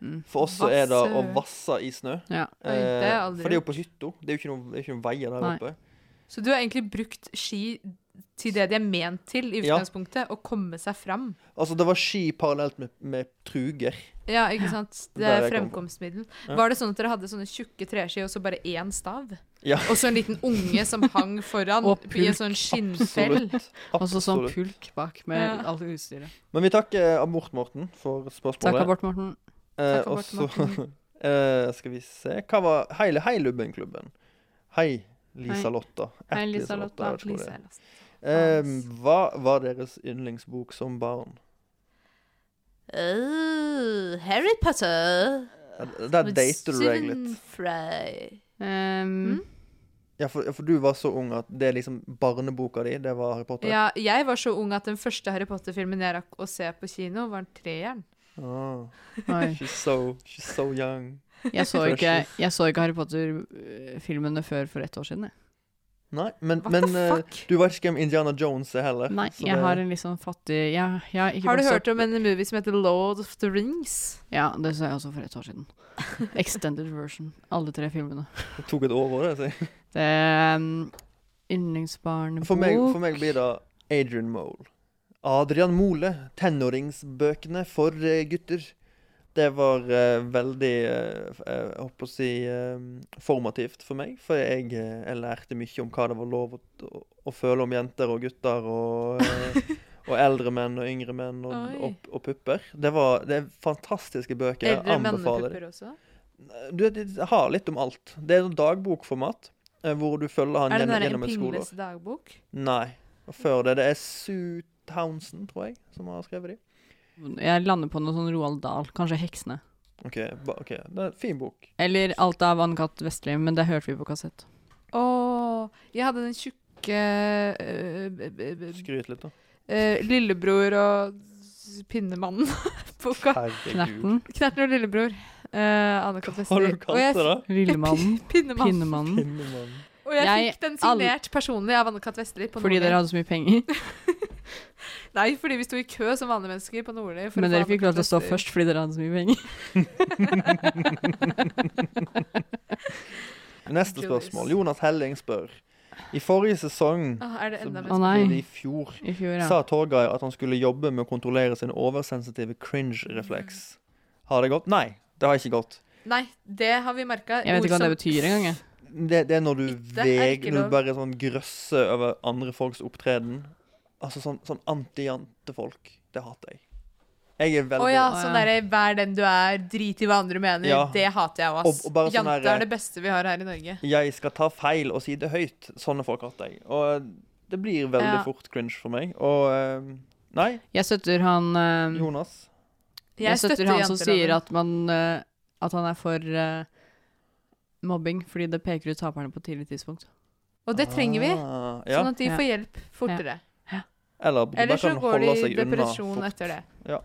[SPEAKER 6] Mm.
[SPEAKER 5] For oss så er det å
[SPEAKER 7] Vassø.
[SPEAKER 5] vasse i snø.
[SPEAKER 6] Ja.
[SPEAKER 7] Oi, det har jeg
[SPEAKER 5] Eh,
[SPEAKER 7] aldri
[SPEAKER 5] for det er jo på hytta. Det er jo ikke noen, det er ikke noen veier der
[SPEAKER 7] Nei.
[SPEAKER 5] oppe.
[SPEAKER 7] Så du har egentlig brukt ski til det de er ment til i
[SPEAKER 5] Ja.
[SPEAKER 7] utgangspunktet, å komme seg fram.
[SPEAKER 5] Altså, det var ski parallelt med, med truger.
[SPEAKER 7] Ja, ikke sant? Det
[SPEAKER 5] Der
[SPEAKER 7] er
[SPEAKER 5] jeg kom fra.
[SPEAKER 7] fremkomstmiddel.
[SPEAKER 5] Ja.
[SPEAKER 7] Var det sånn at dere hadde sånne tjukke treski og så bare én stav?
[SPEAKER 5] Ja.
[SPEAKER 7] Og så en liten unge som hang foran
[SPEAKER 6] Og
[SPEAKER 7] i en
[SPEAKER 6] pulk.
[SPEAKER 7] sånn skinnfell?
[SPEAKER 6] Og så sånn
[SPEAKER 5] Absolutt.
[SPEAKER 6] pulk bak med
[SPEAKER 7] Ja.
[SPEAKER 6] alt utstyret.
[SPEAKER 5] Men vi takker abort-Morten for spørsmålet.
[SPEAKER 6] Takk, abort-Morten.
[SPEAKER 5] Eh,
[SPEAKER 6] Takk,
[SPEAKER 5] og så
[SPEAKER 6] abort-Morten.
[SPEAKER 5] eh, skal vi se Hva var Heile Heilubben-klubben? Hei, Lisa
[SPEAKER 6] Hei.
[SPEAKER 5] Lotta. Et
[SPEAKER 6] Hei, Lisa Lotta.
[SPEAKER 5] jeg vet ikke hvor det er.
[SPEAKER 7] Lisa Lotta.
[SPEAKER 5] Eh, hva var deres yndlingsbok som barn?
[SPEAKER 13] Oh, Harry Potter.
[SPEAKER 5] Der- Der
[SPEAKER 13] Med
[SPEAKER 5] dater du deg
[SPEAKER 13] Stephen
[SPEAKER 5] litt.
[SPEAKER 13] Fry.
[SPEAKER 7] Mm.
[SPEAKER 6] Um,
[SPEAKER 5] Ja for, ja, for du var så ung at det er liksom barneboka di, det var Harry Potter?
[SPEAKER 7] Ja, jeg var så ung at den første Harry Potter-filmen jeg rakk å se på kino, var en treeren.
[SPEAKER 5] Ah.
[SPEAKER 6] Oi.
[SPEAKER 5] She's, so, she's so young.
[SPEAKER 6] Jeg så
[SPEAKER 5] Precious.
[SPEAKER 6] ikke, jeg så ikke Harry Potter-filmene før for ett år siden. Jeg.
[SPEAKER 5] Nei, men, men eh, du vet ikke hvem Indiana Jones er heller.
[SPEAKER 6] Nei,
[SPEAKER 5] så
[SPEAKER 6] jeg
[SPEAKER 5] det-
[SPEAKER 6] har en litt sånn fattig jeg, jeg har, ikke
[SPEAKER 7] Har du
[SPEAKER 6] vokst
[SPEAKER 7] hørt
[SPEAKER 6] opp-
[SPEAKER 7] om en movie som heter Lord of the Rings?
[SPEAKER 6] Ja, det så jeg også for et år siden. Extended version. Alle tre filmene.
[SPEAKER 5] Det tok et år, var det? jeg sier.
[SPEAKER 6] Det er um, yndlingsbarnebok
[SPEAKER 5] For meg, for meg blir det Adrian Mole. Adrian Mole, tenåringsbøkene for eh, gutter. Det var eh, veldig eh, f- eh, jeg håper å si eh, formativt for meg. For jeg, eh, jeg lærte mye om hva det var lov å, å, å føle om jenter og gutter. Og, eh, og eldre menn og yngre menn og,
[SPEAKER 7] Oi.
[SPEAKER 5] og, og pupper. Det var det er fantastiske bøker. Jeg
[SPEAKER 7] Eldre
[SPEAKER 5] anbefaler
[SPEAKER 7] mannepupper også?
[SPEAKER 5] du, vet, det har litt om alt. Det er sånn dagbokformat, eh, hvor du følger han
[SPEAKER 7] Er det
[SPEAKER 5] gjennom,
[SPEAKER 7] den der En
[SPEAKER 5] gjennom et
[SPEAKER 7] pingles
[SPEAKER 5] skoleår.
[SPEAKER 7] dagbok?
[SPEAKER 5] Nei. Og før det, det er Sue Townsend, tror jeg, som har skrevet de.
[SPEAKER 6] Jeg lander på noe sånn Roald Dahl, kanskje 'Heksene'.
[SPEAKER 5] OK, ba, ok, det er en fin bok.
[SPEAKER 6] Eller alt av Ann-Kat. Vestli, men det hørte vi på kassett.
[SPEAKER 7] Åh, jeg hadde den tjukke øh, b- b- b-
[SPEAKER 5] Skryt litt, da.
[SPEAKER 7] øh, Lillebror og s- Pinnemannen-boka.
[SPEAKER 5] Herregud.
[SPEAKER 6] Knerten.
[SPEAKER 7] Knerten og lillebror. Uh, Anne-Kat. Vestli.
[SPEAKER 6] Hva har du
[SPEAKER 7] Og jeg
[SPEAKER 6] kalt det da?
[SPEAKER 7] fikk-
[SPEAKER 6] Lillemannen.
[SPEAKER 7] Pinnemannen.
[SPEAKER 6] Pinnemannen.
[SPEAKER 7] Og jeg,
[SPEAKER 6] Jeg-
[SPEAKER 7] fikk den
[SPEAKER 6] all-
[SPEAKER 7] signert personlig av Anne-Kat. Vestli. på
[SPEAKER 6] Fordi
[SPEAKER 7] Nordli.
[SPEAKER 6] dere hadde så mye penger.
[SPEAKER 7] Nei, fordi vi sto i kø som vanlige mennesker på Nordli. for å
[SPEAKER 6] Men
[SPEAKER 7] få
[SPEAKER 6] dere fikk lov til å stå
[SPEAKER 7] Anne-Kat. Vestli.
[SPEAKER 6] først fordi dere hadde så mye penger.
[SPEAKER 5] Neste spørsmål. Jonas Helling spør. I forrige sesong
[SPEAKER 7] Åh, er det Ah, enda
[SPEAKER 5] så-
[SPEAKER 7] mer Å, nei.
[SPEAKER 5] Eller i fjor,
[SPEAKER 6] I fjor, ja.
[SPEAKER 5] sa Torgeir at han skulle jobbe med å kontrollere sin oversensitive cringe-refleks. Har det gått? Nei, det har ikke gått.
[SPEAKER 7] Nei, det har vi merka.
[SPEAKER 6] Jeg vet ikke hva det betyr engang. jeg.
[SPEAKER 5] Det, det er når du
[SPEAKER 7] er
[SPEAKER 5] veg,
[SPEAKER 7] ikke
[SPEAKER 5] når du
[SPEAKER 7] lov.
[SPEAKER 5] bare sånn grøsser over andre folks opptreden. Altså sånn, sånn anti-jantefolk. Det hater jeg. Jeg er
[SPEAKER 7] Å
[SPEAKER 5] veldig
[SPEAKER 7] ja, sånn derre vær den du er, drit i hva andre mener.
[SPEAKER 5] Ja.
[SPEAKER 7] Det hater jeg òg,
[SPEAKER 5] Og-
[SPEAKER 7] ass.
[SPEAKER 5] og bare sånn
[SPEAKER 7] Jante
[SPEAKER 5] derre-
[SPEAKER 7] er det beste vi har her i Norge.
[SPEAKER 5] Jeg skal ta feil og si det høyt. Sånne folk hater jeg. Og det blir veldig
[SPEAKER 7] Ja.
[SPEAKER 5] fort cringe for meg. Og eh, Nei.
[SPEAKER 6] Jeg støtter han
[SPEAKER 7] Mm.
[SPEAKER 6] eh,
[SPEAKER 5] Jonas.
[SPEAKER 6] Jeg, støtter, han som sier at, man, eh, at han er for eh, mobbing fordi det peker ut taperne på et tidlig tidspunkt.
[SPEAKER 7] Og det trenger vi.
[SPEAKER 5] Ah, ja.
[SPEAKER 7] Sånn at de får hjelp fortere.
[SPEAKER 5] Eller, bare
[SPEAKER 7] Eller så
[SPEAKER 5] kan
[SPEAKER 7] går de
[SPEAKER 5] holde
[SPEAKER 7] i
[SPEAKER 5] seg unna
[SPEAKER 7] depresjon
[SPEAKER 5] fort.
[SPEAKER 7] etter det.
[SPEAKER 5] Ja.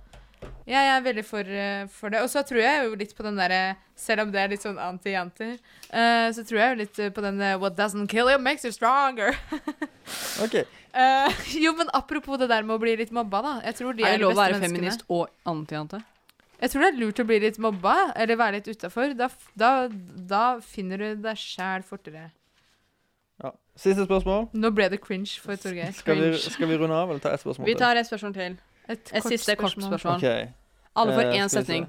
[SPEAKER 7] Ja, jeg er veldig for, eh, for det. Og så tror jeg jo litt på den derre Selv om det er litt sånn anti-janter, eh, så tror jeg jo litt eh, på den eh, What doesn't kill you makes you stronger.
[SPEAKER 5] Ok.
[SPEAKER 7] Eh, jo, men apropos det der med å bli litt mobba, da. Jeg tror de
[SPEAKER 6] er
[SPEAKER 7] er,
[SPEAKER 6] det
[SPEAKER 7] de
[SPEAKER 6] lov å
[SPEAKER 7] beste
[SPEAKER 6] være
[SPEAKER 7] menneskene.
[SPEAKER 6] feminist og anti-jante?
[SPEAKER 7] Jeg tror det er lurt å bli litt mobba, eller være litt utafor. Da, f- da, da finner du deg sjæl fortere.
[SPEAKER 5] Ja. Siste spørsmål.
[SPEAKER 7] Nå ble det cringe for Torgeir.
[SPEAKER 5] Skal vi,
[SPEAKER 7] Cringe.
[SPEAKER 5] skal vi runde av, eller ta ett spørsmål
[SPEAKER 6] Vi tar et spørsmål til.
[SPEAKER 7] Et,
[SPEAKER 6] Et
[SPEAKER 7] kort
[SPEAKER 6] siste kort
[SPEAKER 7] spørsmål.
[SPEAKER 6] spørsmål.
[SPEAKER 5] Ok.
[SPEAKER 6] Alle får
[SPEAKER 5] Eh,
[SPEAKER 6] én
[SPEAKER 5] skal vi se.
[SPEAKER 6] setning.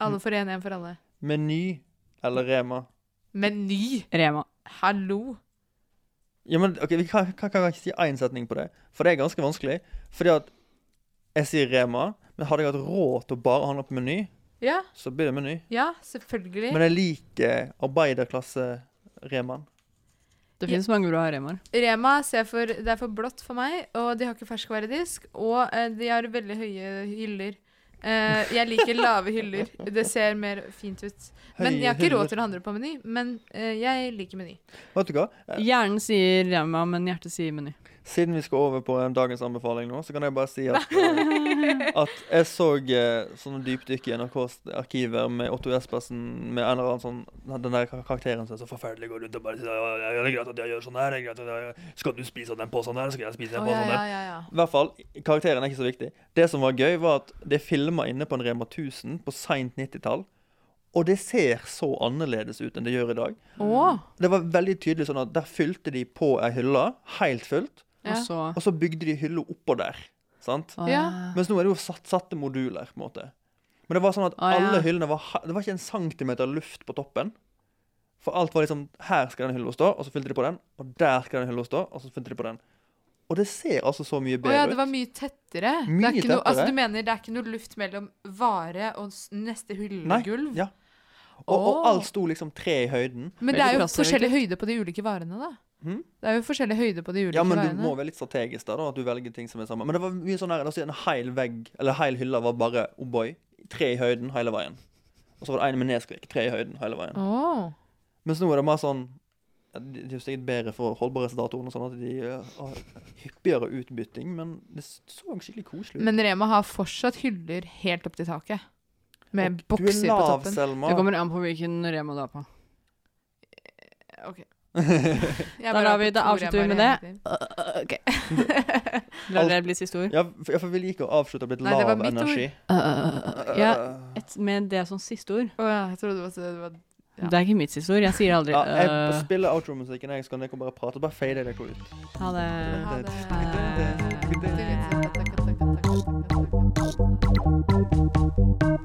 [SPEAKER 7] Alle får én, én for alle.
[SPEAKER 5] Meny eller Rema?
[SPEAKER 7] Meny!
[SPEAKER 6] Rema.
[SPEAKER 7] Hallo!
[SPEAKER 5] Ja, men ok, Vi kan, kan, kan ikke si én setning på det, for det er ganske vanskelig. Fordi at jeg sier Rema, men hadde jeg hatt råd til å bare handle på Meny,
[SPEAKER 7] Ja,
[SPEAKER 5] så blir det Meny.
[SPEAKER 7] ja selvfølgelig.
[SPEAKER 5] Men jeg liker arbeiderklasse-Remaen.
[SPEAKER 6] Det finnes mange bra remaer.
[SPEAKER 7] Rema ser for, det er for blått for meg, og de har ikke ferskvaredisk. Og eh, de har veldig høye hyller. Eh, jeg liker lave hyller. Det ser mer fint ut. Men
[SPEAKER 6] Høye
[SPEAKER 7] jeg har ikke
[SPEAKER 6] hyller.
[SPEAKER 7] råd til å handle på Meny, men eh, jeg liker Meny.
[SPEAKER 5] Vet du hva?
[SPEAKER 6] Hjernen sier Rema, men hjertet sier Meny.
[SPEAKER 5] Siden vi skal over på eh, dagens anbefaling nå, så kan jeg bare si at, eh, at jeg så eh, sånne dypdykk i NRKs arkiver med Otto Jespersen med en eller annen sånn Den der kar- karakteren som er så forferdelig går rundt og bare sier «Ja, ja, ja, det er greit at jeg gjør sånn her, det er greit at jeg gjør. Skal du spise av den posen her, skal jeg spise den
[SPEAKER 7] Å, ja,
[SPEAKER 5] posen
[SPEAKER 7] ja, ja, ja.
[SPEAKER 5] der. I hvert fall, karakteren er ikke så viktig. Det som var gøy, var at det er filma inne på en Rema 1000 på seint 90-tall. Og det ser så annerledes ut enn det gjør i dag.
[SPEAKER 7] Åh.
[SPEAKER 5] Det var veldig tydelig sånn at der fylte de på ei hylle, helt fullt.
[SPEAKER 6] Ja. Og så-
[SPEAKER 5] og så bygde de hylla oppå der. Sant?
[SPEAKER 6] Å, ja.
[SPEAKER 5] Mens nå er det jo satt, satte moduler, på en måte. Men det var sånn at
[SPEAKER 6] Å, ja.
[SPEAKER 5] alle hyllene var he- Det var ikke en centimeter luft på toppen. For alt var liksom Her skal den hylla stå, og så fylte de på den. Og der skal den hylla stå, og så fylte de på den. Og det ser altså så mye
[SPEAKER 7] Å
[SPEAKER 5] bedre
[SPEAKER 7] ja, det
[SPEAKER 5] ut.
[SPEAKER 7] var mye tettere. det
[SPEAKER 5] Mye
[SPEAKER 7] er ikke Noe, altså,
[SPEAKER 5] tettere.
[SPEAKER 7] du mener det er ikke noe luft mellom vare og s- neste
[SPEAKER 5] Nei,
[SPEAKER 7] hyllegulv?
[SPEAKER 5] ja. Og, og
[SPEAKER 7] Åh.
[SPEAKER 5] alt sto liksom tre i høyden.
[SPEAKER 7] Men det er jo forskjellig høyde på de ulike varene, da.
[SPEAKER 5] Hmm?
[SPEAKER 7] Det er jo forskjellig høyde på de ulike
[SPEAKER 5] Ja, men du
[SPEAKER 7] varene.
[SPEAKER 5] må være litt strategisk der, da, at du velger ting som er sammen. Men det var mye sånn her, la oss si en hel vegg, eller hel hylle var bare O'boy. tre i høyden hele veien. Og så var det en med nedskrik, tre i høyden hele veien.
[SPEAKER 7] Åh.
[SPEAKER 5] Mens nå er det mer sånn ja, Det det er jo sikkert bedre for holdbarhetsdatoen, og sånn at de eh, har hyppigere utbytting, men det så skikkelig koselig ut.
[SPEAKER 7] Men Rema har fortsatt hyller helt opp til taket.
[SPEAKER 5] Og
[SPEAKER 7] Med
[SPEAKER 5] du er
[SPEAKER 7] bokser på
[SPEAKER 5] lav,
[SPEAKER 7] toppen.
[SPEAKER 5] Selma.
[SPEAKER 6] Det kommer an på hvilken Rema du er på.
[SPEAKER 7] Ok.
[SPEAKER 6] Da,
[SPEAKER 7] Jeg bare
[SPEAKER 6] lar
[SPEAKER 7] har
[SPEAKER 6] vi,
[SPEAKER 7] på
[SPEAKER 6] da
[SPEAKER 7] to
[SPEAKER 6] avslutter vi med
[SPEAKER 7] Remaer
[SPEAKER 6] det.
[SPEAKER 7] hele
[SPEAKER 6] Øh, Ok. Lar det bli siste ord?
[SPEAKER 5] Ja, for, ja, for vi liker å avslutte med litt
[SPEAKER 6] Nei, det
[SPEAKER 5] lav
[SPEAKER 6] var mitt ord.
[SPEAKER 5] energi.
[SPEAKER 6] Øh, ja, et, med det som siste ord.
[SPEAKER 7] Å ja, jeg trodde det var, det var ja.
[SPEAKER 6] Det er ikke mitt siste ord. Jeg sier aldri
[SPEAKER 5] Ja, jeg
[SPEAKER 6] øh.
[SPEAKER 5] spiller outro-musikken, jeg, så kan dere bare prate. Bare fade dere ut.
[SPEAKER 6] Ha det.
[SPEAKER 5] det.
[SPEAKER 7] Takk, takk, takk, takk, takk, takk, takk.